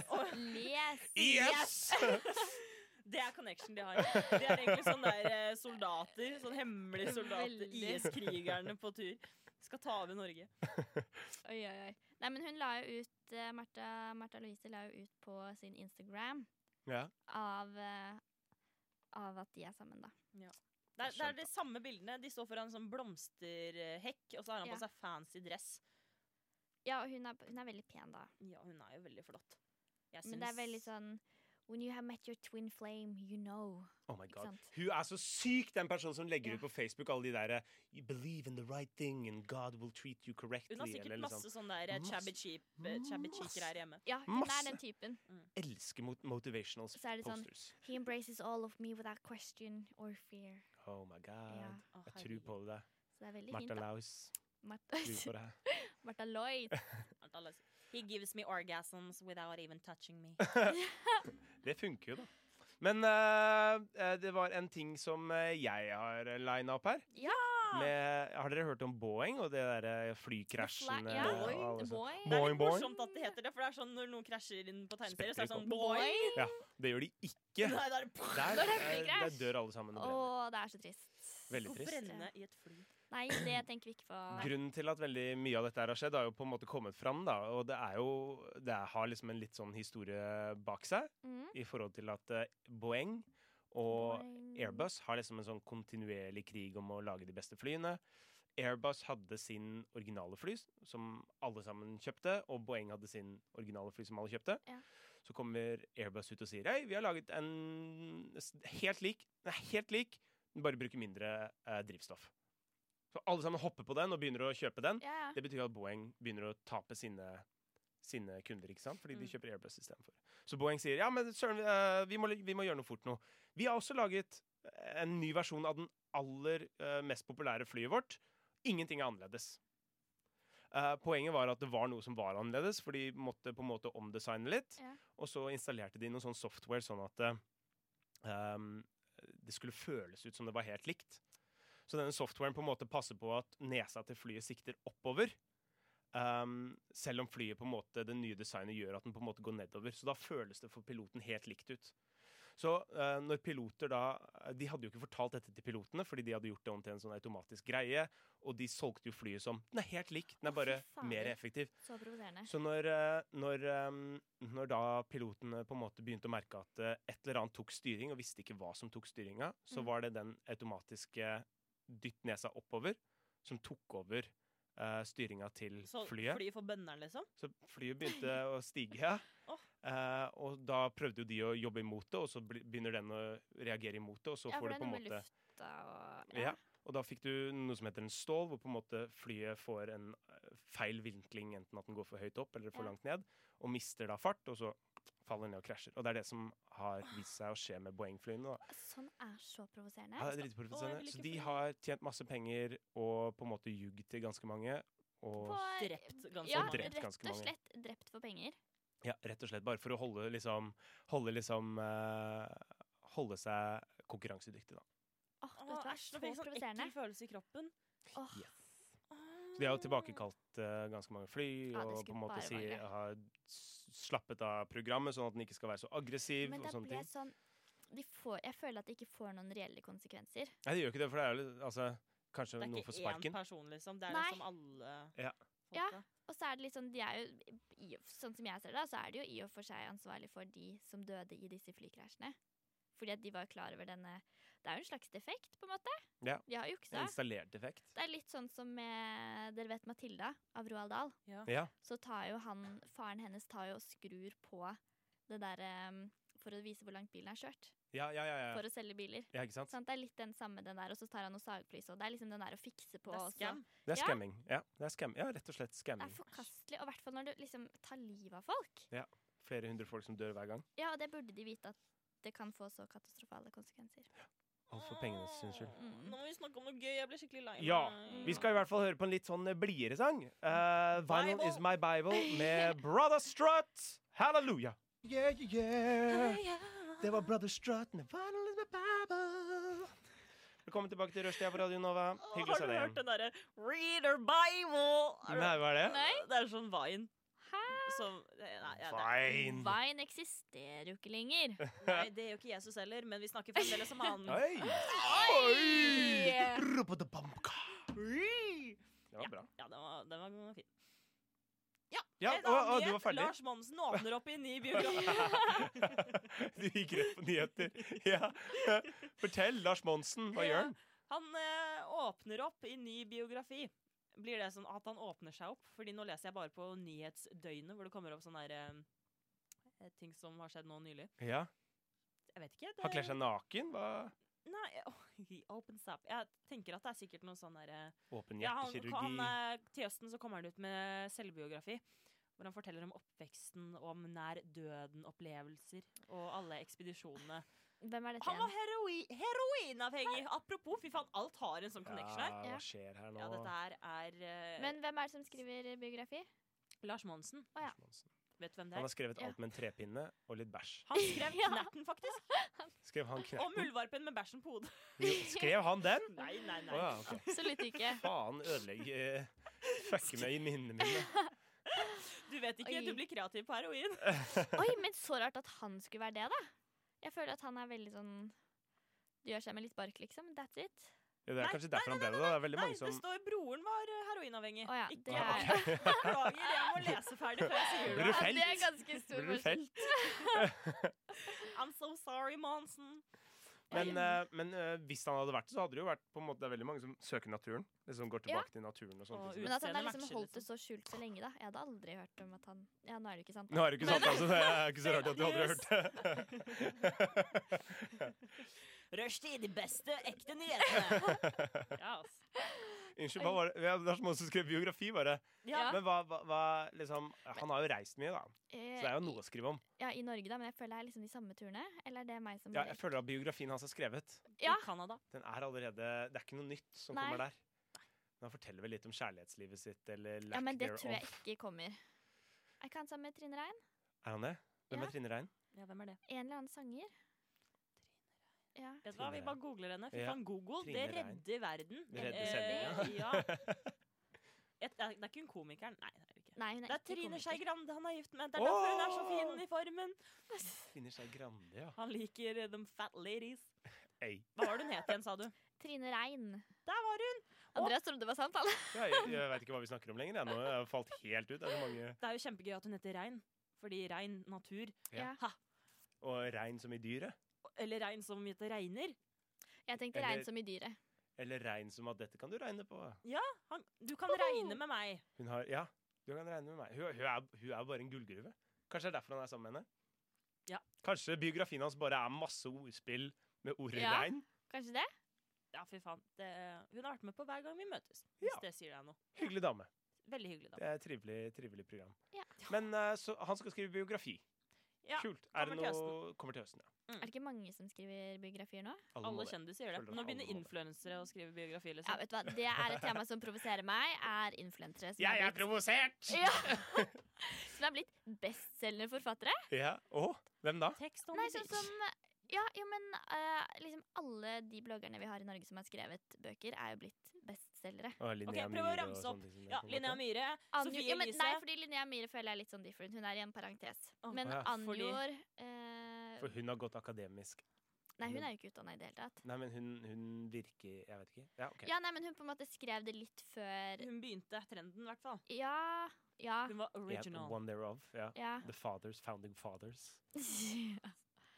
[SPEAKER 5] Les!
[SPEAKER 6] Det er connection de har. De er egentlig sånne der eh, soldater. Sånn hemmelige soldater.
[SPEAKER 5] Veldig.
[SPEAKER 6] IS-krigerne på tur. Skal ta over Norge.
[SPEAKER 5] Oi, oi, oi. Nei, men hun la jo ut eh, Martha, Martha Louise la jo ut på sin Instagram
[SPEAKER 1] Ja.
[SPEAKER 5] av, eh, av at de er sammen, da.
[SPEAKER 6] Det er, det er de samme bildene. De står foran en sånn blomsterhekk, og så har han på
[SPEAKER 5] Ja.
[SPEAKER 6] seg fancy dress.
[SPEAKER 5] Ja, og hun er, hun er veldig pen, da.
[SPEAKER 6] Ja, hun er jo veldig flott. Jeg
[SPEAKER 5] Men det er
[SPEAKER 6] syns-
[SPEAKER 5] veldig sånn When you have met your twin flame, you know.
[SPEAKER 1] Oh my
[SPEAKER 5] Ikke
[SPEAKER 1] god.
[SPEAKER 5] sant?
[SPEAKER 1] Hun er så syk, den personen som legger
[SPEAKER 5] Ja.
[SPEAKER 1] ut på Facebook alle de derre You believe in the right thing and God will treat you correctly.
[SPEAKER 6] Hun har
[SPEAKER 1] eller
[SPEAKER 6] sikkert
[SPEAKER 1] liksom,
[SPEAKER 6] masse sånn der eh,
[SPEAKER 1] Masse-
[SPEAKER 6] chabby cheap, eh, chabby
[SPEAKER 1] masse-
[SPEAKER 6] cheeker her hjemme.
[SPEAKER 5] Ja, hun
[SPEAKER 1] Masse.
[SPEAKER 5] er den typen.
[SPEAKER 1] Elsker mot motivational
[SPEAKER 5] Så er det sånn-
[SPEAKER 1] posters.
[SPEAKER 5] He embraces all of me without question or fear.
[SPEAKER 1] Oh my god.
[SPEAKER 5] Ja.
[SPEAKER 6] Å,
[SPEAKER 1] Jeg tror
[SPEAKER 6] herregud.
[SPEAKER 1] på det.
[SPEAKER 5] Så det er veldig
[SPEAKER 1] Martha
[SPEAKER 5] fint, da.
[SPEAKER 1] Laus.
[SPEAKER 5] Martha,
[SPEAKER 1] Tror på det.
[SPEAKER 5] Martha Lloyd.
[SPEAKER 6] Alt alle- He gives me orgasms without even touching me.
[SPEAKER 1] Det funker jo, da. Men eh, eh, det var en ting som eh, jeg har lina opp her.
[SPEAKER 5] Ja!
[SPEAKER 1] Med, har dere hørt om Boeing og det derre flykrasjen?
[SPEAKER 5] Ja,
[SPEAKER 1] eh, og alle
[SPEAKER 5] boing,
[SPEAKER 1] sånne-
[SPEAKER 5] boing.
[SPEAKER 6] Det er
[SPEAKER 1] Boing,
[SPEAKER 6] litt
[SPEAKER 1] boing.
[SPEAKER 6] morsomt at det heter det, for det er sånn når noen krasjer inn på tegneserier, så er det sånn
[SPEAKER 1] Spekker
[SPEAKER 6] boing.
[SPEAKER 1] Ja, det gjør de ikke.
[SPEAKER 6] Nei, det er
[SPEAKER 1] Der,
[SPEAKER 5] Når det
[SPEAKER 1] eh,
[SPEAKER 5] blir krasj.
[SPEAKER 1] der dør alle sammen. og
[SPEAKER 5] Å,
[SPEAKER 1] brenner.
[SPEAKER 5] det er så trist.
[SPEAKER 1] Veldig
[SPEAKER 6] Å
[SPEAKER 1] trist.
[SPEAKER 6] brenne i et fly.
[SPEAKER 5] Nei, det tenker vi ikke på.
[SPEAKER 1] Grunnen til at veldig mye av dette her har skjedd, har jo på en måte kommet fram. Da, og det, er jo, det har liksom en litt sånn historie bak seg,
[SPEAKER 5] Mm.
[SPEAKER 1] i forhold til at eh, Boeing og
[SPEAKER 5] Boing.
[SPEAKER 1] Airbus har liksom en sånn kontinuerlig krig om å lage de beste flyene. Airbus hadde sin originale fly, s- som alle sammen kjøpte, og Boeing hadde sin originale fly, som alle kjøpte.
[SPEAKER 5] Ja.
[SPEAKER 1] Så kommer Airbus ut og sier hei, vi har laget en s- helt lik, den er helt lik, den bare bruker mindre eh, drivstoff. Så alle sammen hopper på den og begynner å kjøpe den.
[SPEAKER 5] Ja, ja.
[SPEAKER 1] Det betyr at Boeing begynner å tape sine, sine kunder, ikke sant? fordi de
[SPEAKER 6] Mm.
[SPEAKER 1] kjøper Airbus istedenfor. Så Boeing sier ja, men søren, eh, vi, må, vi må gjøre noe fort nå. Vi har også laget en ny versjon av den aller eh, mest populære flyet vårt. Ingenting er annerledes. Eh, poenget var at det var noe som var annerledes, for de måtte på en måte omdesigne litt.
[SPEAKER 5] Ja.
[SPEAKER 1] Og så installerte de noe sånn software sånn at eh, um, det skulle føles ut som det var helt likt. Så denne softwaren på en måte passer på at nesa til flyet sikter oppover. Um, selv om flyet på en måte, det nye designet gjør at den på en måte går nedover. Så da føles det for piloten helt likt ut. Så eh, når piloter da De hadde jo ikke fortalt dette til pilotene, fordi de hadde gjort det om til en sånn automatisk greie. Og de solgte jo flyet som Den er helt lik, den
[SPEAKER 5] Å,
[SPEAKER 1] er bare
[SPEAKER 5] fy fader.
[SPEAKER 1] mer effektiv.
[SPEAKER 5] Så provoserende.
[SPEAKER 1] Så når, eh, når, eh, når da pilotene på en måte begynte å merke at eh, et eller annet tok styring, og visste ikke hva som tok styringa, så
[SPEAKER 5] Mhm.
[SPEAKER 1] var det den automatiske dytt nesa oppover som tok over eh, styringa til
[SPEAKER 6] Så
[SPEAKER 1] flyet.
[SPEAKER 6] flyet for bønner, liksom.
[SPEAKER 1] Så flyet begynte å stige.
[SPEAKER 6] Åh.
[SPEAKER 1] eh, og da prøvde jo de å jobbe imot det, og så bli- begynner den å reagere imot det, og så
[SPEAKER 5] Ja, for
[SPEAKER 1] får
[SPEAKER 5] det
[SPEAKER 1] det
[SPEAKER 5] er
[SPEAKER 1] på
[SPEAKER 5] noe
[SPEAKER 1] en
[SPEAKER 5] med
[SPEAKER 1] måte
[SPEAKER 5] lufta og
[SPEAKER 1] ja. Og da fikk du noe som heter en stål, hvor på en måte flyet får en eh, feil vinkling, enten at den går for høyt opp eller for
[SPEAKER 5] Ja.
[SPEAKER 1] langt ned, og mister da fart, og så faller ned og krasjer. Og det er det som har vist seg å skje med Boeing-flyene. da.
[SPEAKER 5] Sånn er så provoserende.
[SPEAKER 1] Ja, det er
[SPEAKER 6] Å, jeg
[SPEAKER 1] dritprovoserende.
[SPEAKER 6] vil ikke
[SPEAKER 1] Så de
[SPEAKER 6] fly.
[SPEAKER 1] har tjent masse penger og på en måte ljugd til ganske mange. Og
[SPEAKER 5] For-
[SPEAKER 6] Drept ganske
[SPEAKER 5] ja,
[SPEAKER 6] mange.
[SPEAKER 1] sånn drept ganske
[SPEAKER 5] rett og
[SPEAKER 1] mange.
[SPEAKER 5] slett drept for penger.
[SPEAKER 1] ja, rett og slett bare for å holde liksom Holde liksom eh, Holde seg konkurransedyktig, da.
[SPEAKER 5] Åh,
[SPEAKER 6] Åh,
[SPEAKER 5] vet du hva?
[SPEAKER 6] æsj,
[SPEAKER 5] Så
[SPEAKER 6] nå fikk jeg sånn
[SPEAKER 5] provoserende.
[SPEAKER 6] ekkel følelse i kroppen.
[SPEAKER 5] Åh,
[SPEAKER 1] Så de har jo tilbakekalt eh, ganske mange fly
[SPEAKER 5] Ja, det
[SPEAKER 1] og
[SPEAKER 5] skulle
[SPEAKER 1] på en måte
[SPEAKER 5] bare
[SPEAKER 1] si,
[SPEAKER 5] mangle.
[SPEAKER 1] har s- slappet av programmet, sånn at den ikke skal være så aggressiv.
[SPEAKER 5] Men
[SPEAKER 1] og
[SPEAKER 5] da
[SPEAKER 1] sånne
[SPEAKER 5] ble
[SPEAKER 1] ting.
[SPEAKER 5] jeg sånn de får, Jeg føler at det ikke får noen reelle konsekvenser.
[SPEAKER 1] Nei, det gjør ikke det, for det er jo litt- altså, kanskje
[SPEAKER 6] Det er
[SPEAKER 1] noe for
[SPEAKER 6] ikke én
[SPEAKER 1] sparken.
[SPEAKER 6] person, liksom. Det er
[SPEAKER 5] Nei.
[SPEAKER 6] liksom alle
[SPEAKER 1] Ja.
[SPEAKER 5] Ja.
[SPEAKER 6] folka.
[SPEAKER 5] Og så er det litt sånn, de er jo, i, sånn som jeg ser det, da, så er de jo i og for seg ansvarlig for de som døde i disse flykrasjene. Fordi at de var klar over denne Det er jo en slags defekt, på en måte.
[SPEAKER 1] Ja.
[SPEAKER 5] De har
[SPEAKER 1] En
[SPEAKER 5] juksa.
[SPEAKER 1] installert effekt.
[SPEAKER 5] Det er litt sånn som med Dere vet Matilda av Roald Dahl.
[SPEAKER 6] Ja.
[SPEAKER 1] Ja.
[SPEAKER 5] Så tar jo han Faren hennes tar jo og skrur på det derre eh, for å vise hvor langt bilen er kjørt.
[SPEAKER 1] Ja, ja, ja.
[SPEAKER 5] For
[SPEAKER 1] ja.
[SPEAKER 5] å selge biler.
[SPEAKER 1] ja ikke sant?
[SPEAKER 5] Sant? Det er litt den samme den der, og så tar han noe sagflis, og det er liksom den der å fikse på.
[SPEAKER 6] Det er
[SPEAKER 5] også.
[SPEAKER 6] scam.
[SPEAKER 1] Det er
[SPEAKER 5] Ja.
[SPEAKER 1] scamming. Ja, det er scam. ja rett og slett
[SPEAKER 5] Det er
[SPEAKER 1] scamming.
[SPEAKER 5] forkastelig, og i hvert fall når du liksom tar livet av folk.
[SPEAKER 1] Flere hundre folk som dør hver gang.
[SPEAKER 5] Ja, og det burde de vite at det kan få så katastrofale konsekvenser.
[SPEAKER 1] Og for pengene sin skyld.
[SPEAKER 5] Mm.
[SPEAKER 6] Nå må vi snakke om noe gøy. Jeg blir skikkelig lei meg.
[SPEAKER 1] Ja, Vi skal i hvert fall høre på en litt sånn eh, blidere sang. Eh, Vinyl
[SPEAKER 6] Bible.
[SPEAKER 1] is my Bible med Brother Strut. Halleluja.
[SPEAKER 7] Yeah, yeah, yeah. Det var Brother Strut med Vinyl is my Bible.
[SPEAKER 1] Velkommen tilbake til Rushtida på Radio Nova.
[SPEAKER 6] Åh,
[SPEAKER 1] Hyggelig å
[SPEAKER 6] Har
[SPEAKER 1] se
[SPEAKER 6] du
[SPEAKER 1] deg
[SPEAKER 6] hørt
[SPEAKER 1] igjen.
[SPEAKER 6] den derre Reader Bible? Har du-
[SPEAKER 1] Nei, hva er det?
[SPEAKER 5] Nei?
[SPEAKER 6] Det er sånn Vine.
[SPEAKER 5] Hæ?
[SPEAKER 6] Som Nei, nei, ja, det,
[SPEAKER 1] Fine.
[SPEAKER 5] Vine eksisterer jo ikke lenger.
[SPEAKER 6] nei, det gjør ikke Jesus heller, men vi snakker fremdeles om han.
[SPEAKER 1] Oi.
[SPEAKER 5] Yeah.
[SPEAKER 7] Rubba-da-bumka.
[SPEAKER 1] Det var bra.
[SPEAKER 6] Ja, den var, den var fin.
[SPEAKER 1] Ja,
[SPEAKER 6] En
[SPEAKER 1] å,
[SPEAKER 6] annen
[SPEAKER 1] å, du
[SPEAKER 6] nyhet.
[SPEAKER 1] var ferdig?
[SPEAKER 6] Lars Monsen åpner opp i en ny biografi.
[SPEAKER 1] Du gikk rett på nyheter. Ja. Fortell. Lars Monsen, hva gjør han?
[SPEAKER 6] Han eh, åpner opp i ny biografi. Blir det sånn at han åpner seg opp? Fordi nå leser jeg bare på Nyhetsdøgnet, hvor det kommer opp sånne der, eh, ting som har skjedd nå nylig.
[SPEAKER 1] Ja.
[SPEAKER 6] Jeg vet ikke. Det,
[SPEAKER 1] Han kler seg naken? Hva?
[SPEAKER 6] Nei, åh, he opens up. Jeg tenker at det er sikkert noe sånn derre
[SPEAKER 1] Åpen
[SPEAKER 6] ja, han, han,
[SPEAKER 1] hjertekirurgi.
[SPEAKER 6] eh, Til høsten så kommer han ut med selvbiografi. Hvor han forteller om oppveksten, og om nær døden-opplevelser og alle ekspedisjonene.
[SPEAKER 5] Hvem er dette
[SPEAKER 6] Han var
[SPEAKER 5] igjen?
[SPEAKER 6] heroi heroinavhengig! Apropos, fy faen, alt har en sånn connection
[SPEAKER 1] Ja,
[SPEAKER 6] her.
[SPEAKER 5] Ja.
[SPEAKER 1] hva skjer her nå?
[SPEAKER 6] Ja, dette her er eh,
[SPEAKER 5] Men hvem er det som skriver biografi?
[SPEAKER 6] Lars Monsen.
[SPEAKER 5] Å ja.
[SPEAKER 1] Lars Monsen.
[SPEAKER 6] Vet du hvem det
[SPEAKER 1] Han
[SPEAKER 6] er?
[SPEAKER 1] har skrevet
[SPEAKER 5] Ja.
[SPEAKER 1] alt med en trepinne og litt bæsj.
[SPEAKER 6] Han skrev
[SPEAKER 5] Ja.
[SPEAKER 6] Knerten, faktisk.
[SPEAKER 1] Skrev han kne-
[SPEAKER 6] Om muldvarpen med bæsjen på hodet.
[SPEAKER 1] Skrev han den?
[SPEAKER 6] Nei, nei,
[SPEAKER 1] Å
[SPEAKER 6] nei.
[SPEAKER 1] ja, ok.
[SPEAKER 5] Absolutt ikke.
[SPEAKER 1] Faen, ødelegg eh, Fucker meg i minnene mine.
[SPEAKER 6] Du vet ikke,
[SPEAKER 5] Oi.
[SPEAKER 6] du blir kreativ på heroin.
[SPEAKER 5] Oi, men så rart at han skulle være det, da. Jeg føler at han er veldig sånn Du gjør seg med litt bark, liksom. That's it.
[SPEAKER 1] Ja, det er
[SPEAKER 6] Nei,
[SPEAKER 1] kanskje derfor han ble det. da. Det er veldig
[SPEAKER 6] Nei,
[SPEAKER 1] mange
[SPEAKER 6] det
[SPEAKER 1] som
[SPEAKER 6] står broren var eh, heroinavhengig.
[SPEAKER 5] Å ja,
[SPEAKER 6] Ikke
[SPEAKER 5] det
[SPEAKER 1] Ah,
[SPEAKER 5] er
[SPEAKER 1] ok.
[SPEAKER 6] Beklager, jeg må lese ferdig før jeg sier
[SPEAKER 1] Blir
[SPEAKER 6] det.
[SPEAKER 1] du felt?
[SPEAKER 5] det er ganske stor
[SPEAKER 1] Blir du
[SPEAKER 5] forskjell.
[SPEAKER 1] felt?
[SPEAKER 6] I'm so sorry, Monsen.
[SPEAKER 1] Men, eh, men eh, hvis han hadde vært det, så hadde det jo vært på en måte, Det er veldig mange som søker naturen. Liksom går
[SPEAKER 5] Ja.
[SPEAKER 1] tilbake til naturen og
[SPEAKER 6] Og
[SPEAKER 1] sånne ting.
[SPEAKER 5] Men at han har
[SPEAKER 6] Utseende
[SPEAKER 5] liksom
[SPEAKER 6] matcher,
[SPEAKER 5] holdt det så skjult så lenge, da. Jeg hadde aldri hørt om at han Ja, nå er det jo ikke sant.
[SPEAKER 1] Nå er det ikke sant, altså. Det er ikke så rart at du aldri har hørt det.
[SPEAKER 6] Rushtid, de beste ekte nyhetene. ja, ass.
[SPEAKER 1] Unnskyld, hva var det? Ja, Lars Monsen skrev biografi, bare.
[SPEAKER 5] Ja.
[SPEAKER 1] Men hva, hva, hva liksom Han har jo reist mye, da. Så det er jo
[SPEAKER 5] Eh,
[SPEAKER 1] noe å skrive om.
[SPEAKER 5] Ja, i Norge, da, men jeg føler det er liksom de samme turene. Eller er det meg som
[SPEAKER 1] Ja, jeg føler at biografien hans er skrevet.
[SPEAKER 5] Ja.
[SPEAKER 6] I Canada.
[SPEAKER 1] Den er allerede Det er ikke noe nytt som
[SPEAKER 5] Nei.
[SPEAKER 1] kommer der. Men han forteller vel litt om kjærlighetslivet sitt, eller lack
[SPEAKER 5] Ja, men det
[SPEAKER 1] thereof.
[SPEAKER 5] tror jeg ikke kommer. Er ikke han sammen med Trine Rein?
[SPEAKER 1] Er han det? Hvem
[SPEAKER 5] Ja.
[SPEAKER 1] er Trine Rein?
[SPEAKER 6] Ja, hvem er det?
[SPEAKER 5] En eller annen sanger? Ja.
[SPEAKER 6] Vet du hva, Vi
[SPEAKER 1] Trine
[SPEAKER 6] bare googler henne. Fy
[SPEAKER 1] Ja.
[SPEAKER 6] faen, Google, det
[SPEAKER 1] Trine Rein.
[SPEAKER 6] redder verden.
[SPEAKER 1] Det redder
[SPEAKER 6] Eh,
[SPEAKER 1] sendingen,
[SPEAKER 6] ja. Et, det, er, det er ikke hun komikeren. Nei, det er det ikke.
[SPEAKER 5] Nei, hun er,
[SPEAKER 6] Det er
[SPEAKER 5] ikke
[SPEAKER 6] Trine
[SPEAKER 5] komiker.
[SPEAKER 6] Skei Grande han er gift med. Det er derfor hun er så fin i formen.
[SPEAKER 1] Trine Skei Grande, ja.
[SPEAKER 6] Han liker eh, them fat ladies.
[SPEAKER 1] Ei.
[SPEAKER 6] Hva var det hun het igjen, sa du?
[SPEAKER 5] Trine Rein.
[SPEAKER 6] Der var hun!
[SPEAKER 5] Andreas trodde det var sant, han.
[SPEAKER 1] Ja, jeg jeg veit ikke hva vi snakker om lenger. Jeg. Nå har jeg falt helt ut. Det er så mange
[SPEAKER 6] Det er jo kjempegøy at hun heter Rein. Fordi rein natur.
[SPEAKER 5] Ja.
[SPEAKER 6] Ha.
[SPEAKER 1] Og rein som i dyret.
[SPEAKER 6] Eller rein som i at det regner.
[SPEAKER 5] Jeg tenkte
[SPEAKER 1] Eller-
[SPEAKER 5] rein som i dyret.
[SPEAKER 1] Eller rein som at 'dette kan du regne på'.
[SPEAKER 6] Han, du kan regne med meg.
[SPEAKER 1] Hun har Ja, du kan regne med meg. Hun, hun, er, hun er bare en gullgruve. Kanskje det er derfor han er sammen med henne?
[SPEAKER 6] Ja.
[SPEAKER 1] Kanskje biografien hans bare er masse ordspill med ordet
[SPEAKER 5] Ja.
[SPEAKER 1] rein?
[SPEAKER 5] Kanskje det?
[SPEAKER 6] Ja, fy faen. Det, hun har vært med på hver gang vi møtes.
[SPEAKER 1] Ja.
[SPEAKER 6] Hvis det sier deg noe.
[SPEAKER 1] Hyggelig dame.
[SPEAKER 6] Veldig hyggelig, da.
[SPEAKER 1] Det er et trivelig, trivelig program.
[SPEAKER 5] Ja.
[SPEAKER 1] Men eh, så han skal skrive biografi.
[SPEAKER 6] Ja,
[SPEAKER 1] Kult. Er det
[SPEAKER 6] kommer til
[SPEAKER 1] noe Kommer til høsten, ja.
[SPEAKER 5] Er det ikke mange som skriver biografier nå?
[SPEAKER 1] Alle, må
[SPEAKER 6] Alle
[SPEAKER 1] det.
[SPEAKER 6] kjendiser gjør
[SPEAKER 1] Føler
[SPEAKER 6] det.
[SPEAKER 1] at
[SPEAKER 6] Nå
[SPEAKER 1] alle
[SPEAKER 6] begynner
[SPEAKER 1] må det.
[SPEAKER 6] influensere å skrive biografi.
[SPEAKER 5] Ja,
[SPEAKER 6] Liksom.
[SPEAKER 5] vet du hva? Det er et tema som provoserer meg, er influensere som,
[SPEAKER 1] Jeg
[SPEAKER 5] er
[SPEAKER 1] er
[SPEAKER 5] blitt-
[SPEAKER 1] provosert!
[SPEAKER 5] som er blitt bestselgende forfattere.
[SPEAKER 1] Ja. Å? Hvem da?
[SPEAKER 6] Tekst om
[SPEAKER 5] Nei, sånn som Ja, jo, men eh, liksom alle de bloggerne vi har i Norge som har skrevet bøker, er jo blitt bestselgere.
[SPEAKER 1] Å, Linnea
[SPEAKER 6] Ok, prøv å
[SPEAKER 1] Myhre og
[SPEAKER 6] ramse
[SPEAKER 1] sånne
[SPEAKER 6] opp.
[SPEAKER 1] ting som det
[SPEAKER 6] Ja,
[SPEAKER 1] kommer
[SPEAKER 6] Linnea
[SPEAKER 1] til.
[SPEAKER 6] Myhre,
[SPEAKER 5] Anjo,
[SPEAKER 6] Sofie
[SPEAKER 5] ja, men,
[SPEAKER 6] Elise.
[SPEAKER 5] nei, fordi Linnea Myhre føler jeg er litt sånn different. Hun er i en parentes.
[SPEAKER 6] Å,
[SPEAKER 5] Men
[SPEAKER 1] ja,
[SPEAKER 5] Anjor
[SPEAKER 6] fordi-
[SPEAKER 5] eh,
[SPEAKER 1] For hun har gått akademisk.
[SPEAKER 5] Nei, hun er jo ikke utdanna i det hele tatt.
[SPEAKER 1] Nei, men hun, hun virker Jeg vet ikke. Ja, OK.
[SPEAKER 5] Ja, nei, men hun på en måte skrev det litt før
[SPEAKER 6] Hun begynte trenden, i hvert fall.
[SPEAKER 5] Ja. Ja.
[SPEAKER 6] Hun var
[SPEAKER 1] Ja,
[SPEAKER 6] original.
[SPEAKER 1] one thereof. Ja.
[SPEAKER 5] ja.
[SPEAKER 1] The Fathers. Founding Fathers.
[SPEAKER 5] nei,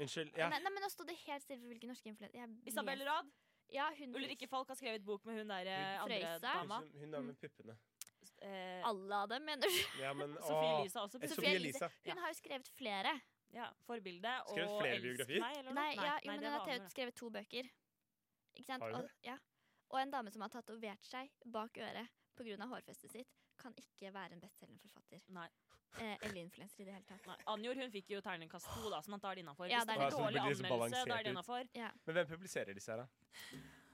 [SPEAKER 1] Unnskyld. Ja.
[SPEAKER 5] nei, men nå sto det helt stille for hvilken norske influenser
[SPEAKER 6] Isabel Rad.
[SPEAKER 5] Ja, hun
[SPEAKER 6] Ulrikke Falk har skrevet bok med hun der eh,
[SPEAKER 1] Hun-
[SPEAKER 6] andre
[SPEAKER 5] Frøysa.
[SPEAKER 1] Hun,
[SPEAKER 6] dama.
[SPEAKER 1] som- hun der med puppene.
[SPEAKER 6] Eh,
[SPEAKER 5] Alle av dem, mener du?
[SPEAKER 1] Ja, men
[SPEAKER 6] Sofie
[SPEAKER 1] åh.
[SPEAKER 6] Elise har også
[SPEAKER 1] Eh,
[SPEAKER 5] Sofie
[SPEAKER 1] Sofie Elise.
[SPEAKER 5] Hun har jo skrevet flere.
[SPEAKER 6] Ja, forbilde og
[SPEAKER 1] Skrevet flere
[SPEAKER 6] elsk
[SPEAKER 1] biografier?
[SPEAKER 6] meg, eller noe?
[SPEAKER 5] Nei, ja, jo,
[SPEAKER 6] nei,
[SPEAKER 5] men
[SPEAKER 6] det
[SPEAKER 5] hun har
[SPEAKER 6] var
[SPEAKER 5] taut-
[SPEAKER 6] Amund,
[SPEAKER 5] skrevet to bøker. Ikke sant?
[SPEAKER 1] Har hun
[SPEAKER 5] Og, ja. og en dame som har tatovert seg bak øret pga. hårfestet sitt, kan ikke være en bestselgende forfatter.
[SPEAKER 6] Nei.
[SPEAKER 5] Eh, eller influenser i det hele tatt.
[SPEAKER 6] Nei, Anjor hun fikk jo terningkast to, da, sånn at da er det innafor.
[SPEAKER 5] Ja,
[SPEAKER 6] Hvis det
[SPEAKER 5] det er
[SPEAKER 6] er
[SPEAKER 5] det.
[SPEAKER 1] Ja,
[SPEAKER 6] dårlig
[SPEAKER 1] så det blir liksom
[SPEAKER 6] anmeldelse, da er det
[SPEAKER 1] balansert
[SPEAKER 6] innafor.
[SPEAKER 5] Ja.
[SPEAKER 1] Men hvem publiserer disse her, da?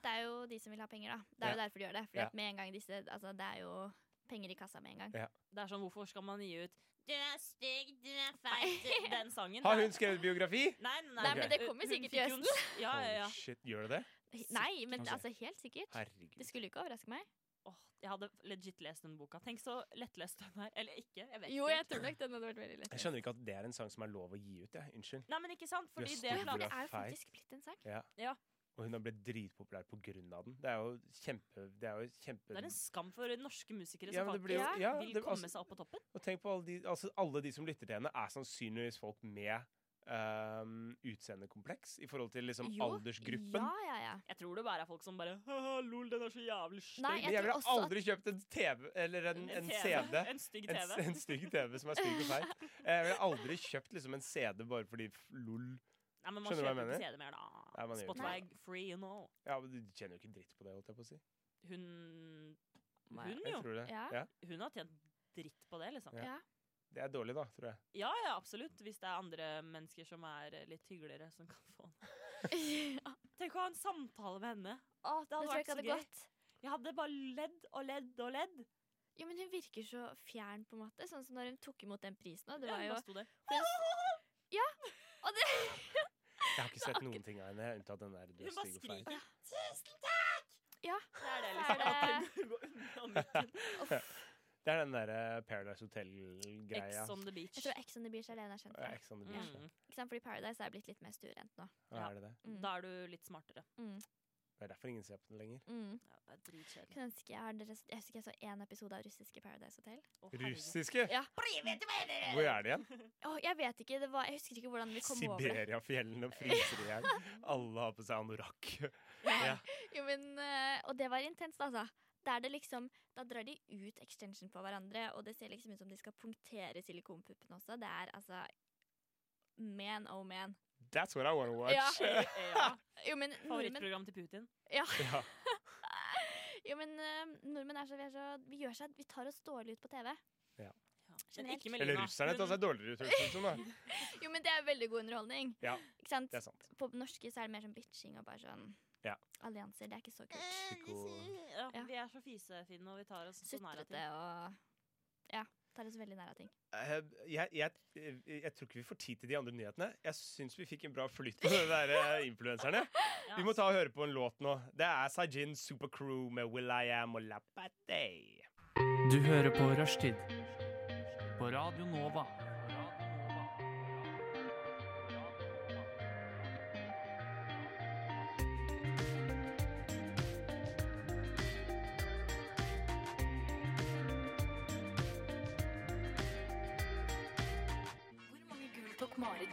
[SPEAKER 5] Det er jo de som vil ha penger, da. Det er jo derfor de gjør det. Fordi
[SPEAKER 1] Ja.
[SPEAKER 5] at med en gang disse Altså, det er jo penger i kassa med en gang.
[SPEAKER 1] Ja.
[SPEAKER 6] Det er sånn, hvorfor skal man gi ut 'Du er stygg, du er feit', du- den sangen?
[SPEAKER 1] Har
[SPEAKER 6] da-
[SPEAKER 1] hun skrevet biografi?
[SPEAKER 6] Nei, nei,
[SPEAKER 5] Nei,
[SPEAKER 1] men
[SPEAKER 5] det
[SPEAKER 6] Hun-
[SPEAKER 5] kommer
[SPEAKER 6] hun
[SPEAKER 5] sikkert i
[SPEAKER 6] fikk jo en- Ja, ja, ja.
[SPEAKER 1] Holy shit, gjør det det?
[SPEAKER 5] Nei, men
[SPEAKER 1] altså.
[SPEAKER 5] altså helt sikkert. Det
[SPEAKER 1] Herregud.
[SPEAKER 5] skulle jo ikke overraske meg.
[SPEAKER 6] Åh, jeg hadde legit lest den boka. Tenk så lettlest den er. Eller ikke, jeg vet
[SPEAKER 5] Jo,
[SPEAKER 6] ikke.
[SPEAKER 5] jeg tror nok den hadde vært veldig lett.
[SPEAKER 1] Jeg skjønner ikke at det er en sang som er lov å gi ut, jeg. Unnskyld.
[SPEAKER 6] Nei, men ikke sant? Fordi
[SPEAKER 1] Just
[SPEAKER 6] det
[SPEAKER 1] det.
[SPEAKER 5] Ja, for
[SPEAKER 6] plaget
[SPEAKER 5] det er jo
[SPEAKER 1] Feit.
[SPEAKER 5] faktisk blitt en sang.
[SPEAKER 1] Og hun har blitt dritpopulær på grunn av den. Det er jo kjempe... Det er jo kjempe...
[SPEAKER 6] Det er en skam for norske musikere
[SPEAKER 1] Ja,
[SPEAKER 6] som
[SPEAKER 1] men det
[SPEAKER 6] faktisk
[SPEAKER 1] blir jo- ja,
[SPEAKER 6] vil
[SPEAKER 1] det-
[SPEAKER 6] komme
[SPEAKER 1] altså-
[SPEAKER 6] seg opp på toppen.
[SPEAKER 1] Og tenk på alle de, altså alle de som lytter til henne, er sannsynligvis folk med ehm, utseendekompleks i forhold til liksom
[SPEAKER 5] Jo,
[SPEAKER 1] aldersgruppen.
[SPEAKER 5] Ja, ja, ja.
[SPEAKER 6] Jeg tror det bare er folk som bare «Haha, Lol, den er så jævlig stygg.
[SPEAKER 5] Nei,
[SPEAKER 1] Men jeg
[SPEAKER 5] tror
[SPEAKER 1] ville
[SPEAKER 5] også at-
[SPEAKER 1] aldri kjøpt en TV eller en, en
[SPEAKER 6] TV.
[SPEAKER 1] CD.
[SPEAKER 6] En stygg
[SPEAKER 1] En,
[SPEAKER 6] TV.
[SPEAKER 1] s- en stygg TV som er stygg og feit. Jeg ville aldri kjøpt liksom en CD bare fordi f- lol
[SPEAKER 6] Nei, men man
[SPEAKER 1] Skjønner du hva jeg
[SPEAKER 6] kjøper ikke
[SPEAKER 1] mener?
[SPEAKER 6] CD mer, da.
[SPEAKER 1] Nei, man gjør ikke
[SPEAKER 6] Spotify
[SPEAKER 1] det.
[SPEAKER 6] free nå.
[SPEAKER 1] Ja, men Du tjener jo ikke dritt på det, holdt jeg på å si.
[SPEAKER 6] Hun Hun,
[SPEAKER 1] Jeg
[SPEAKER 6] jo.
[SPEAKER 1] tror det.
[SPEAKER 5] Ja.
[SPEAKER 1] Ja.
[SPEAKER 6] Hun har tjent dritt på det, liksom.
[SPEAKER 1] Ja.
[SPEAKER 5] ja.
[SPEAKER 1] det er dårlig, da, tror jeg.
[SPEAKER 6] Ja, ja, absolutt. Hvis det er andre mennesker som er eh, litt hyggeligere, som kan få den. Tenk å ha en samtale med henne. Å, det hadde
[SPEAKER 5] Det tror jeg
[SPEAKER 6] vært
[SPEAKER 5] ikke
[SPEAKER 6] så
[SPEAKER 5] hadde
[SPEAKER 6] gøy.
[SPEAKER 5] gått.
[SPEAKER 6] Jeg hadde bare ledd og ledd og ledd.
[SPEAKER 5] Jo, men hun virker så fjern, på en måte. Sånn som når hun tok imot den prisen òg. Det
[SPEAKER 6] Ja,
[SPEAKER 5] var
[SPEAKER 6] hun
[SPEAKER 5] jo
[SPEAKER 6] bare sto der.
[SPEAKER 5] Og det
[SPEAKER 1] Jeg har ikke sett noen ting av henne, unntatt den der du
[SPEAKER 6] Hun
[SPEAKER 1] er
[SPEAKER 6] bare
[SPEAKER 1] stygg og feit.
[SPEAKER 6] skriker.
[SPEAKER 5] Ja.
[SPEAKER 6] Det er det,
[SPEAKER 5] Så er
[SPEAKER 6] liksom. At hun går unna mikken.
[SPEAKER 1] Det er den derre Paradise
[SPEAKER 6] Ex
[SPEAKER 1] Hotel-greia.
[SPEAKER 6] on the beach.
[SPEAKER 5] Jeg tror Ex on the Beach alene er kjent for
[SPEAKER 1] Ja,
[SPEAKER 5] det.
[SPEAKER 1] Ex on the Beach. ja.
[SPEAKER 6] Mm.
[SPEAKER 5] Ikke sant? Fordi Paradise er blitt litt mer stuerent nå.
[SPEAKER 1] Ja,
[SPEAKER 6] Ja.
[SPEAKER 1] er det det?
[SPEAKER 5] Mm.
[SPEAKER 6] Da er du litt smartere.
[SPEAKER 5] Mm.
[SPEAKER 1] Det er derfor ingen ser på den lenger.
[SPEAKER 5] Mm.
[SPEAKER 6] Ja, det er dritkjedelig.
[SPEAKER 5] Kunne ønske jeg hadde res- Jeg husker jeg så én episode av russiske Paradise Hotel.
[SPEAKER 6] Å, herregud.
[SPEAKER 1] Russiske?
[SPEAKER 5] Ja.
[SPEAKER 1] Hvor er det igjen?
[SPEAKER 5] Å, jeg vet ikke, det var, jeg husker ikke hvordan vi kom over det.
[SPEAKER 1] Siberiafjellene fryser i hjel. Alle har på seg anorakk. Ja.
[SPEAKER 5] Jo, men, eh, og det var intenst, altså. Der det liksom, da drar de ut extension på hverandre, og det ser liksom ut som de skal punktere silikonpuppene også. Det er altså Man oh man.
[SPEAKER 1] That's what I wanna watch.
[SPEAKER 5] Ja.
[SPEAKER 6] Ja,
[SPEAKER 5] Jo, men nordmenn,
[SPEAKER 6] favorittprogram til Putin.
[SPEAKER 5] ja.
[SPEAKER 1] Ja.
[SPEAKER 5] jo, men eh, nordmenn er så, vi, er så, vi gjør seg Vi tar oss dårlig ut på TV.
[SPEAKER 6] Ja.
[SPEAKER 5] Generelt.
[SPEAKER 6] Ikke Melina.
[SPEAKER 1] Eller russerne altså, tar seg dårligere ut, høres det ut som. da.
[SPEAKER 5] Jo, men det er veldig god underholdning.
[SPEAKER 1] Ja,
[SPEAKER 5] Ikke sant?
[SPEAKER 1] det er sant.
[SPEAKER 5] På norske så er det mer sånn bitching og bare sånn
[SPEAKER 1] Ja.
[SPEAKER 5] allianser. Det er ikke så kult.
[SPEAKER 1] Psyko-
[SPEAKER 6] Ja,
[SPEAKER 5] Ja.
[SPEAKER 6] Eh, vi er så fisefine, og vi tar oss så nær av ting.
[SPEAKER 5] Sutrete og Ja. Tar oss veldig nær av ting.
[SPEAKER 1] Eh, Jeg, jeg, jeg tror ikke vi får tid til de andre nyhetene. Jeg syns vi fikk en bra flyt på de der eh, influenserne.
[SPEAKER 6] Ja.
[SPEAKER 1] Vi må ta og høre på en låt nå. Det er Sajin Supercrew med Will I Am og Lapatay.
[SPEAKER 8] Du hører på Rushtid på Radio Nova.
[SPEAKER 9] Hvor mange gull tok Marit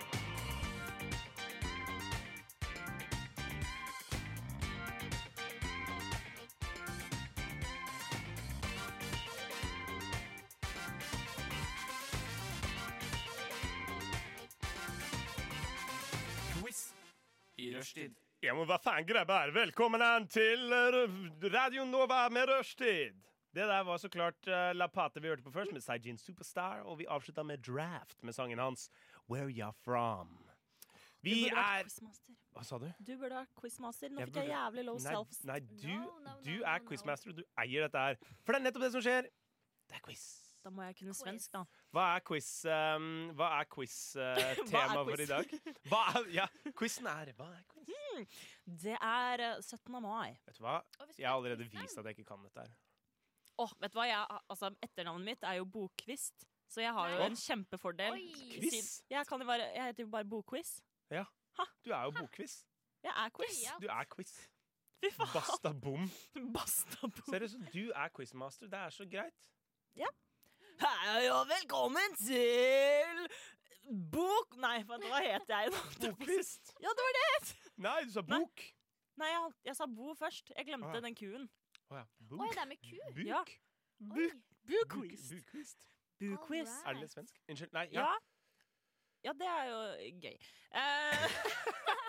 [SPEAKER 10] Quiz i rushtid.
[SPEAKER 1] Ja, men hva faen, grabber? Velkommen an til eh, Radio Nova med rushtid. Det der var så klart eh, La Pate vi hørte på først, med Sajin Superstar. Og vi avslutta med Draft med sangen hans Where Ya From. Vi
[SPEAKER 6] Du burde vært
[SPEAKER 1] er
[SPEAKER 6] quizmaster.
[SPEAKER 1] Hva sa du?
[SPEAKER 6] Du burde vært quizmaster. Nå
[SPEAKER 1] Jeg
[SPEAKER 6] fikk jeg
[SPEAKER 1] burde-
[SPEAKER 6] jævlig low
[SPEAKER 1] Nei,
[SPEAKER 6] self.
[SPEAKER 1] nei du,
[SPEAKER 5] No, no,
[SPEAKER 1] du
[SPEAKER 5] no,
[SPEAKER 1] er
[SPEAKER 5] no, no.
[SPEAKER 1] quizmaster, og du eier dette her. For det er nettopp det som skjer. Det er quiz.
[SPEAKER 6] Da må jeg kunne svensk, da.
[SPEAKER 1] Hva er quiz um, Hva er quiz-tema
[SPEAKER 6] Hva er
[SPEAKER 1] for i
[SPEAKER 6] quiz?
[SPEAKER 1] dag? Hva er, ja, quizen er Hva er quiz?
[SPEAKER 6] Det er eh, 17. mai.
[SPEAKER 1] Vet du hva?
[SPEAKER 5] Og vi skal
[SPEAKER 1] Jeg har
[SPEAKER 5] ha
[SPEAKER 1] allerede
[SPEAKER 5] quiz, da.
[SPEAKER 1] vist at jeg ikke kan dette her.
[SPEAKER 6] Åh, vet du hva? Jeg, altså, etternavnet mitt er jo Bokvist, så jeg har jo
[SPEAKER 1] Nei.
[SPEAKER 6] en kjempefordel.
[SPEAKER 5] Oi.
[SPEAKER 1] Quiz?
[SPEAKER 6] Jeg, kan jo bare, jeg heter jo bare Bokquiz.
[SPEAKER 1] Du er jo bokquiz.
[SPEAKER 6] Jeg er quiz.
[SPEAKER 5] Gøyalt.
[SPEAKER 1] Du er quiz.
[SPEAKER 6] Fy faen.
[SPEAKER 1] Basta bom.
[SPEAKER 6] Basta bok.
[SPEAKER 1] Seriøst, du er quizmaster. Det er så greit.
[SPEAKER 6] Hei og velkommen til Bok Nei, vent, hva het jeg da?
[SPEAKER 1] Boklist?
[SPEAKER 6] Ja, det var det jeg het!
[SPEAKER 1] Nei, du sa bok.
[SPEAKER 6] Nei, jeg, jeg sa bo først. Jeg glemte
[SPEAKER 1] Ah, ja.
[SPEAKER 6] den kuen.
[SPEAKER 1] Å ja.
[SPEAKER 5] Oi, det er med ku.
[SPEAKER 1] Buk?
[SPEAKER 6] Ja.
[SPEAKER 1] Buk?
[SPEAKER 6] Bukvist.
[SPEAKER 1] Bukvist?
[SPEAKER 6] Bukvist.
[SPEAKER 1] Er det litt svensk? Unnskyld. Nei,
[SPEAKER 6] Ja.
[SPEAKER 1] ja.
[SPEAKER 6] ja, det er jo gøy. Eh,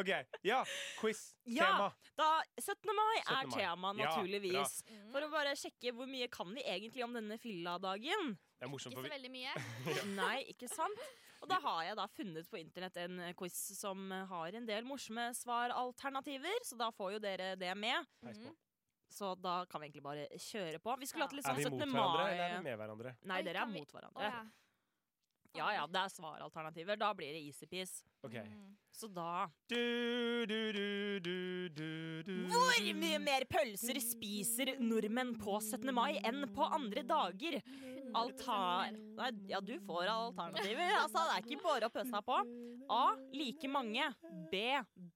[SPEAKER 1] OK. Ja, quiz.
[SPEAKER 6] Ja.
[SPEAKER 1] Tema.
[SPEAKER 6] da, 17. mai
[SPEAKER 1] 17.
[SPEAKER 6] er
[SPEAKER 1] mai.
[SPEAKER 6] tema,
[SPEAKER 1] Ja,
[SPEAKER 6] naturligvis.
[SPEAKER 5] Mm.
[SPEAKER 6] For å bare sjekke hvor mye kan vi egentlig om denne fylladagen.
[SPEAKER 1] Det er morsomt, for
[SPEAKER 5] Ikke så
[SPEAKER 1] vi
[SPEAKER 5] veldig mye.
[SPEAKER 6] Nei, ikke sant? Og da har jeg da funnet på internett en eh, quiz som eh, har en del morsomme svaralternativer, så da får jo dere det med.
[SPEAKER 5] Mm.
[SPEAKER 1] Heis på.
[SPEAKER 6] Så da kan vi egentlig bare kjøre på. Vi skulle hatt litt
[SPEAKER 1] Er
[SPEAKER 6] sånn
[SPEAKER 1] vi
[SPEAKER 6] 17.
[SPEAKER 1] mot hverandre, eller er vi
[SPEAKER 6] mai
[SPEAKER 1] med hverandre?
[SPEAKER 6] Nei,
[SPEAKER 5] Oi,
[SPEAKER 6] dere er
[SPEAKER 5] kan vi-
[SPEAKER 6] mot
[SPEAKER 5] Å
[SPEAKER 6] hverandre.
[SPEAKER 5] ja. Mm.
[SPEAKER 6] Ja ja, det er svaralternativer. Da blir det easy-peasy.
[SPEAKER 1] OK.
[SPEAKER 6] Så da
[SPEAKER 1] Du, du, du, du, du, du.
[SPEAKER 6] Hvor mye mer pølser spiser nordmenn på 17. mai enn på andre dager? Altar... Nei, ja, du får alternativer. Altså, det er ikke bare å pøse på. A. Like mange. B.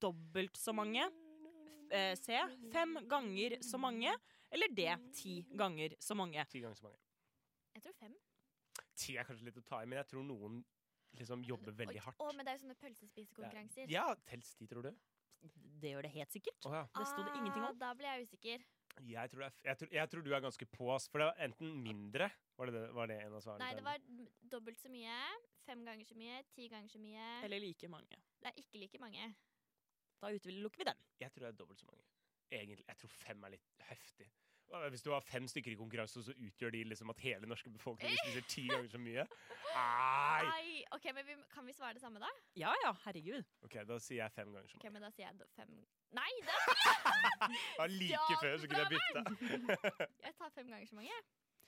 [SPEAKER 6] Dobbelt så mange. F- eh, C. Fem ganger så mange. Eller D. Ti ganger så mange.
[SPEAKER 1] Ti ganger så mange.
[SPEAKER 5] Jeg tror fem.
[SPEAKER 1] Ti er kanskje litt å ta i, men jeg tror noen liksom jobber veldig hardt.
[SPEAKER 5] Å, men det er jo
[SPEAKER 1] Det
[SPEAKER 5] sånne
[SPEAKER 1] er-
[SPEAKER 5] pølsespisekonkurranser.
[SPEAKER 1] Ja, tels ti, tror du?
[SPEAKER 6] Det gjør det helt sikkert.
[SPEAKER 1] Å ja.
[SPEAKER 6] Det sto det ingenting
[SPEAKER 5] Ah,
[SPEAKER 6] om.
[SPEAKER 5] Da ble jeg usikker.
[SPEAKER 1] Jeg tror, det er f- jeg, tror, jeg tror du er ganske på oss, for det var enten mindre Var det, det, var det en av svarene?
[SPEAKER 5] Nei,
[SPEAKER 1] til
[SPEAKER 5] det
[SPEAKER 1] den?
[SPEAKER 5] var m- dobbelt så mye. Fem ganger så mye. Ti ganger så mye.
[SPEAKER 6] Eller like mange.
[SPEAKER 5] Det er ikke like mange.
[SPEAKER 6] Da utelukker vi den.
[SPEAKER 1] Jeg tror det er dobbelt så mange. Egentlig. Jeg tror fem er litt heftig. Hva- Hvis du har fem stykker i konkurranse, så utgjør de liksom at hele norske befolkningen spiser ti ganger så mye? Nei!
[SPEAKER 5] Ai, ok, men vi, Kan vi svare det samme, da?
[SPEAKER 6] Ja ja, herregud.
[SPEAKER 1] OK, da sier jeg fem ganger så
[SPEAKER 5] Ok,
[SPEAKER 1] mange.
[SPEAKER 5] men Da sier jeg do- fem Nei, da!
[SPEAKER 1] Ja, like før så kunne jeg bytte.
[SPEAKER 5] Jeg tar fem ganger så mange.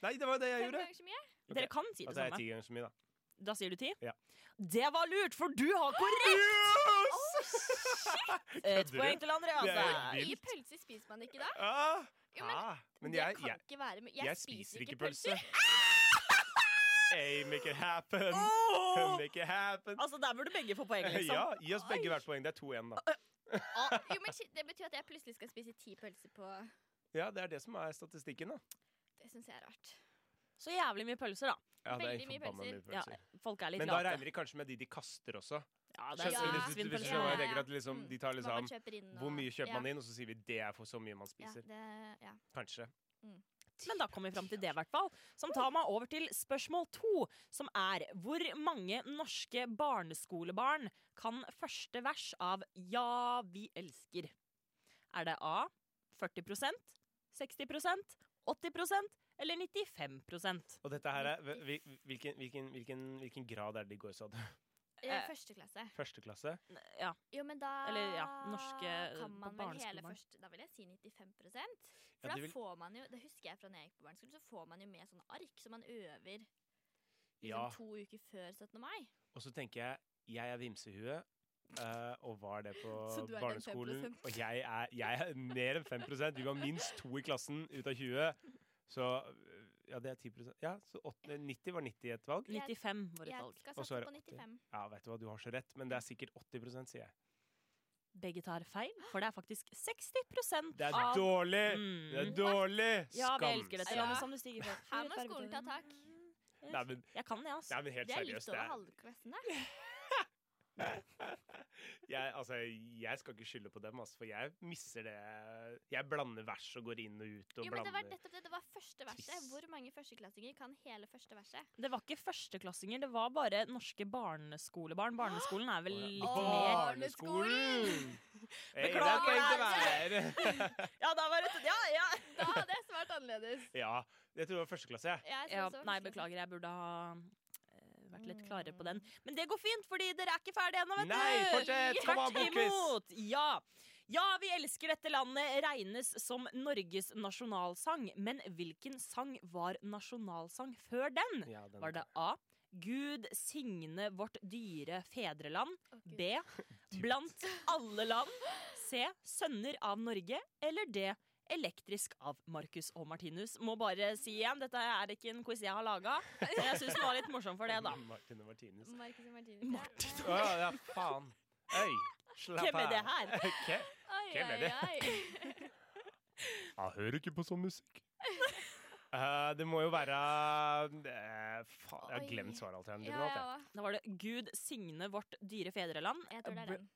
[SPEAKER 1] Nei, det var det jeg
[SPEAKER 5] Fem
[SPEAKER 1] gjorde.
[SPEAKER 5] ganger så mye.
[SPEAKER 1] Ok.
[SPEAKER 6] Dere kan si det
[SPEAKER 1] Altså jeg er
[SPEAKER 6] samme.
[SPEAKER 1] ti ganger så mye, da.
[SPEAKER 6] Da sier du ti?
[SPEAKER 1] Ja.
[SPEAKER 6] Det var lurt, for du har korrekt! Et
[SPEAKER 1] Kødder du?
[SPEAKER 6] poeng til
[SPEAKER 1] Det er
[SPEAKER 6] Andreas.
[SPEAKER 1] helt
[SPEAKER 5] Hvor mye
[SPEAKER 1] vilt.
[SPEAKER 5] pølser spiser man ikke da?
[SPEAKER 1] Ah,
[SPEAKER 5] Jo, men
[SPEAKER 1] ah, men
[SPEAKER 5] det
[SPEAKER 1] jeg,
[SPEAKER 5] kan
[SPEAKER 1] jeg,
[SPEAKER 5] ikke være med.
[SPEAKER 1] jeg spiser ikke pølse. Hey, make it happen.
[SPEAKER 6] Åh!
[SPEAKER 1] Make it happen.
[SPEAKER 6] Altså, der burde begge få poeng, liksom.
[SPEAKER 1] Ja, gi oss begge hvert poeng. Det er 2-1, da.
[SPEAKER 5] Ah, jo, men shit, Det betyr at jeg plutselig skal spise ti pølser på
[SPEAKER 1] Ja, Det er det som er statistikken, da.
[SPEAKER 5] Det syns jeg er rart.
[SPEAKER 6] Så jævlig mye pølser, da.
[SPEAKER 1] Ja, det er
[SPEAKER 5] Veldig mye
[SPEAKER 1] forbanna
[SPEAKER 5] pølser.
[SPEAKER 1] mye
[SPEAKER 6] Ja,
[SPEAKER 1] pølser.
[SPEAKER 6] folk er litt
[SPEAKER 1] Men da
[SPEAKER 6] late.
[SPEAKER 1] regner de kanskje med de de kaster også.
[SPEAKER 6] Ja, det
[SPEAKER 1] Skjønner,
[SPEAKER 6] er
[SPEAKER 5] Ja.
[SPEAKER 1] hvis, du- hvis, du
[SPEAKER 6] svinpølser.
[SPEAKER 1] skjønner hva jeg
[SPEAKER 5] Ja, ja,
[SPEAKER 1] tenker, at liksom,
[SPEAKER 5] Mm.
[SPEAKER 1] de tar
[SPEAKER 5] Hva
[SPEAKER 1] liksom
[SPEAKER 5] man kjøper inn og
[SPEAKER 1] Hvor mye kjøper
[SPEAKER 5] ja.
[SPEAKER 1] man inn, og så sier vi det er for så mye man
[SPEAKER 5] Ja,
[SPEAKER 1] spiser.
[SPEAKER 5] det, ja.
[SPEAKER 1] Kanskje.
[SPEAKER 6] Men da kommer vi fram til det, i hvert fall. Som tar meg over til spørsmål to, som er hvor mange norske barneskolebarn kan første vers av Ja, vi elsker? Er det A 40 60 80 eller 95
[SPEAKER 1] Og dette her er hvil- Hvilken, hvilken, hvilken, hvilken grad er det de går sånn?
[SPEAKER 5] Ja,
[SPEAKER 6] Eh.
[SPEAKER 5] Første klasse.
[SPEAKER 1] Første klasse?
[SPEAKER 6] Ja.
[SPEAKER 5] Jo, men da
[SPEAKER 6] Eller, ja, norske, eh,
[SPEAKER 5] kan man
[SPEAKER 6] på
[SPEAKER 5] vel hele
[SPEAKER 6] barneskolen.
[SPEAKER 5] første Da vil jeg si 95 For
[SPEAKER 1] Ja,
[SPEAKER 5] da
[SPEAKER 1] du vil-
[SPEAKER 5] får man jo Det husker jeg fra når jeg gikk på barneskolen, så får man jo med sånne ark som man øver liksom,
[SPEAKER 1] Ja.
[SPEAKER 5] to uker før 17. mai.
[SPEAKER 1] Og så tenker jeg jeg er vimsehue. eh, og var det på
[SPEAKER 5] Så du er den
[SPEAKER 1] barneskolen.
[SPEAKER 5] 5%?
[SPEAKER 1] Og jeg er, jeg er mer enn 5 Du var minst to i klassen ut av 20. Så eh, ja, det er 10 Ja, så åtte- 90 var 90 i et valg.
[SPEAKER 6] 95 var et
[SPEAKER 5] Jeg
[SPEAKER 6] valg.
[SPEAKER 5] skal
[SPEAKER 1] Og så er
[SPEAKER 5] satse
[SPEAKER 1] det 80.
[SPEAKER 5] på 95.
[SPEAKER 1] Ja, vet du hva, du har så rett, men det er sikkert 80 sier jeg.
[SPEAKER 6] Begge tar feil, for det er faktisk 60
[SPEAKER 1] Det er
[SPEAKER 6] av
[SPEAKER 1] dårlig! Det er
[SPEAKER 6] Ah. Mm.
[SPEAKER 1] dårlig!
[SPEAKER 6] Ja, vi
[SPEAKER 1] Skam.
[SPEAKER 6] elsker dette
[SPEAKER 5] Ja.
[SPEAKER 6] landet som sånn du stiger for.
[SPEAKER 5] Her må skolen ta tak.
[SPEAKER 1] Nei, men,
[SPEAKER 6] Jeg kan det, altså.
[SPEAKER 1] nei, men helt
[SPEAKER 5] Det er litt
[SPEAKER 1] seriøst. Det
[SPEAKER 5] over
[SPEAKER 1] er,
[SPEAKER 5] halve klassen, det.
[SPEAKER 1] jeg, altså, jeg skal ikke skylde på dem, altså, for jeg misser det Jeg blander vers og går inn og ut og
[SPEAKER 5] Jo, men det var
[SPEAKER 1] blander
[SPEAKER 5] nettopp det. Det var første verset.
[SPEAKER 1] Twist.
[SPEAKER 5] Hvor mange førsteklassinger kan hele første verset?
[SPEAKER 6] Det var ikke førsteklassinger, det var bare norske barneskolebarn. Barneskolen er vel litt mer
[SPEAKER 1] Barneskolen! Hey, det er
[SPEAKER 6] Beklager,
[SPEAKER 1] poeng til hver.
[SPEAKER 6] Ja, da var det Ja, ja!
[SPEAKER 5] Da hadde jeg svart annerledes.
[SPEAKER 1] Ja, jeg tror det var første klasse, jeg.
[SPEAKER 5] Jeg synes
[SPEAKER 6] ja nei,
[SPEAKER 5] det var første klasse.
[SPEAKER 6] beklager, jeg burde ha eh, vært litt klarere på den.
[SPEAKER 5] Mm.
[SPEAKER 6] Men det går fint, fordi dere er ikke ferdige ennå, vet du!
[SPEAKER 1] Nei, fortsett! Kom an,
[SPEAKER 6] Tvert
[SPEAKER 1] bokquiz!
[SPEAKER 6] imot! Ja. ja, vi elsker dette landet regnes som Norges nasjonalsang, men hvilken sang var nasjonalsang før den?
[SPEAKER 1] Ja, den-
[SPEAKER 6] Var det A. Gud signe vårt dyre fedreland.
[SPEAKER 5] Å, Gud.
[SPEAKER 6] B. Blant alle land. C. Sønner av Norge. Eller D. Elektrisk av Markus og Martinus. Må bare si igjen, dette er ikke en quiz jeg har laga. Men jeg syns den var litt morsom for det, da.
[SPEAKER 1] Martin og Martinus.
[SPEAKER 5] Marcus og Martinus. Martin.
[SPEAKER 1] Å ja, ja, faen. Øy, slapp
[SPEAKER 6] Hvem er det her?
[SPEAKER 1] Ok.
[SPEAKER 5] Oi,
[SPEAKER 1] Hvem er
[SPEAKER 5] oi, oi.
[SPEAKER 1] Jeg hører ikke på sånn musikk. Eh, det må jo være eh, Faen, jeg har glemt svaralternativet. nå, jeg.
[SPEAKER 6] Da var det 'Gud signe vårt dyre fedreland'.
[SPEAKER 5] Jeg tror det er
[SPEAKER 6] bl-
[SPEAKER 5] den.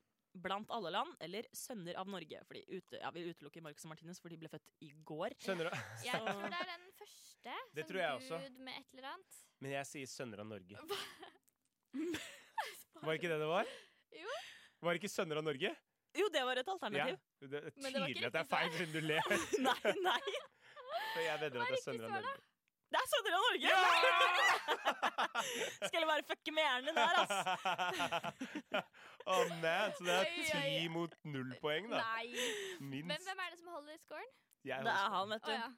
[SPEAKER 6] Blant alle land, eller 'Sønner av Norge'. Fordi ute, ja, vi utelukker Marcus og Martinus, for de ble født i går.
[SPEAKER 1] Sønner av-
[SPEAKER 5] Jeg tror det er den første.
[SPEAKER 1] Det
[SPEAKER 5] som
[SPEAKER 1] tror jeg også.
[SPEAKER 5] Gud med et eller annet.
[SPEAKER 1] Men jeg sier Sønner av Norge. Var ikke det det var?
[SPEAKER 5] Jo.
[SPEAKER 1] Var det ikke Sønner av Norge?
[SPEAKER 6] Jo, det var et alternativ.
[SPEAKER 1] Ja, det er
[SPEAKER 6] Men det var
[SPEAKER 1] tydelig
[SPEAKER 6] ikke
[SPEAKER 1] at det er feil, siden du ler.
[SPEAKER 6] nei, nei.
[SPEAKER 1] Så jeg vedder at det er Sønner av Norge.
[SPEAKER 6] Det er Sønner av Norge! Skal jeg bare fucke med hjernen din der, ass.
[SPEAKER 1] oh, man, så det er
[SPEAKER 5] Oi, oi,
[SPEAKER 1] ti
[SPEAKER 5] oi.
[SPEAKER 1] mot null poeng, da.
[SPEAKER 5] Nei. Men
[SPEAKER 1] Minst.
[SPEAKER 5] hvem er det som holder scoren?
[SPEAKER 1] Jeg
[SPEAKER 6] Det er
[SPEAKER 1] også.
[SPEAKER 6] han, vet du.
[SPEAKER 5] Å ja.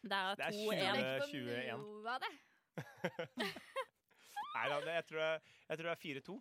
[SPEAKER 6] Det er
[SPEAKER 1] Det er
[SPEAKER 6] 2-1.
[SPEAKER 1] 20,
[SPEAKER 5] Det er
[SPEAKER 1] 21.
[SPEAKER 5] noe av det.
[SPEAKER 1] Nei da, det- jeg tror det- jeg tror det er 4-2.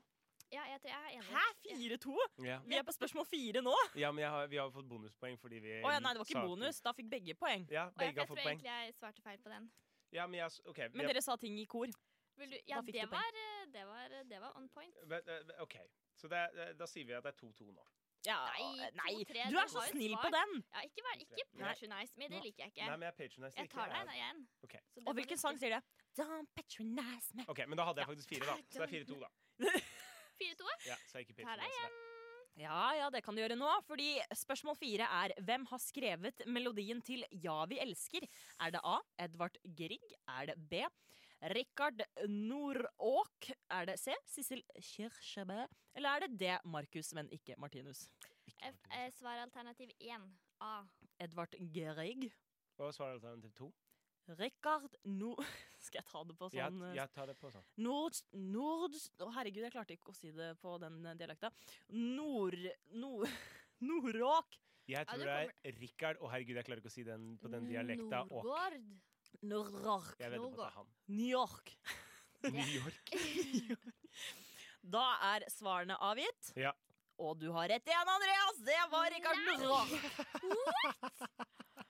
[SPEAKER 5] Ja, jeg, tror jeg er enig.
[SPEAKER 6] Hæ, 4-2?
[SPEAKER 1] Ja.
[SPEAKER 6] Vi er på spørsmål 4 nå.
[SPEAKER 1] ja, men jeg har, vi har fått bonuspoeng fordi vi
[SPEAKER 6] Å ja, nei, det var
[SPEAKER 1] sa
[SPEAKER 6] ikke
[SPEAKER 1] at-
[SPEAKER 6] bonus. Da fikk begge poeng.
[SPEAKER 1] Ja,
[SPEAKER 5] Og
[SPEAKER 1] begge
[SPEAKER 5] jeg,
[SPEAKER 1] har
[SPEAKER 5] jeg tror
[SPEAKER 1] fått poeng.
[SPEAKER 5] egentlig jeg svarte feil på den.
[SPEAKER 1] Ja, men jeg, s- ok,
[SPEAKER 6] Men
[SPEAKER 1] jeg-
[SPEAKER 6] dere sa ting i kor.
[SPEAKER 5] Vil du, ja,
[SPEAKER 6] Da fikk
[SPEAKER 5] det
[SPEAKER 6] du poeng.
[SPEAKER 5] var, eh, det, var, det var on point.
[SPEAKER 1] men, eh, OK. Så det, er- det, da sier vi at det er 2-2 nå.
[SPEAKER 6] Ja,
[SPEAKER 5] Nei,
[SPEAKER 6] nei.
[SPEAKER 5] to, tre,
[SPEAKER 6] Du
[SPEAKER 5] du
[SPEAKER 6] er så
[SPEAKER 5] har jo
[SPEAKER 6] snill
[SPEAKER 5] svart.
[SPEAKER 6] på den.
[SPEAKER 5] Ja, ikke vær ikke
[SPEAKER 1] Nei.
[SPEAKER 5] patronize me, det liker
[SPEAKER 1] Nei,
[SPEAKER 5] jeg ikke.
[SPEAKER 1] men jeg patronize
[SPEAKER 5] Jeg tar deg igjen.
[SPEAKER 1] Ok.
[SPEAKER 5] Så det
[SPEAKER 6] Og
[SPEAKER 5] får
[SPEAKER 6] hvilken
[SPEAKER 5] du-
[SPEAKER 6] sang sier det? Don't patronize me.
[SPEAKER 1] OK, men da hadde jeg faktisk fire, da. Så det er 4-2, da.
[SPEAKER 5] 4-2.
[SPEAKER 1] Ja, så jeg ikke
[SPEAKER 5] Tar deg
[SPEAKER 1] patronize deg.
[SPEAKER 6] Ja, ja, det kan du gjøre nå, fordi spørsmål fire er Hvem har skrevet melodien til Ja, vi elsker? Er det A. Edvard Grieg? Er det B. Rikard Nordåk? Er det C. Sissel Kyrkjebø? Eller er det D. Markus, men ikke Martinus?
[SPEAKER 5] F- eh, Svar alternativ 1. A.
[SPEAKER 6] Edvard Grieg?
[SPEAKER 1] Hva var svaralternativ 2?
[SPEAKER 6] Rikard No... Skal jeg ta det på
[SPEAKER 1] Jeg,
[SPEAKER 6] sånn eh,
[SPEAKER 1] jeg tar det på sånn.
[SPEAKER 6] Nord... Nord... Å, herregud, jeg klarte ikke å si det på den eh, dialekta. Nord... Nord... Nordåk.
[SPEAKER 1] Jeg tror
[SPEAKER 5] du
[SPEAKER 1] det er Rikard Å, herregud, jeg klarer ikke å si den på den dialekta. Og
[SPEAKER 5] Nordgård.
[SPEAKER 6] Nordåk.
[SPEAKER 1] jeg vedder på at det er han.
[SPEAKER 6] New York.
[SPEAKER 1] New York.
[SPEAKER 6] Da er svarene avgitt.
[SPEAKER 1] Ja.
[SPEAKER 6] Og du har rett igjen, Andreas! Det var Rikard
[SPEAKER 5] Nei!
[SPEAKER 6] Nordåk.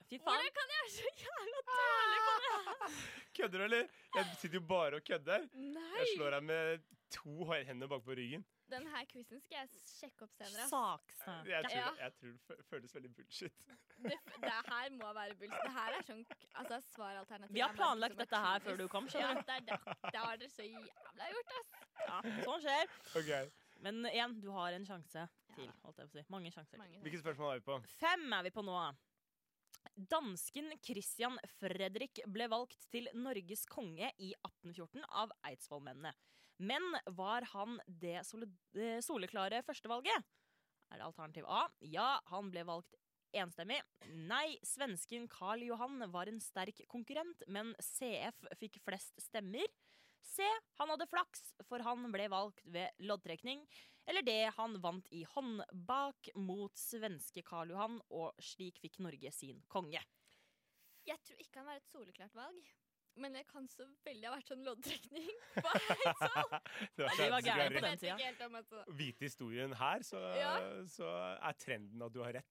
[SPEAKER 6] Fy faen.
[SPEAKER 5] Hvordan kan jeg være så jævla
[SPEAKER 1] Kødder du, eller? Jeg sitter jo bare og kødder. Jeg
[SPEAKER 5] Nei!
[SPEAKER 1] slår deg med to hender bak på ryggen.
[SPEAKER 5] Den her quizen skal jeg sjekke opp senere. ass.
[SPEAKER 6] Saksnø.
[SPEAKER 1] Jeg tror,
[SPEAKER 5] Ja.
[SPEAKER 1] jeg tror det fø- føles veldig bullshit.
[SPEAKER 5] Det, det her må være bullshit. Det her er sånn altså, svaralternativ.
[SPEAKER 6] Vi har
[SPEAKER 5] er Marcus
[SPEAKER 6] planlagt
[SPEAKER 5] og
[SPEAKER 6] dette her
[SPEAKER 5] Martinus.
[SPEAKER 6] før du kom,
[SPEAKER 5] Ja,
[SPEAKER 6] skjønner du.
[SPEAKER 5] det, er det, det har dere så jævla gjort, ass.
[SPEAKER 6] Ja, sånn skjer.
[SPEAKER 1] Ok,
[SPEAKER 6] Men igjen, du har en sjanse til. holdt jeg på å si. Mange sjanser.
[SPEAKER 5] Mange
[SPEAKER 1] Hvilket spørsmål er vi på?
[SPEAKER 6] Fem er vi på nå. Dansken Christian Fredrik ble valgt til Norges konge i 1814 av Eidsvollmennene. Men var han det sole, eh, soleklare førstevalget? Er det alternativ A? Ja, han ble valgt enstemmig. Nei, svensken Karl Johan var en sterk konkurrent, men CF fikk flest stemmer. C. Han hadde flaks, for han ble valgt ved loddtrekning. Eller det han vant i håndbak mot svenske Karl Johan, og slik fikk Norge sin konge.
[SPEAKER 5] Jeg tror ikke han var et soleklart valg. Men det kan så veldig ha vært sånn loddtrekning på Eidsvoll.
[SPEAKER 1] Det var
[SPEAKER 6] Ja, vi
[SPEAKER 1] så-
[SPEAKER 6] var
[SPEAKER 1] så
[SPEAKER 6] gærne
[SPEAKER 1] du
[SPEAKER 6] på
[SPEAKER 1] har
[SPEAKER 6] den
[SPEAKER 1] rett.
[SPEAKER 5] Vet ikke helt om altså.
[SPEAKER 1] Vite historien her, så,
[SPEAKER 5] Ja.
[SPEAKER 1] så er trenden at du har rett.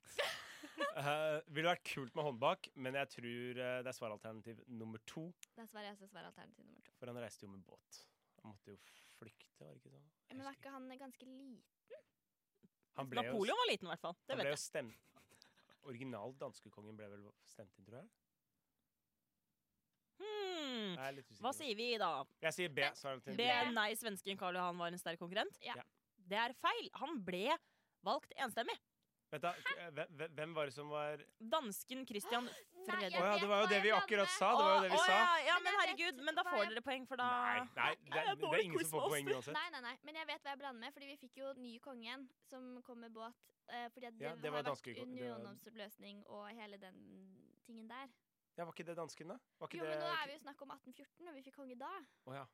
[SPEAKER 1] Eh, ville vært kult med håndbak, men jeg tror eh, det er svaralternativ nummer to.
[SPEAKER 5] Det er svaret jeg skal svare alternativ nummer to.
[SPEAKER 1] For han reiste jo med båt. Han måtte jo flykte, var det ikke sånn? Jeg
[SPEAKER 5] Men var
[SPEAKER 1] husker ikke.
[SPEAKER 5] ikke han ganske liten?
[SPEAKER 1] Han ble jo,
[SPEAKER 6] Napoleon var liten, i hvert fall.
[SPEAKER 1] han
[SPEAKER 6] Det
[SPEAKER 1] ble jo
[SPEAKER 6] vet jeg.
[SPEAKER 1] stemt Original danskekongen ble vel stemt inn, tror jeg?
[SPEAKER 6] Hmm.
[SPEAKER 1] jeg er litt usikker.
[SPEAKER 6] Hva sier vi da?
[SPEAKER 1] Jeg sier B. Svaralternativ
[SPEAKER 6] B.
[SPEAKER 1] B.
[SPEAKER 6] Nei, svensken Karl Johan var en sterk konkurrent?
[SPEAKER 5] Ja.
[SPEAKER 6] Det er feil. Han ble valgt enstemmig.
[SPEAKER 1] Vent da, hvem- hvem- hvem var det som var
[SPEAKER 6] Dansken Christian Fredrik.
[SPEAKER 1] Å ja, det var jo
[SPEAKER 5] hva
[SPEAKER 1] det
[SPEAKER 5] jeg
[SPEAKER 1] vi
[SPEAKER 5] blander.
[SPEAKER 1] akkurat sa! Det var jo det vi
[SPEAKER 6] Å, å,
[SPEAKER 1] sa.
[SPEAKER 6] Ja, ja,
[SPEAKER 5] Men
[SPEAKER 6] men
[SPEAKER 5] jeg vet
[SPEAKER 6] herregud, men da
[SPEAKER 5] hva
[SPEAKER 6] får
[SPEAKER 5] jeg-
[SPEAKER 6] dere poeng, for da
[SPEAKER 1] Nei, nei det,
[SPEAKER 6] Jeg
[SPEAKER 1] er-
[SPEAKER 6] er
[SPEAKER 1] det er
[SPEAKER 6] dårlig
[SPEAKER 1] ingen som får poeng
[SPEAKER 6] quizmaster.
[SPEAKER 1] uansett.
[SPEAKER 5] Nei, nei, nei. Men jeg vet hva jeg blander med, fordi vi fikk jo ny konge igjen, som kom med båt. eh, fordi at det,
[SPEAKER 1] Ja, det var
[SPEAKER 5] har vært
[SPEAKER 1] danske kong- det var-
[SPEAKER 5] unionsoppløsning og hele den tingen der.
[SPEAKER 1] Ja, var ikke det dansken, da? Var ikke
[SPEAKER 5] Jo, men nå er
[SPEAKER 1] det
[SPEAKER 5] vi jo snakk om 1814, og vi fikk konge da.
[SPEAKER 1] Å ja.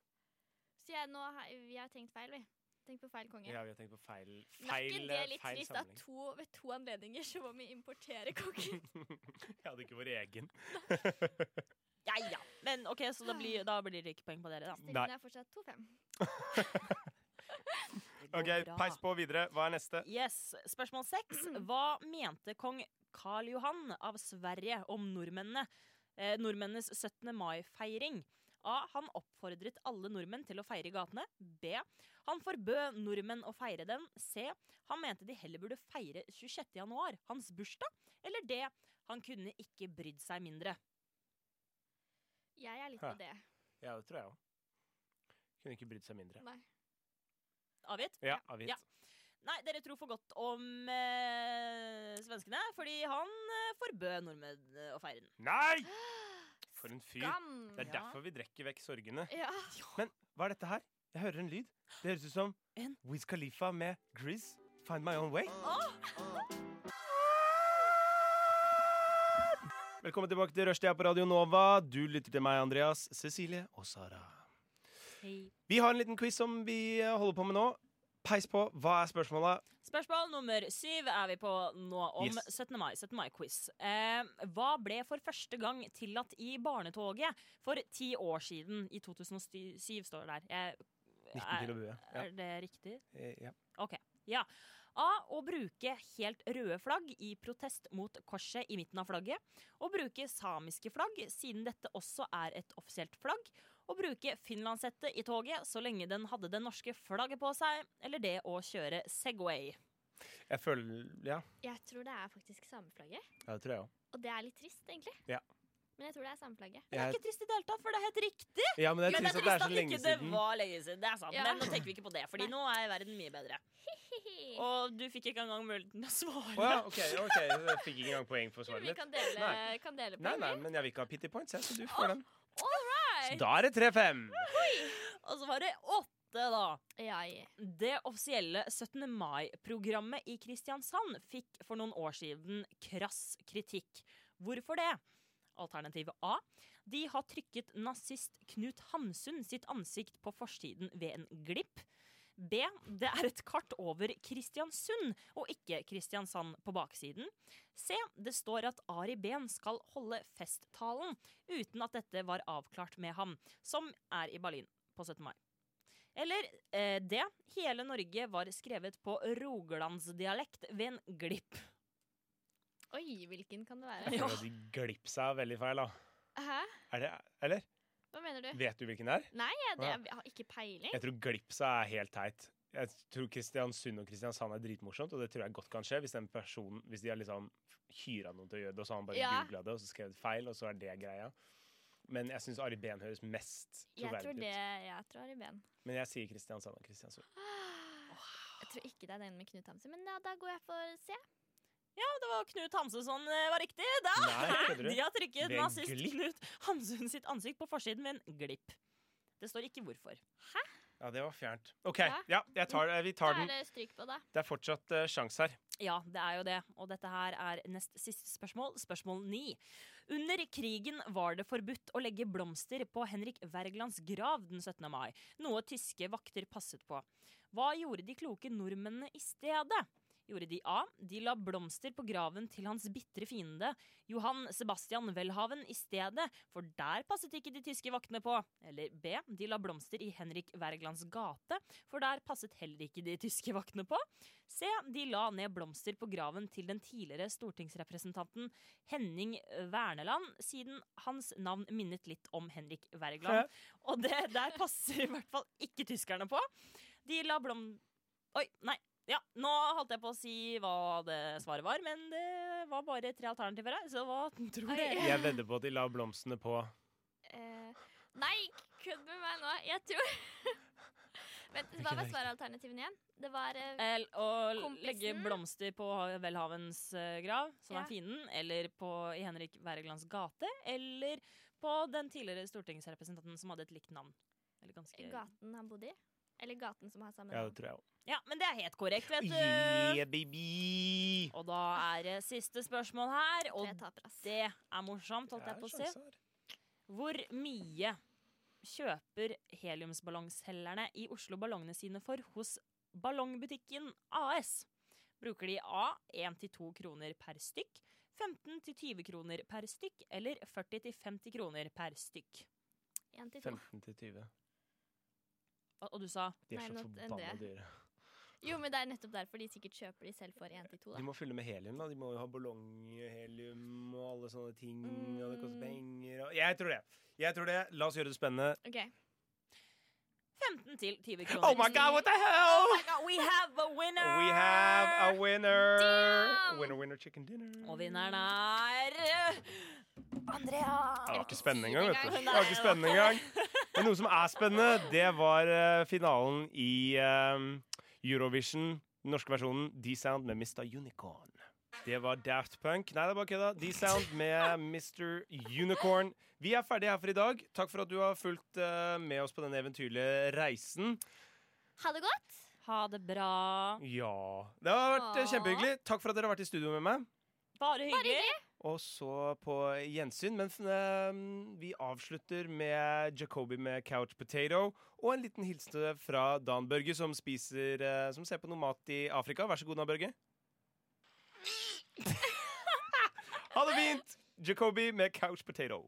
[SPEAKER 5] Så jeg, nå har, vi har tenkt feil, vi. Tenkt på feil konge.
[SPEAKER 1] ja, vi har tenkt på feil
[SPEAKER 5] Men er ikke
[SPEAKER 1] Feil, eh,
[SPEAKER 5] det litt
[SPEAKER 1] feil
[SPEAKER 5] trist at
[SPEAKER 1] samling.
[SPEAKER 5] to, ved to anledninger så må vi importere kongen?
[SPEAKER 1] Jeg hadde ikke vår egen.
[SPEAKER 6] Ja, ja. Men OK, så da blir, da blir det ikke poeng på dere, da.
[SPEAKER 1] Nei.
[SPEAKER 5] Stillingen er fortsatt 2-5.
[SPEAKER 6] Det går
[SPEAKER 1] OK,
[SPEAKER 6] bra.
[SPEAKER 1] peis på videre. Hva er neste?
[SPEAKER 6] Yes, Spørsmål seks. Hva mente kong Karl Johan av Sverige om nordmennene? Eh, nordmennenes 17. mai-feiring. A. Han oppfordret alle nordmenn til å feire i gatene. B. Han forbød nordmenn å feire den. C. Han mente de heller burde feire 26. januar, hans bursdag. Eller D. Han kunne ikke brydd seg mindre.
[SPEAKER 5] Jeg er litt
[SPEAKER 1] Hæ.
[SPEAKER 5] på det.
[SPEAKER 1] Ja, det tror jeg òg. Kunne ikke brydd seg mindre.
[SPEAKER 5] Nei.
[SPEAKER 6] Avgitt?
[SPEAKER 1] Ja, avgitt.
[SPEAKER 6] Nei, dere tror for godt om eh, svenskene, fordi han eh, forbød nordmenn eh, å feire den.
[SPEAKER 1] Nei! For en fyr.
[SPEAKER 6] Skam,
[SPEAKER 1] Det er
[SPEAKER 6] ja.
[SPEAKER 1] derfor vi drekker vekk sorgene.
[SPEAKER 6] Ja.
[SPEAKER 1] Men hva er dette her? Jeg hører en lyd. Det høres ut som Wiz Khalifa med Grizz. Find my own way. Velkommen tilbake til Rushtida på Radio Nova. Du lytter til meg, Andreas, Cecilie og Sara. Vi har en liten quiz som vi eh, holder på med nå. Peis på. Hva er spørsmålet?
[SPEAKER 6] Spørsmål nummer syv er vi på nå, om
[SPEAKER 1] Yes.
[SPEAKER 6] 17. mai. 17. mai-quiz. Eh, hva ble for første gang tillatt i barnetoget for ti år siden? I 2007 står det der. Jeg,
[SPEAKER 1] 19 kilo bue. Ja.
[SPEAKER 6] Er det riktig?
[SPEAKER 1] Eh, ja.
[SPEAKER 6] OK. Ja. A. Å bruke helt røde flagg i protest mot korset i midten av flagget. Å bruke samiske flagg, siden dette også er et offisielt flagg. Å bruke finlandshette i toget så lenge den hadde det norske flagget på seg. Eller det å kjøre Segway.
[SPEAKER 1] Jeg føler Ja,
[SPEAKER 5] Jeg tror det er faktisk sameflagget.
[SPEAKER 1] Ja, det tror jeg òg.
[SPEAKER 5] Og det er litt trist, egentlig.
[SPEAKER 1] Ja.
[SPEAKER 5] Men jeg tror det er sameflagget.
[SPEAKER 1] Det er Jeg- ikke
[SPEAKER 6] trist i det hele tatt, for det er helt riktig!
[SPEAKER 1] Ja, men det er trist at det er så
[SPEAKER 6] at
[SPEAKER 1] lenge
[SPEAKER 6] ikke det
[SPEAKER 1] siden.
[SPEAKER 6] var lenge siden. Det er sant.
[SPEAKER 5] Ja.
[SPEAKER 6] Men nå tenker vi ikke på det, Fordi nå er verden mye bedre. Og du fikk ikke engang muligheten til å svare.
[SPEAKER 1] Å ja, OK. ok, Jeg fikk ikke engang poeng for svaret
[SPEAKER 5] Vi
[SPEAKER 1] mitt.
[SPEAKER 5] kan dele,
[SPEAKER 1] Nei.
[SPEAKER 5] kan dele på
[SPEAKER 1] Nei, nei,
[SPEAKER 5] det.
[SPEAKER 1] men jeg vil ikke ha pity points, jeg, så du får den.
[SPEAKER 5] All right!
[SPEAKER 1] Så da er det 3-5.
[SPEAKER 6] Og så var det åtte, da.
[SPEAKER 5] Ja,
[SPEAKER 6] Det offisielle 17. mai-programmet i Kristiansand fikk for noen år siden krass kritikk. Hvorfor det? Alternativ A. De har trykket nazist Knut Hamsun sitt ansikt på forsiden ved en glipp. B. Det er et kart over Kristiansund og ikke Kristiansand på baksiden. C. Det står at Ari Behn skal holde festtalen uten at dette var avklart med ham, som er i Berlin på 17. mai. Eller eh, D. Hele Norge var skrevet på rogalandsdialekt ved en glipp.
[SPEAKER 5] Oi, hvilken kan det
[SPEAKER 1] Jeg
[SPEAKER 5] være?
[SPEAKER 1] føler at de glipsa er veldig feil, da.
[SPEAKER 5] Hæ?
[SPEAKER 1] Er det Eller?
[SPEAKER 5] Hva mener du?
[SPEAKER 1] Vet du hvilken det er?
[SPEAKER 5] Nei, jeg, det,
[SPEAKER 1] Å, ja.
[SPEAKER 5] jeg har ikke peiling.
[SPEAKER 1] Jeg tror glipsa er helt teit. Jeg tror Kristiansund og Kristiansand er dritmorsomt, og det tror jeg godt kan skje hvis den personen Hvis de har liksom hyra noen til å gjøre det, og så har han bare
[SPEAKER 5] Ja.
[SPEAKER 1] googla det og så skrevet feil, og så er det greia. Men jeg syns Ari Behn høres mest
[SPEAKER 5] Jeg tror
[SPEAKER 1] troverdig
[SPEAKER 5] det
[SPEAKER 1] ut.
[SPEAKER 5] Jeg tror Ari Behn.
[SPEAKER 1] Men jeg sier Kristiansand og Kristiansund.
[SPEAKER 5] Jeg tror ikke det er den med Knut Hamsun, men ja, da går jeg for C.
[SPEAKER 6] Ja, det var Knut Hamsunsson eh, var riktig. Da.
[SPEAKER 1] Nei, kødder du?
[SPEAKER 6] De har trykket
[SPEAKER 1] Ved en
[SPEAKER 6] nazist
[SPEAKER 1] glipp?
[SPEAKER 6] Knut Hamsun sitt ansikt på forsiden ved en glipp. Det står ikke hvorfor.
[SPEAKER 1] Ja, det var fjernt. OK,
[SPEAKER 6] Ja.
[SPEAKER 1] ja, jeg tar, det- vi tar
[SPEAKER 6] Da er
[SPEAKER 1] den.
[SPEAKER 6] det
[SPEAKER 5] stryk på, da.
[SPEAKER 1] Det er fortsatt eh, sjans her.
[SPEAKER 6] Ja, det er jo det. Og dette her er nest siste spørsmål, spørsmål ni. Under krigen var det forbudt å legge blomster på Henrik Wergelands grav den 17. mai, noe tyske vakter passet på. Hva gjorde de kloke nordmennene i stedet? Gjorde de A. De la blomster på graven til hans bitre fiende, Johan Sebastian Welhaven, i stedet, for der passet ikke de tyske vaktene på. Eller B. De la blomster i Henrik Wergelands gate, for der passet heller ikke de tyske vaktene på. C. De la ned blomster på graven til den tidligere stortingsrepresentanten Henning Werneland, siden hans navn minnet litt om Henrik Wergeland. Og det der passer i hvert fall ikke tyskerne på. De la blom... Oi, nei. Ja, nå holdt jeg på å si hva det svaret var, men det var bare tre alternativer her, så hva tror dere?
[SPEAKER 1] Jeg vedder på at de la blomstene på
[SPEAKER 5] Eh, nei, kødd med meg nå. Jeg tror Vent, hva var svaralternativene igjen? Det var eh,
[SPEAKER 6] El, å
[SPEAKER 5] Kompisen.
[SPEAKER 6] legge blomster på velhavens eh, grav, som
[SPEAKER 5] Ja.
[SPEAKER 6] er fienden, eller på, i Henrik Wergelands gate, eller på den tidligere stortingsrepresentanten som hadde et likt navn. Eller ganske...
[SPEAKER 5] gaten han bodde i. Eller gaten som har samme
[SPEAKER 1] Eh. Ja,
[SPEAKER 5] navn.
[SPEAKER 1] det tror jeg òg.
[SPEAKER 6] Ja, men det er helt korrekt, vet du.
[SPEAKER 1] Yeah, baby!
[SPEAKER 6] Og da er det siste spørsmål her, og det er morsomt, holdt
[SPEAKER 1] Det
[SPEAKER 6] jeg
[SPEAKER 1] er
[SPEAKER 6] på å si.
[SPEAKER 1] sjanse
[SPEAKER 6] Hvor mye kjøper heliumsballongselgerne i Oslo ballongene sine for hos Ballongbutikken AS? Bruker de A 1-2 kroner per stykk, 15-20 kroner per stykk eller 40-50 kroner per stykk?
[SPEAKER 5] 1 til 2.
[SPEAKER 1] 15 til 20.
[SPEAKER 6] Og, og du sa?
[SPEAKER 1] De
[SPEAKER 5] Nei,
[SPEAKER 1] er så
[SPEAKER 5] nå- enn
[SPEAKER 1] forbanna
[SPEAKER 5] det.
[SPEAKER 1] dyre.
[SPEAKER 5] Jo, men det er nettopp derfor de sikkert kjøper de selv for 1 til 2.
[SPEAKER 1] De må fylle med helium, da. De må jo ha ballonghelium og alle sånne ting. Og det koster penger og Jeg tror det. Jeg tror det. La oss gjøre det spennende.
[SPEAKER 5] OK.
[SPEAKER 6] 15 til 20 kroner.
[SPEAKER 1] Oh my god, what the hell?
[SPEAKER 6] Oh my god, we have a winner!
[SPEAKER 1] We have a winner! Winner, winner, chicken dinner.
[SPEAKER 6] Og vinneren er
[SPEAKER 9] Andrea!
[SPEAKER 1] Det var ikke spennende engang, vet du.
[SPEAKER 9] engang.
[SPEAKER 1] Det var ikke spennende engang. Men noe som er spennende, det var eh, finalen i eh, Eurovision, den norske versjonen, D-Sound med Mr. Unicorn. Det var Daft Punk. Nei, det er bare kødda. D-Sound med Mr. Unicorn. Vi er ferdige her for i dag. Takk for at du har fulgt eh, med oss på denne eventyrlige reisen.
[SPEAKER 5] Ha det godt.
[SPEAKER 6] Ha det bra.
[SPEAKER 1] Ja Det har vært eh,
[SPEAKER 6] Åh.
[SPEAKER 1] kjempehyggelig. Takk for at dere har vært i studio med meg.
[SPEAKER 6] Bare hyggelig.
[SPEAKER 1] Og så på gjensyn. Men eh, vi avslutter med Jacobi med Couch Potato. Og en liten hilsen fra Dan Børge, som spiser eh, Som ser på noe mat i Afrika. Vær så god, Dan Børge. ha det fint! Jacobi med Couch Potato.